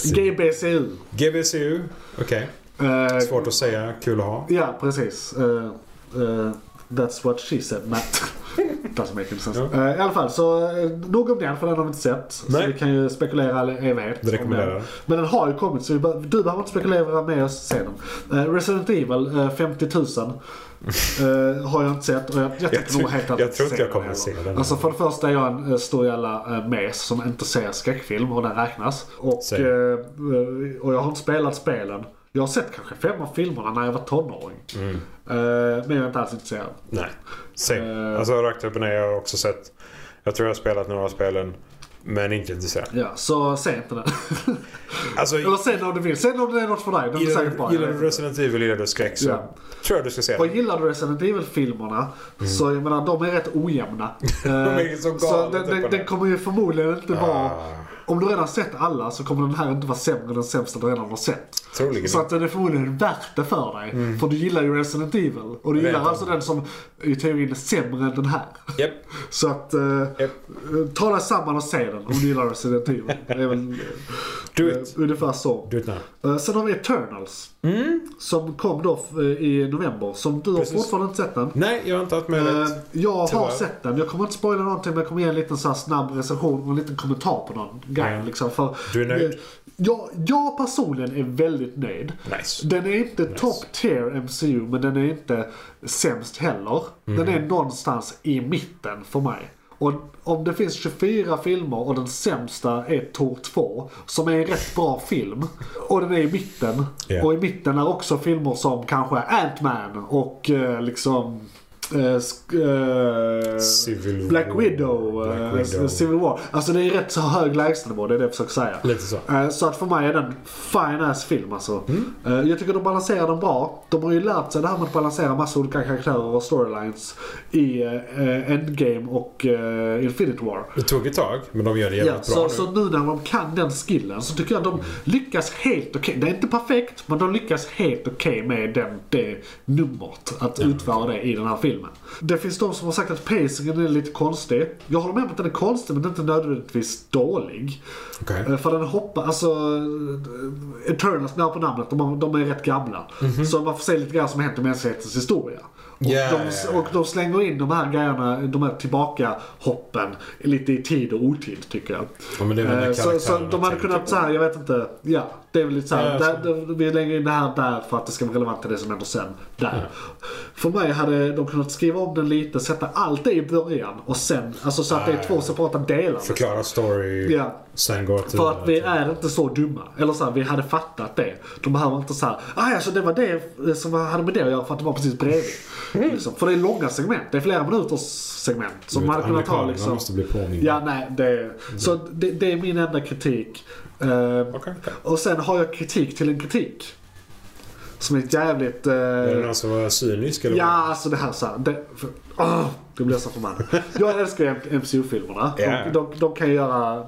Speaker 3: GBCU.
Speaker 4: GBCU. Okej.
Speaker 3: Eh,
Speaker 4: Svårt att säga. Kul att ha.
Speaker 3: Ja, precis. Eh, eh, that's what she said, Matt. Doesn't make any sense. Eh, I alla fall, så eh, nog om den för den har vi inte sett. Så
Speaker 4: Nej.
Speaker 3: vi kan ju spekulera all evighet. om den.
Speaker 4: rekommenderar jag.
Speaker 3: Men den har ju kommit så vi bör, du behöver inte spekulera med oss sen. Eh, Resident Evil eh, 50 000 eh, har jag inte sett och jag, jag
Speaker 4: Jag,
Speaker 3: tänker nog helt
Speaker 4: tror-
Speaker 3: att
Speaker 4: jag tror inte
Speaker 3: se
Speaker 4: jag kommer
Speaker 3: den
Speaker 4: att se
Speaker 3: heller.
Speaker 4: den.
Speaker 3: Alltså för det första är jag en eh, stor jävla eh, mes som inte ser skräckfilm och den räknas. Och,
Speaker 4: Same.
Speaker 3: eh, eh, och jag har inte spelat spelen. Jag har sett kanske fem av filmerna när jag var tonåring.
Speaker 4: Mm.
Speaker 3: Eh, Men jag är inte alls intresserad.
Speaker 4: Nej. Same.
Speaker 3: Eh.
Speaker 4: Alltså rakt upp och ner har jag också sett. Jag tror jag har spelat några av spelen. Men inte intresserad.
Speaker 3: Ja, så se inte den.
Speaker 4: Alltså,
Speaker 3: Eller se den om du vill. Se den om det är något för dig. Den är säkert
Speaker 4: gillar,
Speaker 3: bra. jag
Speaker 4: gillar
Speaker 3: vet
Speaker 4: du
Speaker 3: inte.
Speaker 4: Resident Evil, gillar du skräck så
Speaker 3: Ja.
Speaker 4: tror jag du ska se
Speaker 3: Och
Speaker 4: den.
Speaker 3: gillar du Resident Evil-filmerna så jag menar de är rätt ojämna. de
Speaker 4: Mm. är så typ, galet
Speaker 3: den,
Speaker 4: upp
Speaker 3: den,
Speaker 4: och ner.
Speaker 3: den kommer ju förmodligen inte vara...
Speaker 4: Ah.
Speaker 3: Om du redan sett alla så kommer den här inte vara sämre än den sämsta du redan har sett.
Speaker 4: Troligen.
Speaker 3: Så att den är förmodligen värt det för dig.
Speaker 4: Mm.
Speaker 3: För du gillar ju Resident Evil. Och du gillar
Speaker 4: Redan.
Speaker 3: alltså den som i teorin är sämre än den här.
Speaker 4: Japp.
Speaker 3: Så att... Eh,
Speaker 4: Japp.
Speaker 3: Ta dig samman och se den om du gillar Resident Evil. Det är väl
Speaker 4: Do
Speaker 3: eh,
Speaker 4: it.
Speaker 3: ungefär så.
Speaker 4: Do it Mm. now.
Speaker 3: Eh, Sen har vi Eternals. Som kom då eh, i november. Som du har fortfarande inte sett den.
Speaker 4: Nej, jag har inte haft möjlighet.
Speaker 3: Eh, jag har
Speaker 4: Tyvärr.
Speaker 3: sett den. Jag kommer inte spoila någonting men jag kommer ge en liten så här snabb recension och en liten kommentar på någon grej.
Speaker 4: Mm.
Speaker 3: Liksom, för,
Speaker 4: Du är nöjd?
Speaker 3: Eh, jag, jag personligen är väldigt nöjd.
Speaker 4: Nice.
Speaker 3: Den är inte top tier MCU men den är inte sämst heller. Den är någonstans i mitten för mig. Och om det finns 24 filmer och den sämsta är Tor 2 som är en rätt bra film och den är i mitten.
Speaker 4: Ja.
Speaker 3: Och i mitten är också filmer som kanske Ant-Man och eh, liksom eh, sk- eh,
Speaker 4: Civil
Speaker 3: Black
Speaker 4: War.
Speaker 3: Widow,
Speaker 4: Black
Speaker 3: eh,
Speaker 4: Widow.
Speaker 3: Civil War. Alltså det är rätt så hög lägstanivå, det är det jag försöker säga.
Speaker 4: Lite så. Mm.
Speaker 3: Eh, Så att för mig är den fine ass film alltså. Eh, Jag tycker de balanserar den bra. De har ju lärt sig det här med att balansera massa olika karaktärer och storylines i eh, Endgame och eh, Infinity War.
Speaker 4: Det tog ett tag, men de gör det
Speaker 3: Ja,
Speaker 4: jävligt
Speaker 3: så,
Speaker 4: bra
Speaker 3: så
Speaker 4: nu.
Speaker 3: nu när de kan den skillen så tycker jag att de lyckas helt okej. Det är inte perfekt, men de lyckas helt okej med den, det numret. Att utföra det i den här filmen. Det finns de som har sagt att pacingen är lite konstig. Jag håller med om att den är konstig, men den är inte nödvändigtvis dålig.
Speaker 4: Okej.
Speaker 3: Eh, För den hoppar, alltså eh, Eternals, när på namnet, de, har- de är rätt gamla. Så man får se lite grann som hänt i mänsklighetens historia. Och,
Speaker 4: Mhm. Ja,
Speaker 3: de,
Speaker 4: ja, ja.
Speaker 3: och de slänger in de här grejerna, de här tillbaka-hoppen lite i tid och otid tycker jag.
Speaker 4: Ja, men det är väl när
Speaker 3: Eh, så, så
Speaker 4: karaktärerna
Speaker 3: de hade
Speaker 4: tänker
Speaker 3: kunnat
Speaker 4: på.
Speaker 3: såhär, jag vet inte. Ja, det är väl lite såhär.
Speaker 4: Ja,
Speaker 3: där, där, vi lägger in det här där för att det ska vara relevant till det som händer sen. Där. För mig hade de kunnat skriva om den lite, sätta allt det i början och sen. Alltså så att det är två separata delar.
Speaker 4: Förklara story.
Speaker 3: Ja.
Speaker 4: Sen går till...
Speaker 3: För att vi är inte så dumma. Eller så här, vi hade fattat det. De behöver inte såhär, ah, alltså det var det som hade med det att göra för att det var precis bredvid.
Speaker 4: Mm.
Speaker 3: Liksom. För det är långa segment, det är flera minuters segment. Som man hade kunnat ta
Speaker 4: Amerikanerna
Speaker 3: liksom.
Speaker 4: måste bli påminna.
Speaker 3: Ja, nej, det, så det, det är min enda kritik. Eh,
Speaker 4: Okej, okej.
Speaker 3: Och sen har jag kritik till en kritik. Som är jävligt...
Speaker 4: Är det
Speaker 3: Eh,
Speaker 4: någon som var cynisk eller?
Speaker 3: ja, alltså det här så här, det, för, åh, det blir så förbannat. Jag älskar ju MCU-filmerna.
Speaker 4: Ja.
Speaker 3: De, de, de kan ju göra...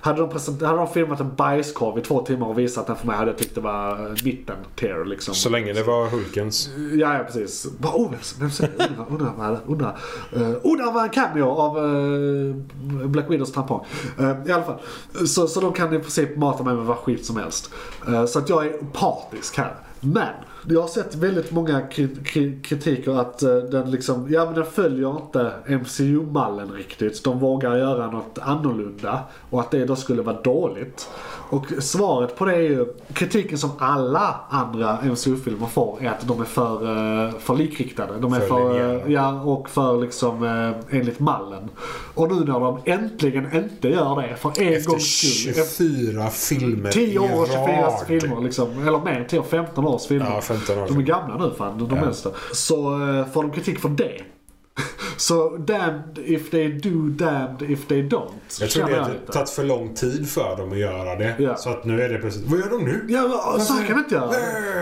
Speaker 3: Hade de, present, hade de filmat en bajskorv i två timmar och visat den för mig hade jag tyckt det var eh, mitten tier liksom.
Speaker 4: Så länge det var Hulkens.
Speaker 3: Ja, ja precis. Bara, oh, vem, vem säger det? Undrar, undrar vad det undrar. Uh, undrar vad en cameo av eh, Black Widows tampong. Eh, I alla fall. Så, så de kan i princip mata mig med vad skit som helst. Eh, så att jag är partisk här. Men jag har sett väldigt många kri- kri- kritiker att eh, den liksom, ja men den följer inte MCU-mallen riktigt. De vågar göra något annorlunda och att det då skulle vara dåligt. Och svaret på det är ju, kritiken som alla andra MCU-filmer får är att de är för, eh, för likriktade. De är
Speaker 4: För
Speaker 3: för,
Speaker 4: linjära.
Speaker 3: eh, ja, och för liksom eh, enligt mallen. Och nu när de äntligen inte gör det för en
Speaker 2: Efter
Speaker 3: gångs skull. eh,
Speaker 2: 24 filmer
Speaker 3: 10 år och
Speaker 2: i
Speaker 3: 24
Speaker 2: rad.
Speaker 3: filmer liksom. Eller mer, 10 och 15 års filmer.
Speaker 4: Ja, 15 år.
Speaker 3: De är gamla nu fan, de äldsta. Så eh, får de kritik för det. Så damned if they do, damned if they don't.
Speaker 4: Jag tror
Speaker 3: Känner
Speaker 4: det har
Speaker 3: lite.
Speaker 4: tagit för lång tid för dem att göra det.
Speaker 3: Ja.
Speaker 4: Så att nu är det plötsligt, vad gör de nu?
Speaker 3: Ja, men, så här kan vi inte göra.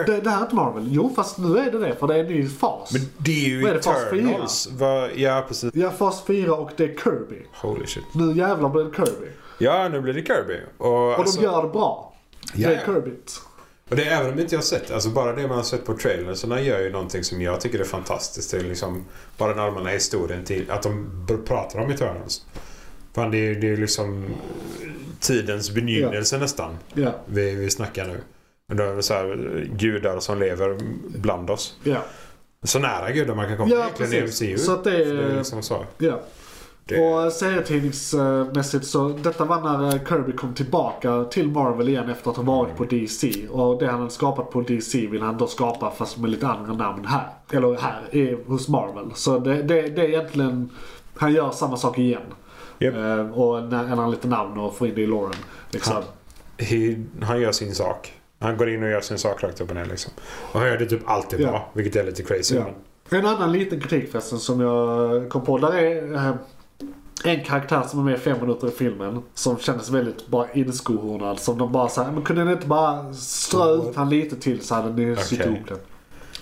Speaker 3: Det, det här är inte Marvel. Jo, fast nu är det det för det är en ny fas.
Speaker 4: Men det är ju
Speaker 3: Vad är det, fas fyra?
Speaker 4: Eternals. Va, ja, precis.
Speaker 3: Ja, fas 4 och det är Kirby.
Speaker 4: Holy shit.
Speaker 3: Nu jävlar blir det Kirby.
Speaker 4: Ja, nu blir det Kirby. Och,
Speaker 3: Och
Speaker 4: alltså,
Speaker 3: de gör det bra. Det
Speaker 4: Ja.
Speaker 3: är Kirbyt.
Speaker 4: och det är även om inte jag har sett det. Alltså bara det man har sett på trailerserna gör ju någonting som jag tycker är fantastiskt. Det är liksom bara den allmänna historien till att de b- pratar om Eternals. Fan, det är ju det är ju liksom eh, tidens begynnelse nästan.
Speaker 3: Ja,
Speaker 4: Vi, vi snackar nu. Men då är det så här, eh, gudar som lever bland oss.
Speaker 3: ja,
Speaker 4: Så nära gudar man kan komma
Speaker 3: Ja,
Speaker 4: egentligen i
Speaker 3: precis.
Speaker 4: MCU.
Speaker 3: Så att det är-
Speaker 4: det är liksom så.
Speaker 3: ja.
Speaker 4: Det-
Speaker 3: Och eh, serietidningsmässigt så detta var när eh, Kirby kom tillbaka till Marvel igen efter att ha varit på DC. Och det han hade skapat på DC vill han då skapa fast med lite andra namn här. Eller här, i, hos Marvel. Så det, det, det är egentligen, han gör samma sak igen.
Speaker 4: Japp.
Speaker 3: Eh, och en- ändrar lite namn och får in det i Lauren. Liksom.
Speaker 4: Han- He, han gör sin sak. Han går in och gör sin sak rakt upp och ner liksom. Och han gör det typ alltid
Speaker 3: Ja.
Speaker 4: bra. Vilket är lite crazy.
Speaker 3: Ja. En annan liten kritik förresten som jag kom på. Där är eh, en karaktär som är med i fem minuter i filmen. Som kändes väldigt bara inskohornad. Som de bara såhär, men kunde ni inte bara strö ut han lite till så hade ni sytt
Speaker 4: Okej.
Speaker 3: ihop det.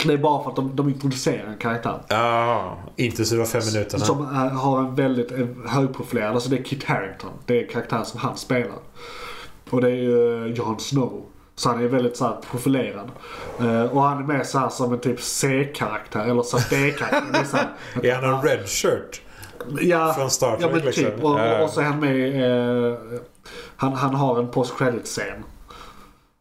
Speaker 3: Det är bara för att de, de introducerar en karaktär.
Speaker 4: Ja, intensiva fem minuterna.
Speaker 3: Som eh, har en väldigt eh, högprofilerad, alltså det är Kit Harington. Det är karaktären som han spelar. Och det är ju eh, Jon Snow. Så han är väldigt så här profilerad. Eh, och han är med så här som en typ C-karaktär eller så här D-karaktär. Det är så här-
Speaker 4: Är han en red shirt?
Speaker 3: ja,
Speaker 4: Från Star Trek,
Speaker 3: ja, men typ.
Speaker 4: liksom.
Speaker 3: Och,
Speaker 4: Ja.
Speaker 3: och, och så är han med i, eh, han, han har en post credit scen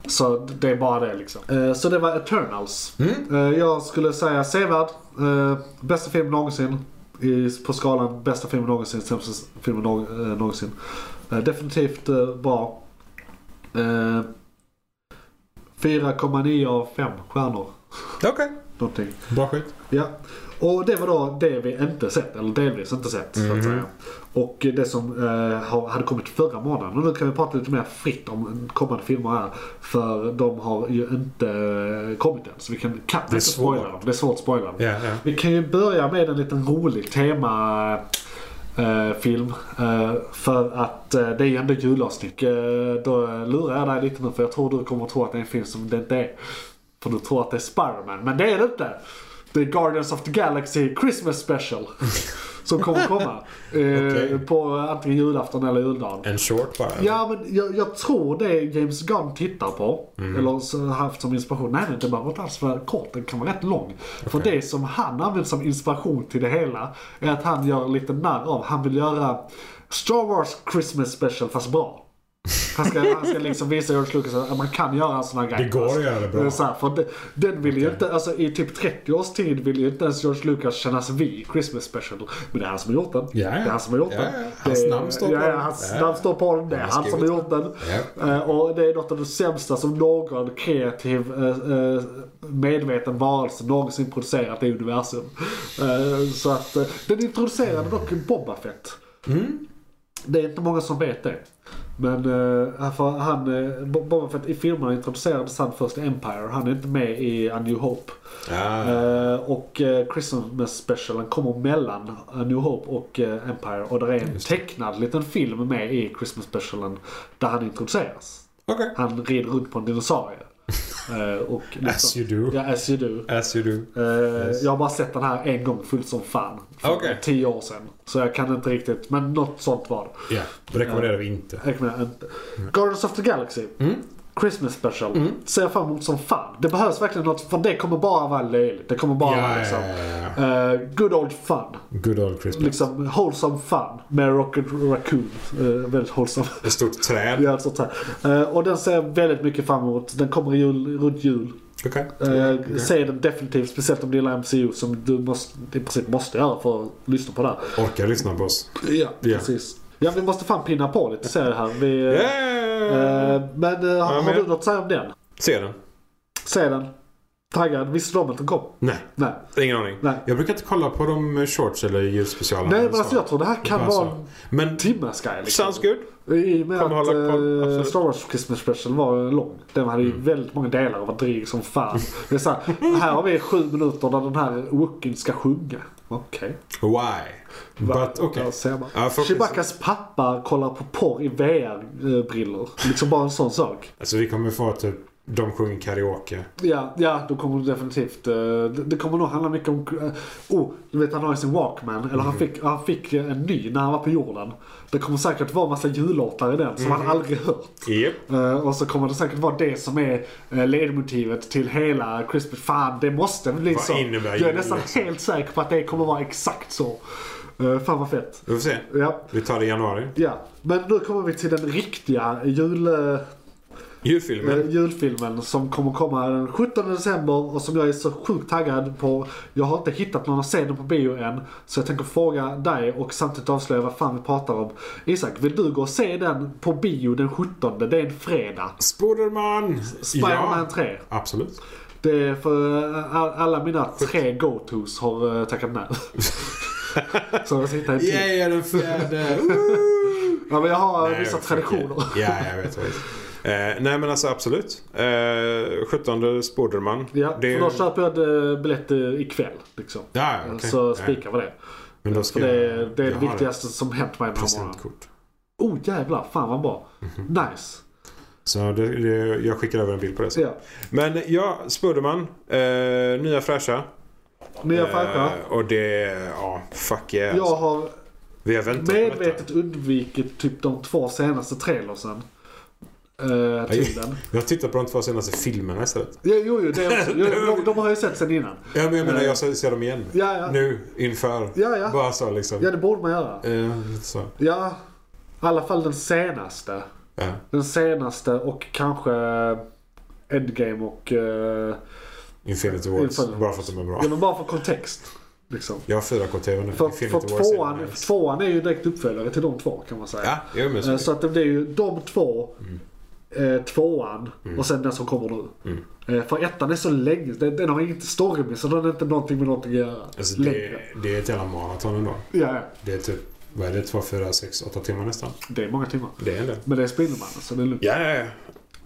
Speaker 3: Så det är bara det liksom. Eh, så det var Eternals.
Speaker 4: Mm.
Speaker 3: Eh, jag skulle säga sevärd. Eh, bästa film någonsin. I, på skalan bästa film någonsin, sämsta film nå, eh, någonsin. Eh, definitivt eh, bra. Eh, 4,9 av 5 stjärnor.
Speaker 4: Okej.
Speaker 3: Någonting.
Speaker 4: Bra skit.
Speaker 3: Ja, och det var då det vi inte sett, eller delvis inte sett så att säga. Och det som eh, har- hade kommit förra månaden. Och nu kan vi prata lite mer fritt om kommande filmer här. För de har ju inte eh, kommit än. Så vi kan, kan inte spoila
Speaker 4: svårt.
Speaker 3: dem. Det är svårt att spoila dem.
Speaker 4: Ja, ja.
Speaker 3: Vi kan ju börja med en liten rolig tema eh, film. Eh, för att eh, det är ju ändå julavsnitt. Eh, då lurar jag dig lite nu för jag tror du kommer att tro att det är en film som det inte är. För du tror att det är Spiderman, men det är det inte. Det är Guardians of the Galaxy Christmas Special. som kommer komma. Eh,
Speaker 4: Okej.
Speaker 3: På antingen julafton eller juldagen.
Speaker 4: En short bara?
Speaker 3: Ja, men jag, jag tror det James Gunn tittar på.
Speaker 4: Mm.
Speaker 3: Eller så har haft som inspiration. Nej, nej, det behöver inte alls vara kort. Den kan vara rätt lång. För det som han använder som inspiration till det hela är att han gör lite narr av. Han vill göra Star Wars Christmas Special fast bra. Han ska, han ska liksom visa George Lucas att man kan göra en sån här grej.
Speaker 4: Det går att göra det bra.
Speaker 3: är Så här, för det, den vill ju inte, alltså i typ 30 års tid vill ju inte ens George Lucas kännas vid Christmas Special. Men det är han som har gjort den.
Speaker 4: Ja, ja.
Speaker 3: Det är han som har gjort
Speaker 4: Ja,
Speaker 3: den.
Speaker 4: ja. Hans
Speaker 3: Det-
Speaker 4: namn står på
Speaker 3: ja, ja,
Speaker 4: den.
Speaker 3: hans
Speaker 4: Ja.
Speaker 3: namn står på den. Det är
Speaker 4: Han
Speaker 3: han som har
Speaker 4: skrivit.
Speaker 3: gjort den.
Speaker 4: Ja.
Speaker 3: Eh, Och det är något av det sämsta som någon kreativ eh, eh, medveten varelse någonsin producerat i universum. Eh, Så att eh, den introducerade dock Boba Fett.
Speaker 4: Mm.
Speaker 3: Det är inte många som vet det. Men eh, för han, eh, Bo- Boba Fett i filmerna introducerades han först i Empire. Han är inte med i A New Hope.
Speaker 4: Ja.
Speaker 3: Eh, och eh, Christmas specialen kommer mellan A New Hope och eh, Empire. Och där är en tecknad liten film med i Christmas specialen där han introduceras.
Speaker 4: Okej.
Speaker 3: Han rider runt på en dinosaurie. Eh, och
Speaker 4: As you do.
Speaker 3: Ja, as you do.
Speaker 4: As you do.
Speaker 3: Eh, Jag har bara sett den här en gång fullt som fan. För
Speaker 4: Okej.
Speaker 3: tio år sedan. Så jag kan inte riktigt, men något sånt var det.
Speaker 4: Ja, det rekommenderar vi inte.
Speaker 3: Jag kan inte.
Speaker 4: Mm.
Speaker 3: Guardians of the Galaxy. Christmas special. Ser jag fram emot som fan. Det behövs verkligen något, för det kommer bara vara löjligt. Det kommer bara vara
Speaker 4: Ja,
Speaker 3: liksom,
Speaker 4: ja, ja,
Speaker 3: eh, good old fun.
Speaker 4: Good old Christmas.
Speaker 3: Liksom wholesome fun. Med Rocket Raccoon. Eh, väldigt wholesome.
Speaker 4: Ett stort träd.
Speaker 3: Ja, sånt här. Eh, och den ser jag väldigt mycket fram emot. Den kommer i jul, runt jul.
Speaker 4: Okej.
Speaker 3: Eh, Se den definitivt, speciellt om du gillar MCU som du måste, i princip måste göra för att lyssna på det här.
Speaker 4: Orkar lyssna på oss.
Speaker 3: Ja,
Speaker 4: Ja.
Speaker 3: precis. Ja, vi måste fan pinna på lite serier här. Vi, eh,
Speaker 4: Yeah.
Speaker 3: eh, men eh, har, har
Speaker 4: men-
Speaker 3: du något att säga om den?
Speaker 4: Ser den?
Speaker 3: Se den. Taggad. Visste du om att den kom?
Speaker 4: Nej,
Speaker 3: Nej.
Speaker 4: ingen aning.
Speaker 3: Nej.
Speaker 4: Jag brukar inte kolla på de shorts eller ljusspecialerna.
Speaker 3: Nej, men
Speaker 4: Så.
Speaker 3: alltså jag tror det här kan
Speaker 4: Bara så.
Speaker 3: vara en
Speaker 4: Men
Speaker 3: timmes grej. Liksom.
Speaker 4: sounds good.
Speaker 3: I och med
Speaker 4: Kommer
Speaker 3: att
Speaker 4: hålla koll,
Speaker 3: eh,
Speaker 4: absolut. Mm.
Speaker 3: Star Wars Christmas Special var lång. Den hade ju väldigt många delar och var dryg som fan. Det är så här, här har vi sju minuter där den här Wookien ska sjunga. Okej.
Speaker 4: Why? But okay.
Speaker 3: Där ser man.
Speaker 4: Ja, förhoppningsvis-
Speaker 3: Chewbaccas pappa kollar på porr i VR-brillor. Liksom bara en sån sak.
Speaker 4: Alltså vi kommer få typ de sjunger karaoke.
Speaker 3: Ja, ja då kommer det definitivt... eh, Det, det kommer nog handla mycket om... eh, Oh, du vet han har ju sin Walkman. Eller
Speaker 4: Mm.
Speaker 3: han fick, han fick eh, en ny när han var på jorden. Det kommer säkert vara en massa jullåtar i den som
Speaker 4: Mm.
Speaker 3: han aldrig hört.
Speaker 4: Yep.
Speaker 3: Eh, och så kommer det säkert vara det som är eh, ledmotivet till hela Christmas. Fan, det måste bli
Speaker 4: Vad
Speaker 3: så.
Speaker 4: innebär
Speaker 3: Jag är
Speaker 4: jul,
Speaker 3: nästan
Speaker 4: liksom?
Speaker 3: helt säker på att det kommer vara exakt så. Uh, fan vad fett.
Speaker 4: Vi får se.
Speaker 3: Ja,
Speaker 4: Vi tar det i januari.
Speaker 3: ja. Men nu kommer vi till den riktiga jul, eh,
Speaker 4: Julfilmen.
Speaker 3: eh, julfilmen som kommer komma den 17 december och som jag är så sjukt taggad på. Jag har inte hittat någon att se den på bio än. Så jag tänker fråga dig och samtidigt avslöja vad fan vi pratar om. Isak, vill du gå och se den på bio den 17? Det är en fredag.
Speaker 4: Spoderman!
Speaker 3: Spider-Man
Speaker 4: Ja,
Speaker 3: 3.
Speaker 4: absolut.
Speaker 3: Det är för eh, all- alla mina tre go-tos har eh, tackat nej. Så jag sitter helt yeah.
Speaker 4: Yay, den fjärde!
Speaker 3: ja, men Jag har
Speaker 4: Nej,
Speaker 3: vissa
Speaker 4: jag försöker.
Speaker 3: traditioner.
Speaker 4: Ja, jag vet. Jag vet. Eh, nej men alltså absolut. Eh, 17 Spoderman.
Speaker 3: Ja,
Speaker 4: Det är-
Speaker 3: för då köper jag eh, biljetter ikväll. Liksom.
Speaker 4: Ja, ja, okej.
Speaker 3: Så
Speaker 4: Ja.
Speaker 3: spikar vi det.
Speaker 4: Men då ska
Speaker 3: För det,
Speaker 4: jag-
Speaker 3: det är
Speaker 4: jag
Speaker 3: det
Speaker 4: har
Speaker 3: viktigaste som hänt mig den här månaden.
Speaker 4: Presentkort.
Speaker 3: Oh jävlar, fan vad bra.
Speaker 4: Mhm.
Speaker 3: Nice.
Speaker 4: Så det, det, jag skickar över en bild på det. sen.
Speaker 3: Ja.
Speaker 4: Men ja, Spoderman. Eh, nya fräscha.
Speaker 3: Nya färger.
Speaker 4: Eh, och det, ja, fuck yeah.
Speaker 3: Jag har
Speaker 4: Vi har väntat på detta.
Speaker 3: medvetet undvikit typ de två senaste trailersen. Uh, till den.
Speaker 4: Jag tittar på de två senaste filmerna istället.
Speaker 3: Jo, jo, jo, det är också. Jo, de, de har jag ju sett sen innan.
Speaker 4: Ja, men jag menar, jag ser, ser dem igen.
Speaker 3: Ja, ja.
Speaker 4: Nu, inför.
Speaker 3: Ja, ja.
Speaker 4: Bara så liksom.
Speaker 3: Ja, det borde man göra.
Speaker 4: Eh, lite så.
Speaker 3: Ja, i alla fall den senaste.
Speaker 4: Ja.
Speaker 3: Den senaste och kanske eh, Endgame och... eh,
Speaker 4: Infinity Wars.
Speaker 3: Infinity
Speaker 4: Bara för att de är bra.
Speaker 3: ja, men bara för kontext. Liksom.
Speaker 4: Jag har 4K-TV nu.
Speaker 3: För,
Speaker 4: Infinity
Speaker 3: för
Speaker 4: Wars är
Speaker 3: tvåan,
Speaker 4: nice.
Speaker 3: tvåan är ju direkt uppföljare till de två kan man säga.
Speaker 4: Ja, Mm. jag är med.
Speaker 3: Eh, Så att det blir ju de två, eh, tvåan
Speaker 4: Mm.
Speaker 3: och sen den som kommer nu. Eh, för ettan är så länge, den, den har inget story så den har inte någonting med någonting att göra.
Speaker 4: Alltså, det, det är ett jävla maraton ändå.
Speaker 3: Ja, ja.
Speaker 4: Det är typ, vad är det? 2, 4, 6, 8 timmar nästan.
Speaker 3: det är många timmar.
Speaker 4: Det är en del.
Speaker 3: Men det är Spindelmannen så det är lugnt.
Speaker 4: Ja, ja, ja.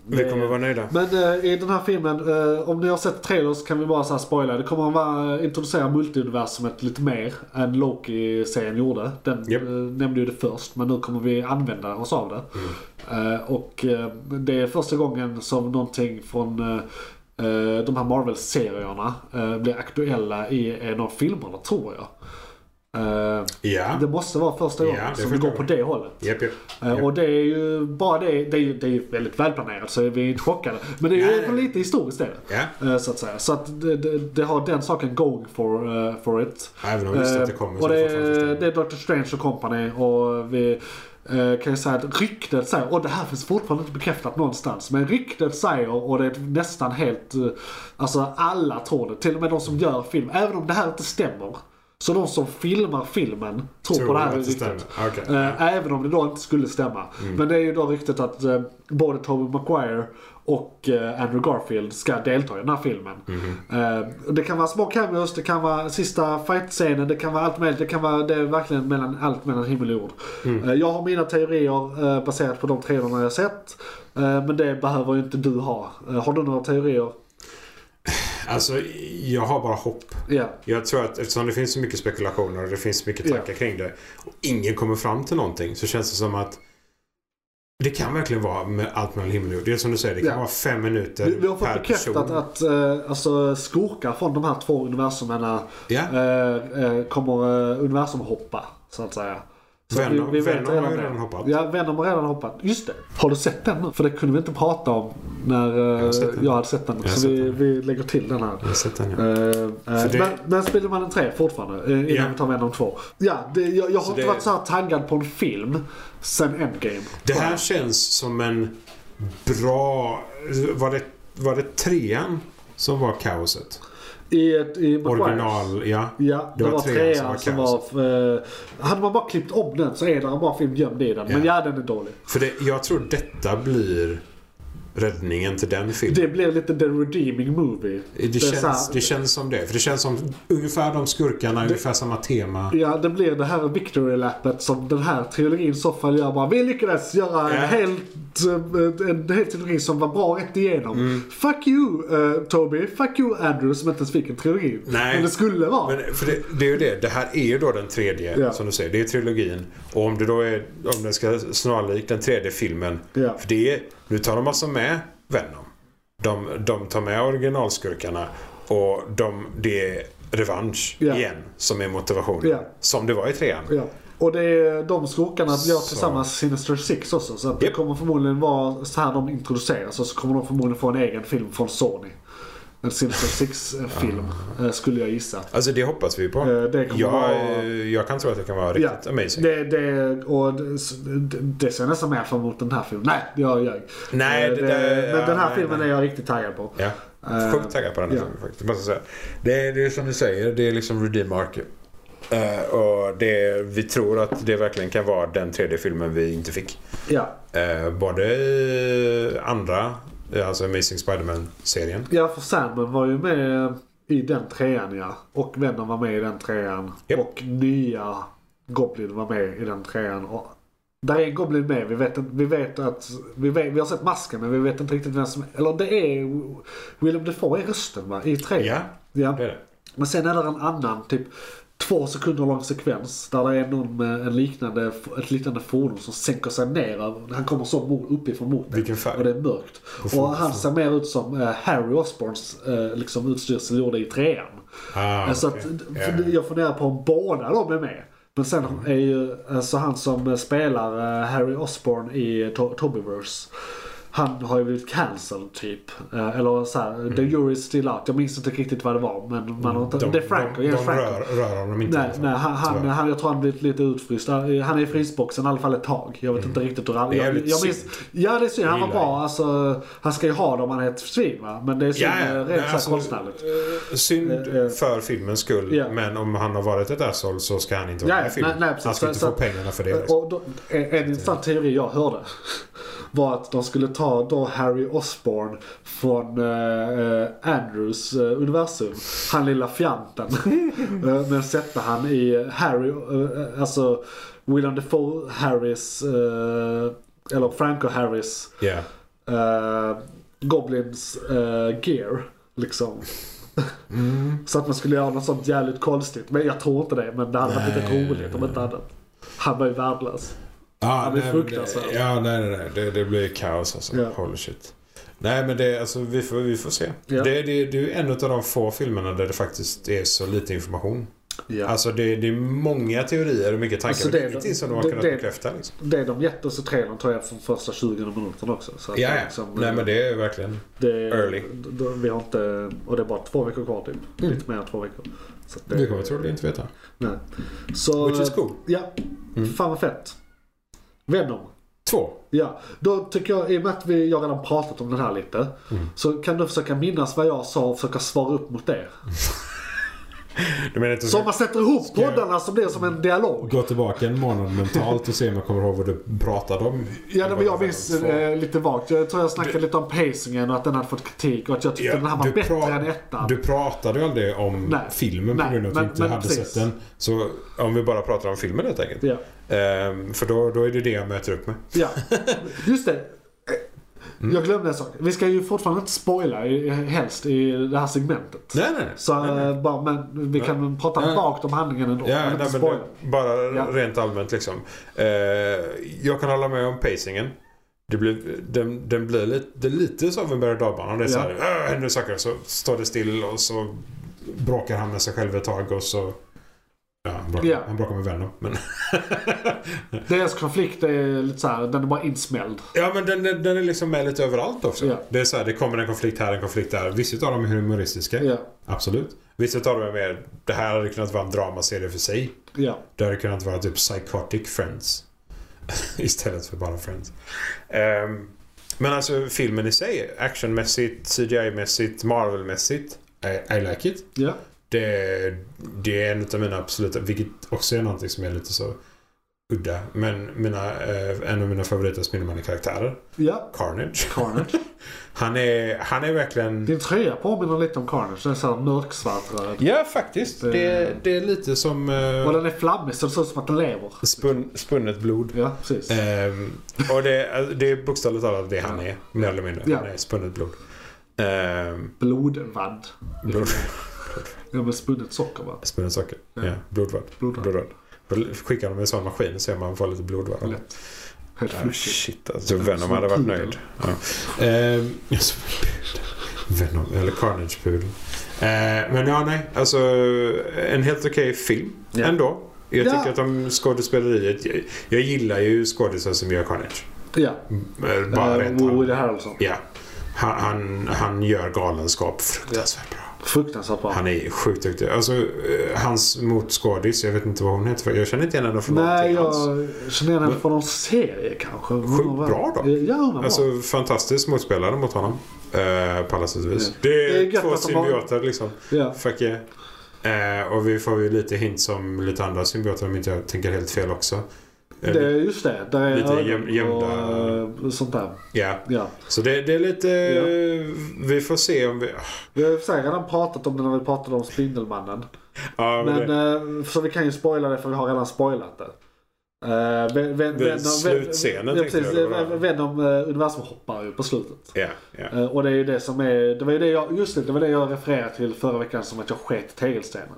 Speaker 4: Vi kommer vara nöjda.
Speaker 3: Men eh, i den här filmen, eh, om ni har sett trailers kan vi bara så här spoila. Det kommer att vara, eh, introducera multiuniversumet lite mer än Loki-serien gjorde. Den
Speaker 4: Japp.
Speaker 3: eh, nämnde ju det först, men nu kommer vi använda oss av det.
Speaker 4: Mm.
Speaker 3: Eh, och eh, det är första gången som någonting från eh, eh, de här Marvel-serierna eh, blir aktuella i en av filmerna, tror jag. Eh,
Speaker 4: Ja.
Speaker 3: det måste vara första gången
Speaker 4: Ja, det
Speaker 3: som det
Speaker 4: förstår
Speaker 3: går på
Speaker 4: jag.
Speaker 3: det hållet.
Speaker 4: Japp, japp.
Speaker 3: Eh, Och det är ju bara det, det är ju, det är ju väldigt välplanerat så vi är inte chockade. Men det är ju
Speaker 4: Nej.
Speaker 3: för lite historiskt det.
Speaker 4: Ja.
Speaker 3: Eh, Så att säga. Så att det, det, det har den saken going for, eh, for it.
Speaker 4: Även om vi visste att det
Speaker 3: Eh,
Speaker 4: kommer
Speaker 3: Och
Speaker 4: så
Speaker 3: det,
Speaker 4: är det fortfarande
Speaker 3: är-
Speaker 4: inte-
Speaker 3: det är Dr. Strange och company och vi eh, kan ju säga att ryktet säger, och det här finns fortfarande inte bekräftat någonstans, men ryktet säger och det är nästan helt, eh, alltså alla tror det, till och med de som gör film, även om det här inte stämmer. Så de som filmar filmen tror,
Speaker 4: Tror
Speaker 3: på det
Speaker 4: att
Speaker 3: här
Speaker 4: det
Speaker 3: ryktet.
Speaker 4: stämmer. Okej.
Speaker 3: Eh, Även om det då inte skulle stämma. Men det är ju då ryktet att eh, både Tobey Maguire och eh, Andrew Garfield ska delta i den här filmen. Eh, och det kan vara små cameos, det kan vara sista fight-scenen, det kan vara allt möjligt. Det kan vara det är verkligen mellan, allt mellan himmel och jord. Eh, jag har mina teorier eh, baserat på de trailrarna jag har sett. Eh, men det behöver ju inte du ha. Eh, har du några teorier?
Speaker 4: Alltså, jag har bara hopp.
Speaker 3: Ja.
Speaker 4: Jag tror att eftersom det finns så mycket spekulationer och det finns så mycket tankar
Speaker 3: Ja.
Speaker 4: kring det och ingen kommer fram till någonting så känns det som att Det kan verkligen vara med allt mellan himmel och jord. Det är som du säger, det kan
Speaker 3: Ja.
Speaker 4: vara fem minuter
Speaker 3: Vi, vi har fått
Speaker 4: per
Speaker 3: bekräftat
Speaker 4: person.
Speaker 3: att eh, alltså, skurkar från de här två universumerna
Speaker 4: Ja.
Speaker 3: eh, eh, kommer eh, universumhoppa, så att säga. Så att
Speaker 4: Venom- Venom har ju
Speaker 3: det.
Speaker 4: redan hoppat.
Speaker 3: Ja, Venom har redan hoppat. Just det. Har du sett den nu? För det kunde vi inte prata om när eh,
Speaker 4: har sett den.
Speaker 3: jag hade sett den.
Speaker 4: Jag har
Speaker 3: så
Speaker 4: sett
Speaker 3: vi,
Speaker 4: den.
Speaker 3: vi lägger till den här.
Speaker 4: Jag har sett den, ja.
Speaker 3: Eh, eh,
Speaker 4: det-
Speaker 3: Men, men Spelmannen 3 fortfarande, eh, innan
Speaker 4: Ja.
Speaker 3: vi tar Venom 2. Ja, det, jag, jag har inte
Speaker 4: det-
Speaker 3: varit så här taggad på en film sen Endgame.
Speaker 4: Det här känns som en bra... Var det, var det trean som var kaoset?
Speaker 3: I, ett- i Maguires.
Speaker 4: Original, ja.
Speaker 3: Ja, det, var, trean som var...
Speaker 4: kaoset.
Speaker 3: eh, hade man bara klippt om den så är det en bra film gömd i den. Men
Speaker 4: Ja.
Speaker 3: ja, den är dålig.
Speaker 4: För det, jag tror detta blir räddningen till den filmen.
Speaker 3: Det blev lite the redeeming movie.
Speaker 4: Det,
Speaker 3: är så
Speaker 4: känns,
Speaker 3: här-
Speaker 4: det känns som det. För det känns som ungefär de skurkarna, ungefär samma tema.
Speaker 3: Ja, det blir det här victory lappet som den här trilogin i så fall gör bara. Vi lyckades göra en,
Speaker 4: Ja.
Speaker 3: helt, eh, en hel trilogi som var bra rätt igenom.
Speaker 4: Mm.
Speaker 3: Fuck you eh, Toby, fuck you Andrew som inte ens fick en trilogi.
Speaker 4: Nej.
Speaker 3: Men det skulle vara.
Speaker 4: Men för det, det är ju det. Det här är ju då den tredje,
Speaker 3: Ja.
Speaker 4: som du säger. Det är trilogin. Och om det då är, om den ska snarlik den tredje filmen.
Speaker 3: Ja.
Speaker 4: För det är, nu tar de alltså med Venom. De, de tar med originalskurkarna. Och de, det är revansch
Speaker 3: Ja.
Speaker 4: igen som är motivationen.
Speaker 3: Ja.
Speaker 4: Som det var i trean.
Speaker 3: Ja. Och det är de skurkarna gör
Speaker 4: Så.
Speaker 3: tillsammans Sinister Six också. Så att det
Speaker 4: Japp.
Speaker 3: kommer förmodligen vara så här de introduceras och så kommer de förmodligen få en egen film från Sony. En Sinister Six-film eh, skulle jag gissa.
Speaker 4: Alltså det hoppas vi på.
Speaker 3: Eh, det kommer
Speaker 4: jag, eh,
Speaker 3: vara-
Speaker 4: jag kan tro att det kan vara riktigt amazing.
Speaker 3: Det, det, och det, det ser jag nästan mer fram emot den här filmen. Nej, jag ljög.
Speaker 4: Nej,
Speaker 3: Eh,
Speaker 4: det där-
Speaker 3: Men den här
Speaker 4: nej,
Speaker 3: filmen
Speaker 4: nej.
Speaker 3: är jag riktigt taggad på.
Speaker 4: Ja.
Speaker 3: Eh,
Speaker 4: Sjukt taggad på den här
Speaker 3: ja.
Speaker 4: filmen faktiskt. Måste jag säga. Det, är, det är som du säger, det är liksom redeem arc. Eh, och det, vi tror att det verkligen kan vara den tredje filmen vi inte fick.
Speaker 3: Ja.
Speaker 4: Eh, både i andra, eh, alltså Amazing Spider-Man-serien.
Speaker 3: ja, för Sandman var ju med i den trean ja. Och Venom var med i den trean.
Speaker 4: Japp.
Speaker 3: Och nya Goblin var med i den trean. Och där är en Goblin med. Vi vet, inte- vi vet att... Vi, vet, vi har sett masken men vi vet inte riktigt vem som... Eller det är... Willem Dafoe är rösten va? I trean.
Speaker 4: Ja,
Speaker 3: ja.
Speaker 4: det är det.
Speaker 3: Men sen är det en annan typ två sekunder lång sekvens där det är någon med en liknande, ett liknande fordon som sänker sig ner. över- Han kommer så mo- uppifrån mot dig
Speaker 4: Vilken färg?
Speaker 3: och det är mörkt. Och han ser mer ut som eh, Harry Osborns eh, liksom utstyrsel gjorde i trean.
Speaker 4: Ah,
Speaker 3: Eh, så
Speaker 4: okej.
Speaker 3: att,
Speaker 4: Ja. Mm.
Speaker 3: för Jag funderar på om båda de är med. Men sen är ju alltså han som eh, spelar eh, Harry Osborn i to- Tobyverse. Han har ju blivit cancelled typ. Eh, Eller så här, the
Speaker 4: Mm.
Speaker 3: jury's still out. Jag minns inte riktigt vad det var. Men man har inte, det är Franco.
Speaker 4: de, de
Speaker 3: James Franco.
Speaker 4: rör, rör honom inte. i
Speaker 3: Nej,
Speaker 4: alla fall.
Speaker 3: nej han, han,
Speaker 4: Tyvärr.
Speaker 3: han, jag tror han blivit lite utfryst. Han han är i frysboxen i alla fall ett tag. Jag vet inte riktigt hur han...
Speaker 4: Mm. Det är
Speaker 3: Jag,
Speaker 4: jävligt
Speaker 3: jag minns,
Speaker 4: synd.
Speaker 3: ja, det är synd. Han var
Speaker 4: Jag gillar
Speaker 3: bra. Alltså, han ska ju ha det om han är ett svin va. Men det är synd
Speaker 4: Ja, ja.
Speaker 3: eh,
Speaker 4: Nej,
Speaker 3: rent alltså,
Speaker 4: alltså,
Speaker 3: konstnärligt.
Speaker 4: eh, Synd
Speaker 3: Eh, eh.
Speaker 4: för filmens skull.
Speaker 3: Ja.
Speaker 4: Men om han har varit ett asshole så ska han inte vara
Speaker 3: Ja,
Speaker 4: med i
Speaker 3: ja.
Speaker 4: filmen.
Speaker 3: Nej, nej, precis.
Speaker 4: han ska
Speaker 3: Så-
Speaker 4: inte
Speaker 3: så
Speaker 4: få
Speaker 3: att-
Speaker 4: pengarna för det. Liksom.
Speaker 3: Eh, Och då, en, en intressant teori jag hörde var att de skulle ta då Harry Osborn från eh, eh, Andrews eh, universum. Han lilla fjanten. Eh, Men sätta han i Harry, eh, alltså William Defoe Harrys, eh, eller Franco Harrys
Speaker 4: Ja.
Speaker 3: eh, Goblins eh, gear. Liksom.
Speaker 4: Mm.
Speaker 3: Så att man skulle göra något sånt jävligt konstigt. Men jag tror inte det. Men det hade varit lite
Speaker 4: Nej.
Speaker 3: roligt om inte annat. Han var ju värdelös.
Speaker 4: Ja,
Speaker 3: blir
Speaker 4: nej,
Speaker 3: fruktansvärd.
Speaker 4: det- Ja, nej, nej, nej. Det, det blir kaos alltså.
Speaker 3: Ja.
Speaker 4: Holy shit. Nej, men det, alltså, vi, får, vi får se.
Speaker 3: Ja.
Speaker 4: Det, det, det är ju en av de få filmerna där det faktiskt är så lite information.
Speaker 3: Ja.
Speaker 4: Alltså det, det är många teorier och mycket tankar.
Speaker 3: Alltså,
Speaker 4: men det,
Speaker 3: det-
Speaker 4: är ingenting som de har
Speaker 3: det-
Speaker 4: kunnat
Speaker 3: det-
Speaker 4: bekräfta. Liksom.
Speaker 3: Det de gett oss i trailern tar jag från första 20 minuterna också. Så att
Speaker 4: Ja,
Speaker 3: det
Speaker 4: ja.
Speaker 3: är liksom,
Speaker 4: nej, men det är verkligen...
Speaker 3: det,
Speaker 4: early.
Speaker 3: d- Vi har inte, och det är bara två veckor kvar typ. Lite mer än två veckor. Så att det,
Speaker 4: Vi kommer troligen inte veta.
Speaker 3: nej. Så,
Speaker 4: Which is cool. Mm.
Speaker 3: Ja, fan vad fett. Venom.
Speaker 4: Två.
Speaker 3: Ja, då tycker jag, i och med att vi, jag redan pratat om den här lite.
Speaker 4: Mm.
Speaker 3: Så kan du försöka minnas vad jag sa och försöka svara upp mot det.
Speaker 4: Mm. Du menar inte
Speaker 3: Så om man sätter ihop poddarna så blir det som en dialog.
Speaker 4: Gå tillbaka en månad mentalt och se om jag kommer ihåg vad du pratade om.
Speaker 3: Ja, det var jag minns
Speaker 4: Två.
Speaker 3: eh, lite vagt. Jag tror jag snackade lite om pacingen och att den hade fått kritik och att jag tyckte
Speaker 4: Ja,
Speaker 3: den här var
Speaker 4: du
Speaker 3: bättre
Speaker 4: pra-
Speaker 3: än ettan.
Speaker 4: Du pratade ju aldrig om
Speaker 3: Nej.
Speaker 4: filmen på
Speaker 3: Nej,
Speaker 4: grund av att
Speaker 3: men-
Speaker 4: du inte
Speaker 3: men
Speaker 4: hade
Speaker 3: precis.
Speaker 4: sett den. Så om vi bara pratar om filmen helt enkelt.
Speaker 3: Ja.
Speaker 4: Ehm, för då, då är det det jag möter upp med.
Speaker 3: Ja, just det.
Speaker 4: Mm.
Speaker 3: Jag glömde en sak. Vi ska ju fortfarande inte spoila i- helst i det här segmentet.
Speaker 4: Nej, nej, nej.
Speaker 3: Så eh, bara, men vi kan prata
Speaker 4: Nej.
Speaker 3: vagt om handlingen ändå.
Speaker 4: Ja,
Speaker 3: men
Speaker 4: nej,
Speaker 3: inte
Speaker 4: men
Speaker 3: spoila.
Speaker 4: bara
Speaker 3: Ja.
Speaker 4: Ehm, rent allmänt liksom. Eh, jag kan hålla med om pacingen. det blir, den, den blir lite, det är lite som en berg och dalbana. Det är så här, "Åh, händer saker så står det still och så bråkar han med sig själv ett tag och så... Ja, han bråkar,
Speaker 3: Ja.
Speaker 4: han bråkar med Venom. Men,
Speaker 3: Deras konflikt är lite såhär, den är bara insmälld.
Speaker 4: ja, men den, den den är liksom med lite överallt också.
Speaker 3: Ja.
Speaker 4: Det är så här, det kommer en konflikt här, en konflikt där. Vissa av dem är humoristiska.
Speaker 3: Ja,
Speaker 4: Absolut. Vissa av dem är mer, det här hade kunnat vara en dramaserie för sig.
Speaker 3: ja.
Speaker 4: Det hade kunnat vara typ Psychotic Friends. Istället för bara Friends. Ehm, men alltså filmen i sig, actionmässigt, CGI-mässigt, Marvel-mässigt. I, I like it.
Speaker 3: ja.
Speaker 4: Det, det är en av mina absoluta, vilket också är någonting som är lite så udda. Men mina, eh, en av mina favoriter Spindelmannen-karaktärer,
Speaker 3: ja.
Speaker 4: Carnage.
Speaker 3: Carnage.
Speaker 4: Han är, han är verkligen...
Speaker 3: Din tröja påminner lite om Carnage. Den är såhär mörksvart röd.
Speaker 4: Ja, faktiskt. Det, det är lite som eh,
Speaker 3: Och den är flammig så det ser ut som att den lever.
Speaker 4: spun, spunnet blod.
Speaker 3: Ja, precis.
Speaker 4: Ehm, och det, det är bokstavligt talat det han är, mer eller mindre.
Speaker 3: Ja.
Speaker 4: Han är spunnet blod. Ehm,
Speaker 3: Blodvadd.
Speaker 4: blod
Speaker 3: Ja, men spunnet socker va?
Speaker 4: spunnet socker. Ja, blodvad.
Speaker 3: Blodvad.
Speaker 4: blodvad. Och Skickar de en sån maskin så är man får lite blodvad.
Speaker 3: Lätt. Helt
Speaker 4: Ah,
Speaker 3: flushigt.
Speaker 4: shit alltså. Venom hade varit
Speaker 3: pudel.
Speaker 4: nöjd. Ja. Ehm, ja, som en pudel. Venom, eller Carnage-pudel. Ehm, men ja, nej. Alltså en helt okej film
Speaker 3: Ja.
Speaker 4: ändå. Jag
Speaker 3: Ja.
Speaker 4: tycker att de skådespeleriet. Jag, jag gillar ju skådisar som gör Carnage.
Speaker 3: Ja.
Speaker 4: Eh, Bara
Speaker 3: Eh,
Speaker 4: rent allmänt.
Speaker 3: Woody Harrelson.
Speaker 4: Ja. Han, han, han gör galenskap fruktansvärt bra.
Speaker 3: Fruktansvärt bra.
Speaker 4: Han är sjukt duktig. Alltså, eh, hans motskådis, jag vet inte vad hon heter. för Jag känner inte igen henne från
Speaker 3: Nej,
Speaker 4: någonting
Speaker 3: jag
Speaker 4: alls.
Speaker 3: känner igen henne
Speaker 4: Men-
Speaker 3: från någon serie kanske.
Speaker 4: Sjukt bra då.
Speaker 3: Ja, hon är bra.
Speaker 4: Alltså, fantastisk motspelare mot honom. Eh, på alla sätt och vis.
Speaker 3: Ja.
Speaker 4: Det
Speaker 3: Det är
Speaker 4: är,
Speaker 3: gött
Speaker 4: två
Speaker 3: att de har-
Speaker 4: symbioter liksom.
Speaker 3: Ja.
Speaker 4: Fuck yeah. Eh, och vi får ju lite hint som lite andra symbioter om inte jag tänker helt fel också. Eh,
Speaker 3: Det är just det. Där är
Speaker 4: Lite
Speaker 3: ögon
Speaker 4: göm- gömda-
Speaker 3: Och, eh, sånt där.
Speaker 4: Ja,
Speaker 3: Ja.
Speaker 4: så det, det är lite...
Speaker 3: Ja.
Speaker 4: Vi får se om vi...
Speaker 3: Vi har ju för sig redan pratat om det när vi pratade om Spindelmannen.
Speaker 4: Ja,
Speaker 3: Men,
Speaker 4: det-
Speaker 3: eh, så vi kan ju spoila det för vi har redan spoilat det. Eh, Ven- Ven-
Speaker 4: Det är
Speaker 3: Venom-
Speaker 4: slutscenen,
Speaker 3: ja,
Speaker 4: tänkte
Speaker 3: precis.
Speaker 4: jag, eller vad?
Speaker 3: Eh, Venom eh, universum hoppar ju på slutet.
Speaker 4: Ja, ja.
Speaker 3: Eh, Och det är ju det som är, det var ju det jag, just det, det var det jag refererade till förra veckan som att jag sket i tegelstenen.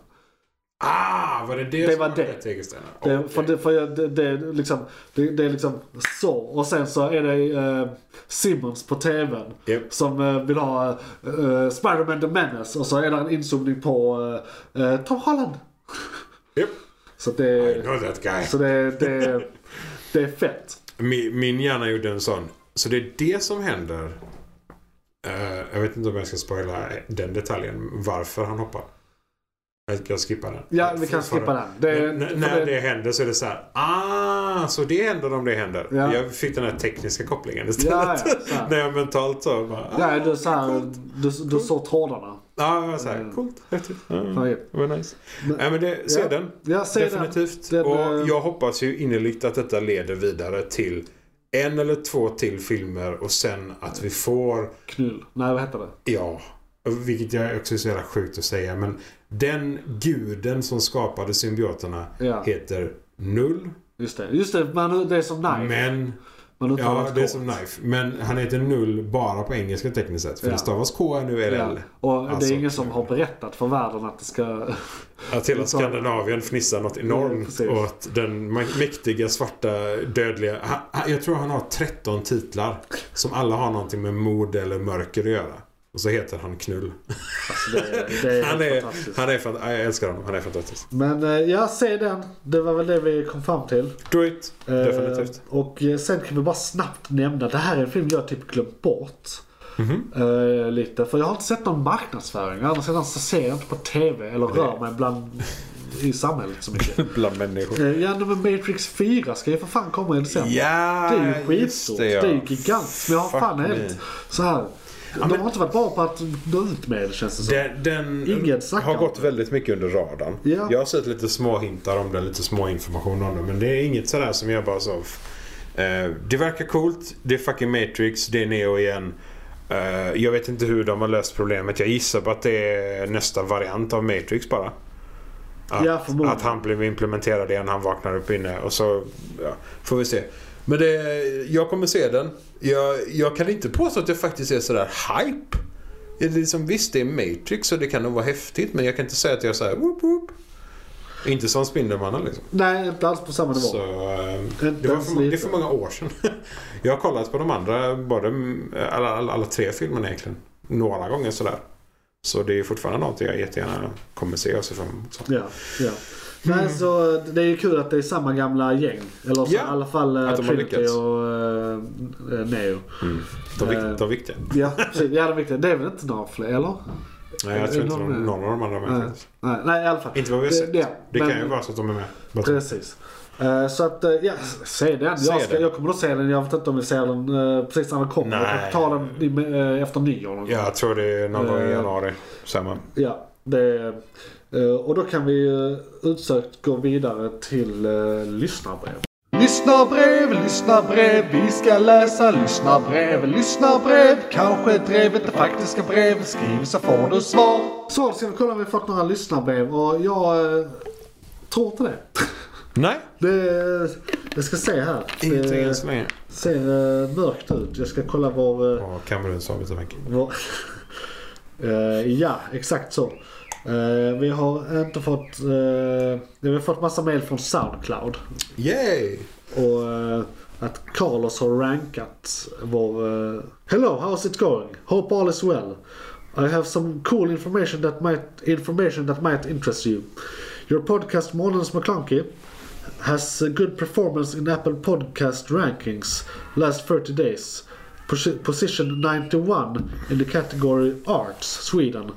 Speaker 4: Ah, var det det,
Speaker 3: Det
Speaker 4: som
Speaker 3: var det.
Speaker 4: med Tegelstenen?
Speaker 3: Det,
Speaker 4: Okej.
Speaker 3: för det, för jag, det, det, är liksom, det, det är liksom så. Och sen så är det eh, Simmons på TVn
Speaker 4: Japp.
Speaker 3: som eh, vill ha eh, eh, Spider-Man The Menace och så är det en inzoomning på eh, eh, Tom Holland.
Speaker 4: Japp.
Speaker 3: Så det,
Speaker 4: I know that guy.
Speaker 3: så det, det, det är fett.
Speaker 4: Min, min hjärna gjorde en sån. Så det är det som händer. Eh, jag vet inte om jag ska spoila den detaljen. Varför han hoppar. Jag, jag skippar den.
Speaker 3: Ja, vi kan skippa den. Det,
Speaker 4: Men n-
Speaker 3: för
Speaker 4: när
Speaker 3: det-
Speaker 4: det händer så är det så här. Ah, så det händer om det händer.
Speaker 3: Ja.
Speaker 4: Jag fick den här tekniska kopplingen
Speaker 3: ja,
Speaker 4: istället.
Speaker 3: ja, så här.
Speaker 4: när jag mentalt så bara. Ah,
Speaker 3: ja, du, så här, du, du såg trådarna.
Speaker 4: ja, det var så här.
Speaker 3: Mm.
Speaker 4: Coolt. Häftigt. Mm.
Speaker 3: Ja,
Speaker 4: Det var nice.
Speaker 3: Men-
Speaker 4: Nej, men det, se
Speaker 3: Ja.
Speaker 4: den.
Speaker 3: Jag ser den.
Speaker 4: Definitivt.
Speaker 3: Den, eh,
Speaker 4: och jag hoppas ju innerligt att detta leder vidare till en eller två till filmer och sen att vi får,
Speaker 3: Knull. Nej, vad heter det?
Speaker 4: ja, vilket jag också är så jävla sjukt att säga, men den guden som skapade symbioterna
Speaker 3: Ja,
Speaker 4: heter Null.
Speaker 3: just det. Just det, man, det är som Knife.
Speaker 4: Men,
Speaker 3: man uttalar
Speaker 4: ja
Speaker 3: ett
Speaker 4: det är
Speaker 3: K.
Speaker 4: som Knife. Men han heter Null bara på engelska tekniskt sett. För
Speaker 3: Ja.
Speaker 4: det stavas K-N-U-L-L.
Speaker 3: Ja. Och
Speaker 4: Alltså,
Speaker 3: det är ingen som
Speaker 4: kul.
Speaker 3: har berättat för världen att det ska...
Speaker 4: Att hela Skandinavien fnissar något
Speaker 3: Ja,
Speaker 4: enormt
Speaker 3: precis.
Speaker 4: åt den ma- mäktiga svarta dödliga. Han, han- jag tror han har 13 titlar som alla har någonting med mord eller mörker att göra. Och så heter han Knull.
Speaker 3: Det, det är
Speaker 4: Han är,
Speaker 3: fantastiskt.
Speaker 4: han är fan, jag älskar honom. Han är fantastisk.
Speaker 3: Men eh, jag ser den. Det var väl det vi kom fram till.
Speaker 4: Do it.
Speaker 3: Eh,
Speaker 4: Definitivt.
Speaker 3: Och eh, sen kan vi bara snabbt nämna. Det här är en film jag typ glömt bort.
Speaker 4: Mhm.
Speaker 3: Eh, lite. För jag har inte sett någon marknadsföring. Å andra sidan så ser jag inte på TV eller rör mig bland i samhället så mycket.
Speaker 4: Bland människor.
Speaker 3: Eh, Ja men Matrix 4 ska ju för fan komma i december.
Speaker 4: Ja,
Speaker 3: Det är ju
Speaker 4: just
Speaker 3: skitstort.
Speaker 4: det,
Speaker 3: Det,
Speaker 4: ja.
Speaker 3: är ju gigantiskt. Men jag har
Speaker 4: Fuck
Speaker 3: fan
Speaker 4: me.
Speaker 3: helt så här. de har inte varit bra på att nå ut med det känns det som.
Speaker 4: Den, den
Speaker 3: Ingen snackar
Speaker 4: har
Speaker 3: om
Speaker 4: gått
Speaker 3: det.
Speaker 4: väldigt mycket under radarn.
Speaker 3: Ja.
Speaker 4: Jag har sett lite små hintar om den, lite små information om den. Men det är inget sådär som jag bara så... eh, det verkar coolt. Det är fucking Matrix. Det är Neo igen. Eh, jag vet inte hur de har löst problemet. Jag gissar på att det är nästa variant av Matrix bara. Att,
Speaker 3: Ja, förmodligen.
Speaker 4: att han blev implementerad igen. Han vaknar upp inne och så ja, får vi se. Men det, jag kommer se den. Jag, jag kan inte påstå att jag faktiskt är sådär hype. Det är liksom, visst, det är Matrix och det kan nog vara häftigt men jag kan inte säga att jag är såhär whoop whoop. Inte som Spindelmannen liksom.
Speaker 3: Nej, inte alls på samma nivå.
Speaker 4: Så, eh,
Speaker 3: Inte
Speaker 4: det, var
Speaker 3: ens
Speaker 4: för, det är
Speaker 3: lite.
Speaker 4: för många år sedan. Jag har kollat på de andra, både, eh, alla, alla, alla tre filmerna egentligen. Några gånger sådär. Så det är fortfarande någonting jag jättegärna kommer se och se fram emot. Så.
Speaker 3: Ja, ja. Nej, så det är ju kul att det är samma gamla gäng. Eller så,
Speaker 4: Mm. Ja,
Speaker 3: i alla fall eh,
Speaker 4: att de har
Speaker 3: Trinity
Speaker 4: lyckats.
Speaker 3: och eh, eh, Neo.
Speaker 4: De,
Speaker 3: Eh.
Speaker 4: vik- de viktiga.
Speaker 3: Ja, precis. Ja, det är viktigt. Det är väl inte några fler, eller?
Speaker 4: Nej, jag tror inte någon, någon av de andra är med.
Speaker 3: Nej.
Speaker 4: faktiskt.
Speaker 3: Nej, nej, i alla fall.
Speaker 4: Inte vad vi har
Speaker 3: Det-
Speaker 4: sett.
Speaker 3: ja,
Speaker 4: Det
Speaker 3: men-
Speaker 4: kan ju vara så att de är med. Bara-
Speaker 3: Precis. Eh, Så att, eh, ja, se den.
Speaker 4: Se
Speaker 3: Jag, ska,
Speaker 4: den.
Speaker 3: jag kommer att se den. Jag vet inte om vi ser den eh, precis när den kommer.
Speaker 4: Nej.
Speaker 3: Jag kan ta den i, eh, efter nyår någon
Speaker 4: Ja,
Speaker 3: gång.
Speaker 4: jag tror det är någon gång
Speaker 3: Eh.
Speaker 4: i januari. Samma.
Speaker 3: Ja, det, eh, och då kan vi ju utsökt gå vidare till eh, lyssnarbrev.
Speaker 9: Lyssnarbrev, lyssnarbrev, vi ska läsa lyssnarbrev, lyssnarbrev. Kanske drevet det faktiska brev, skriv så får du svar.
Speaker 3: Så, ska vi kolla om vi fått några lyssnarbrev och jag eh, tror inte det.
Speaker 4: Nej,
Speaker 3: det. eh, Jag ska se här.
Speaker 4: ingenting än
Speaker 3: Det
Speaker 4: så länge.
Speaker 3: ser eh, mörkt ut. Jag ska kolla vår... eh,
Speaker 4: Ja, Kamerun sa vi så mycket.
Speaker 3: vår Eh, ja, exakt så. Eh, vi har inte fått... eh, vi har fått massa mail från Soundcloud.
Speaker 4: Yay!
Speaker 3: Och eh, att Carlos har rankat vår... eh, Hello, how's it going? Hope all is well. I have some cool information that might, information that might interest you. Your podcast Månadens McClunky has a good performance in Apple podcast rankings last 30 days. Posi- Position 91 in the category Arts, Sweden.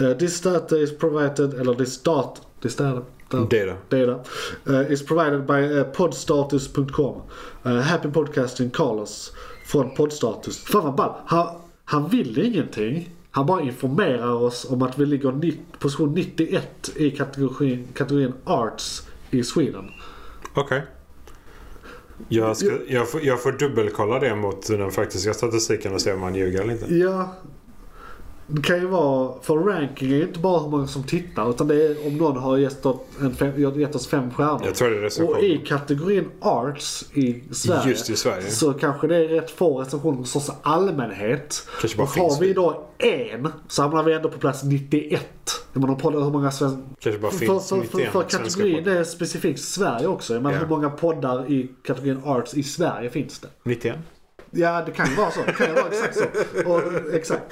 Speaker 3: Uh, this data is provided, eller this data, this data, data
Speaker 4: Data.
Speaker 3: data uh, is provided by uh, podstatus.com. Uh, happy podcasting Carlos från Podstatus. Fan vad ball. Han, han vill ingenting. Han bara informerar oss om att vi ligger ni- position 91 i kategorin, kategorin Arts i Sweden.
Speaker 4: Okej. Jag, ska, jag, får, jag får dubbelkolla det mot den faktiska statistiken och se om man ljuger eller inte.
Speaker 3: Ja. Det kan ju vara, för ranking är ju inte bara hur många som tittar utan det är om någon har gett oss, en fem, gett oss fem stjärnor.
Speaker 4: Jag tror det är
Speaker 3: Och i
Speaker 4: recension.
Speaker 3: kategorin Arts i Sverige,
Speaker 4: Just i Sverige.
Speaker 3: så kanske det är rätt få recensioner hos oss allmänhet.
Speaker 4: Kanske bara
Speaker 3: Och har
Speaker 4: finns
Speaker 3: vi
Speaker 4: det.
Speaker 3: då en så hamnar vi ändå på plats 91. Jag menar, poddar, hur många svenska...
Speaker 4: Kanske bara
Speaker 3: För,
Speaker 4: finns
Speaker 3: för, för,
Speaker 4: 91
Speaker 3: för
Speaker 4: svenska
Speaker 3: kategorin det
Speaker 4: poddar.
Speaker 3: är specifikt Sverige också. Men
Speaker 4: Ja.
Speaker 3: hur många poddar i kategorin Arts i Sverige finns det?
Speaker 4: 91?
Speaker 3: Ja, det kan ju vara så. Det kan ju vara exakt så. Och, exakt.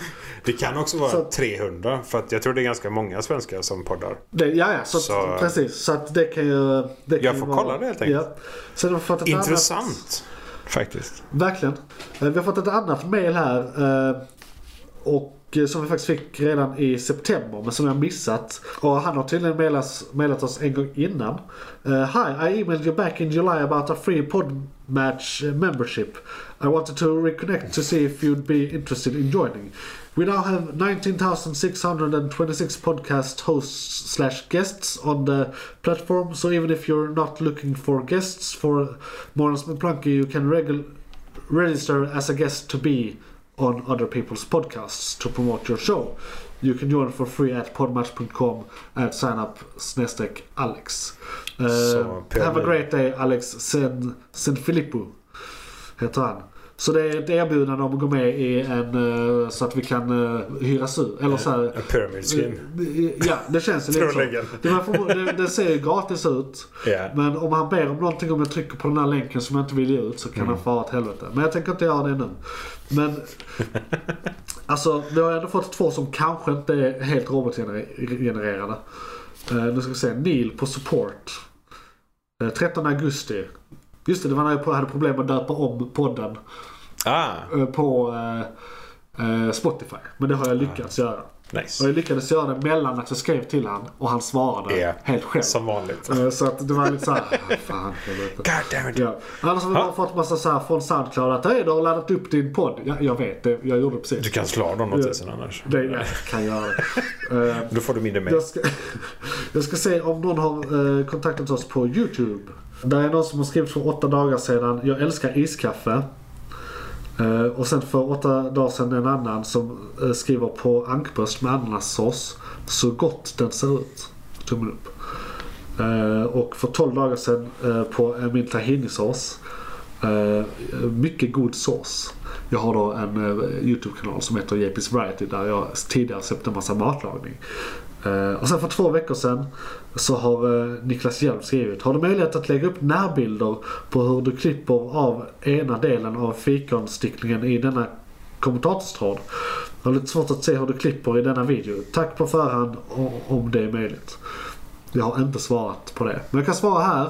Speaker 4: Det kan också vara
Speaker 3: Så-
Speaker 4: 300 för att jag tror det är ganska många svenskar som poddar.
Speaker 3: Det, ja, ja. Så, att-
Speaker 4: Så-
Speaker 3: precis. Så att det kan ju... Det kan
Speaker 4: Jag
Speaker 3: ju
Speaker 4: får
Speaker 3: vara-
Speaker 4: kolla det helt enkelt.
Speaker 3: Ja. Sen har vi fått ett annat-
Speaker 4: Intressant faktiskt.
Speaker 3: Verkligen. Eh, Vi har fått ett annat mail här. eh, Och eh, som vi faktiskt fick redan i september men som jag missat. Och han har tydligen mailas, mailat oss en gång innan. Eh, Hi, I emailed you back in July about a free podmatch eh, membership. I wanted to reconnect to see if you'd be interested in joining. We now have 19,626 podcast hosts slash guests on the platform, so even if you're not looking for guests for Morons McPlunky, you can regu- register as a guest to be on other people's podcasts to promote your show. You can join for free at podmatch.com and sign up snedstreck Alex. Eh,
Speaker 4: Så, Pelle.
Speaker 3: have a great day Alex sen, sen Filippo heter han. Så det är ett erbjudande om att gå med i en eh, så att vi kan eh, hyras ut. Eller så här,
Speaker 4: A pyramid scheme.
Speaker 3: Ja, det känns ju lite så.
Speaker 4: Troligen.
Speaker 3: Det, var för, det, det ser ju gratis ut.
Speaker 4: Ja.
Speaker 3: Men om han ber om någonting, om jag trycker på den här länken som jag inte vill ge ut så kan han fara åt helvete. Men jag tänker inte göra det nu. Men alltså, vi har ändå fått två som kanske inte är helt robotgenererade. Eh, nu ska vi se, Neil på support. Eh, 13 augusti. Just det, det var när jag hade problem med att döpa om podden
Speaker 4: Ah,
Speaker 3: eh, på eh, eh, Spotify. Men det har jag lyckats göra. Och
Speaker 4: nice.
Speaker 3: jag lyckades göra det mellan att jag skrev till han och han svarade
Speaker 4: Ja.
Speaker 3: helt själv.
Speaker 4: Som vanligt.
Speaker 3: Eh, Så att det var lite såhär, "Ah, fan helvete.
Speaker 4: God damn it.
Speaker 3: Ja. Annars har vi bara fått massa så här från Soundcloud att hej du har laddat upp din podd. Ja, jag vet det, jag gjorde det
Speaker 4: Du
Speaker 3: precis.
Speaker 4: kan slå av dem notisen annars.
Speaker 3: Det, jag kan göra det. Eh,
Speaker 4: Då får du mindre med.
Speaker 3: jag, ska, jag ska se om någon har eh, kontaktat oss på YouTube. Där är någon som har skrivit för åtta dagar sedan, jag älskar iskaffe. Eh, och sen för åtta dagar sedan en annan som eh, skriver på ankbröst med ananassås. Så gott den ser ut. Tummen upp. Eh, och för 12 dagar sedan eh, på eh, min tahinisås. Eh, mycket god sås. Jag har då en eh, YouTube-kanal som heter JP's Variety där jag tidigare släppte en massa matlagning. Eh, och sen för två veckor sedan så har eh, Niklas Hjelm skrivit. Har du möjlighet att lägga upp närbilder på hur du klipper av ena delen av fikonstickningen i denna kommentatorstråd? Jag har lite svårt att se hur du klipper i denna video. Tack på förhand o- om det är möjligt. Jag har inte svarat på det. Men jag kan svara här.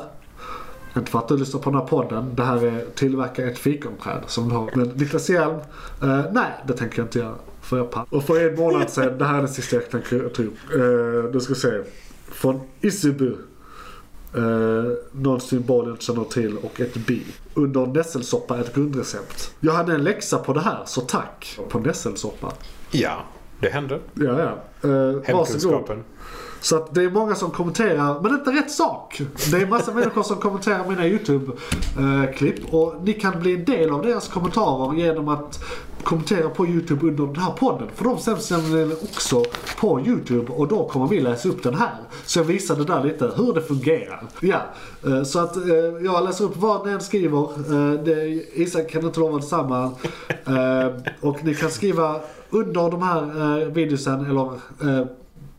Speaker 3: Inte för att du lyssnar på den här podden. Det här är tillverka ett fikonträd som du har. Men Niklas Hjelm, eh, nej det tänker jag inte göra. För jag pallar. Och för en månad sedan, det här är den sista jag tänker ta upp. Eh, då ska vi se. Från Issebu. Eh, någon symbol jag inte känner till och ett bi. Under nässelsoppa ett grundrecept. Jag hade en läxa på det här, så tack. På nässelsoppa.
Speaker 4: Ja, det händer.
Speaker 3: Ja, ja. Eh, varsågod.
Speaker 4: Hemkunskapen.
Speaker 3: Så att det är många som kommenterar, men inte rätt sak. Det är massa människor som kommenterar mina YouTube-klipp. Och ni kan bli en del av deras kommentarer genom att kommentera på YouTube under den här podden. För de sänds nämligen också på YouTube och då kommer vi läsa upp den här. Så jag visade där lite hur det fungerar. Ja, eh, så att eh, jag läser upp vad ni än skriver. Eh, Det, Isak kan inte lova detsamma. Eh, Och ni kan skriva under de här eh, videosen eller eh,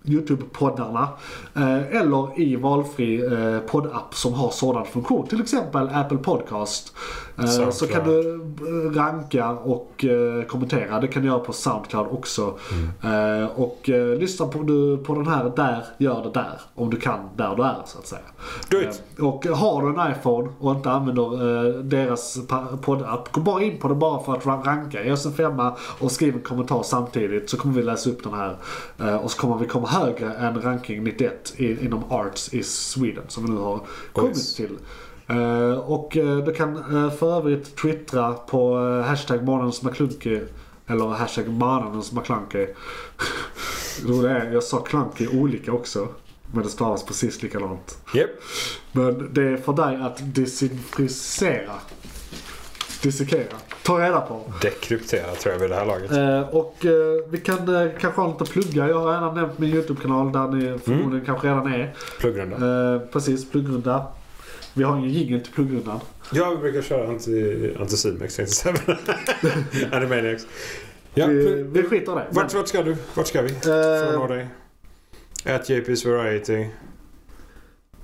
Speaker 3: Youtube-poddarna. eh, Eller i valfri eh, poddapp som har sådan funktion. Till exempel Apple Podcast. Eh, Så kan du eh, ranka och eh, kommentera. Det kan du göra på Soundcloud också.
Speaker 4: Mm.
Speaker 3: Eh, Och eh, lyssna på, du, på den här där, gör det där. Om du kan där du är så att säga.
Speaker 4: Do it.
Speaker 3: Eh, Och har du en iPhone och inte använder eh, deras pa- poddapp. Gå bara in på det bara för att ra- ranka. Ge oss en femma och skriv en kommentar samtidigt så kommer vi läsa upp den här. Eh, Och så kommer vi komma högre än ranking 91 i, inom Arts i Sweden som vi nu har kommit
Speaker 4: Oj.
Speaker 3: till. Eh, Och eh, du kan eh, för övrigt twittra på eh, hashtag månadens McKlunky eller hashtag månadens McKlunky. Det är- Jag sa klunky olika också. Men det stavas precis likadant.
Speaker 4: Yep.
Speaker 3: Men det är för dig att desinfrisera. Dissekera. Ta reda på.
Speaker 4: Dekryptera tror jag vid det här laget.
Speaker 3: Eh, och eh, vi kan eh, kanske ha lite plugga. Jag har redan nämnt min YouTube-kanal där ni förmodligen kanske redan är.
Speaker 4: Pluggrunda.
Speaker 3: Eh, precis, pluggrunda. Vi har ingen jingel till pluggrundan.
Speaker 4: Jag brukar köra anti- antisidmex tänkte jag säga. Animaniacs. Ja,
Speaker 3: Vi,
Speaker 4: plugg-
Speaker 3: vi skiter i det. Eh. Men,
Speaker 4: vart, vart ska du? Vart ska vi? För att nå dig. At JP's Variety.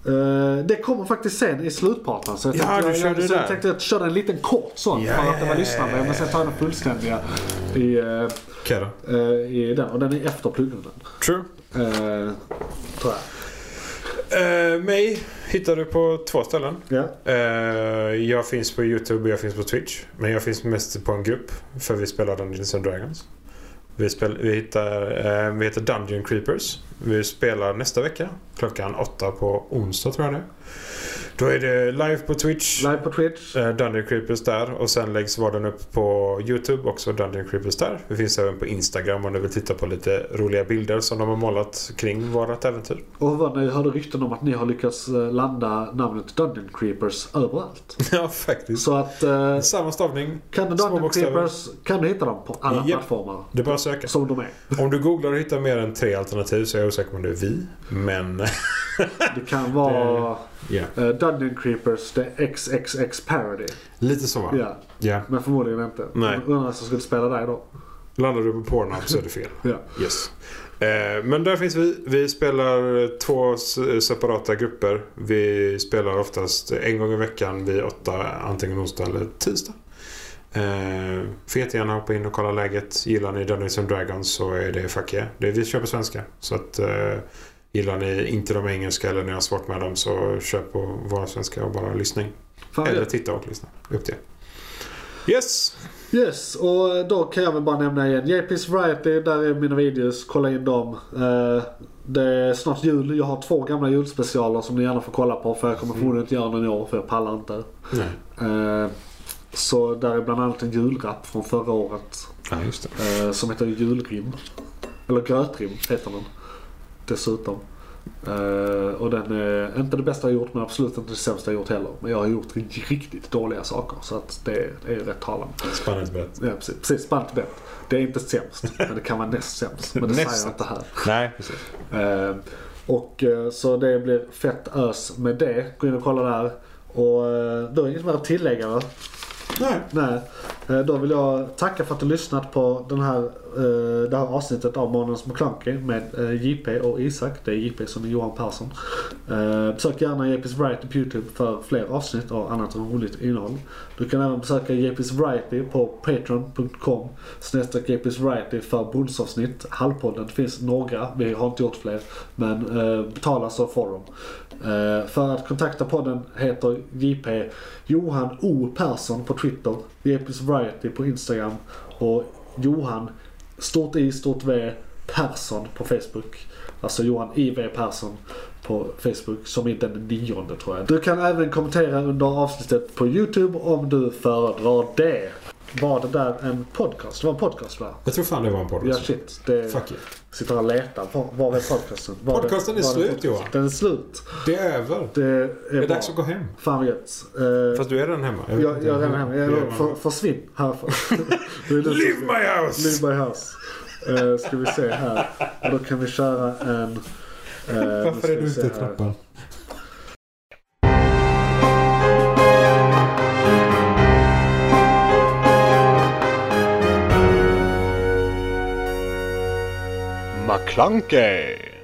Speaker 3: eh, det kommer faktiskt sen i slutparten. Så jag
Speaker 4: Ja,
Speaker 3: tänkte,
Speaker 4: du
Speaker 3: jag,
Speaker 4: körde
Speaker 3: jag, så jag
Speaker 4: där.
Speaker 3: tänkte att köra en liten kort sån
Speaker 4: Ja,
Speaker 3: för att det
Speaker 4: ja,
Speaker 3: var lyssnande.
Speaker 4: ja,
Speaker 3: Men sen tar jag den fullständiga i, eh,
Speaker 4: Okej då.
Speaker 3: eh, i den. Och den är efter pluggrundan.
Speaker 4: True.
Speaker 3: Eh, tror jag.
Speaker 4: Eh, mig hittar du på två ställen.
Speaker 3: Ja.
Speaker 4: Eh, jag finns på YouTube och jag finns på Twitch. Men jag finns mest på en grupp. För vi spelar Dungeons and Dragons. Vi, spel, vi, hittar, eh, vi heter Dungeon Creepers. Vi spelar nästa vecka. Klockan åtta på onsdag tror jag det är. Då är det live på Twitch.
Speaker 3: Live på Twitch.
Speaker 4: Eh, Dungeon Creepers där och sen läggs vardagen upp på YouTube också Dungeon Creepers där. Vi finns även på Instagram om du vill titta på lite roliga bilder som de har målat kring vårat äventyr.
Speaker 3: Och vad ni hörde rykten om att ni har lyckats eh, landa namnet Dungeon Creepers överallt.
Speaker 4: ja, faktiskt.
Speaker 3: Så att eh,
Speaker 4: Samma stavning.
Speaker 3: kan du
Speaker 4: små
Speaker 3: Dungeon
Speaker 4: bokstäver.
Speaker 3: Creepers kan du hitta dem på alla
Speaker 4: Japp.
Speaker 3: plattformar
Speaker 4: Det är bara att söka.
Speaker 3: som de är.
Speaker 4: Om du googlar och hittar mer än tre alternativ så är jag osäker på om det är vi. Men
Speaker 3: Det kan vara
Speaker 4: ja.
Speaker 3: eh, Dungeon Creepers The XXX Parody.
Speaker 4: lite så va?
Speaker 3: Ja,
Speaker 4: Ja.
Speaker 3: men förmodligen inte.
Speaker 4: Nej.
Speaker 3: Men Undrar vem som skulle spela där då.
Speaker 4: Landar du på Pornhub så är det fel.
Speaker 3: Ja.
Speaker 4: Yes. Eh, men där finns vi. Vi spelar två s- separata grupper. Vi spelar oftast en gång i veckan vid åtta, antingen onsdag eller tisdag. Eh, får jättegärna hoppa in och kolla läget. Gillar ni Dungeons and Dragons så är det fuck yeah. Det är, vi köper svenska. Så att eh, gillar ni inte de engelska eller ni har svårt med dem så köp på våra svenska och bara lyssning.
Speaker 3: Fan,
Speaker 4: Eller
Speaker 3: ja.
Speaker 4: titta och lyssna. Upp till er. Yes!
Speaker 3: Yes, och då kan jag väl bara nämna igen. JP's Variety, där är mina videos. Kolla in dem. Eh, Det är snart jul. Jag har två gamla julspecialer som ni gärna får kolla på. För jag
Speaker 4: Mm.
Speaker 3: kommer förmodligen inte göra någon i år, för jag pallar inte.
Speaker 4: Nej.
Speaker 3: Eh, Så där är bland annat en julrap från förra året.
Speaker 4: Ja, just det.
Speaker 3: eh, Som heter julrim. Eller grötrim heter den. Dessutom. Eh, Och den är inte det bästa jag gjort men absolut inte det sämsta jag gjort heller. Men jag har gjort riktigt dåliga saker så att det är rätt talande.
Speaker 4: Spännande berätt.
Speaker 3: Ja, precis. precis Spalt bett. Det är inte sämst, men det kan vara näst sämst. Men det säger jag inte här.
Speaker 4: Nej, precis.
Speaker 3: Eh, och eh, så det blir fett ös med det. Gå in och kolla där. Och eh, då är det inget mer att tillägga va?
Speaker 4: Nej.
Speaker 3: Nej. Eh, Då vill jag tacka för att du lyssnat på den här eh, det här avsnittet av Månadens McKlunky med eh, JP och Isak. Det är JP som är Johan Persson. Eh, besök gärna JP's Variety på Youtube för fler avsnitt och annat roligt innehåll. Du kan även besöka JP's Variety på patreon.com snedstreck JP's Variety för bonusavsnitt. Halvpodden, det finns några. Vi har inte gjort fler. Men eh, betala så får de. Eh, för att kontakta podden heter JP Johan O Persson på Twitter, JP's Variety på Instagram och Johan, stort I, stort V, Persson på Facebook. Alltså Johan IV Persson på Facebook som är den nionde tror jag. Du kan även kommentera under avsnittet på YouTube om du föredrar det. Var det där en podcast? Det var en podcast va?
Speaker 4: Jag tror fan det var en
Speaker 3: Ja
Speaker 4: podcast.
Speaker 3: shit, det
Speaker 4: Fuck it.
Speaker 3: sitter och letar. Var, var är podcasten? Var det-
Speaker 4: Podcasten är
Speaker 3: var det
Speaker 4: slut,
Speaker 3: podcast?
Speaker 4: Johan.
Speaker 3: Den är slut.
Speaker 4: Det är över.
Speaker 3: Det eh, är,
Speaker 4: Det
Speaker 3: bra.
Speaker 4: är dags att gå hem.
Speaker 3: Fan vad gött. Eh,
Speaker 4: Fast du är redan hemma. vet
Speaker 3: jag,
Speaker 4: inte.
Speaker 3: jag är redan hemma. Jag,
Speaker 4: Lever man-
Speaker 3: för, försvinn härifrån. Det är lite-
Speaker 4: Leave my house!
Speaker 3: Leave my house. Eh, ska vi se här. Och då kan vi köra en... eh, nu ska
Speaker 4: Varför är
Speaker 3: vi
Speaker 4: du
Speaker 3: se
Speaker 4: ute i
Speaker 3: här.
Speaker 4: trappan?
Speaker 11: McClunkey!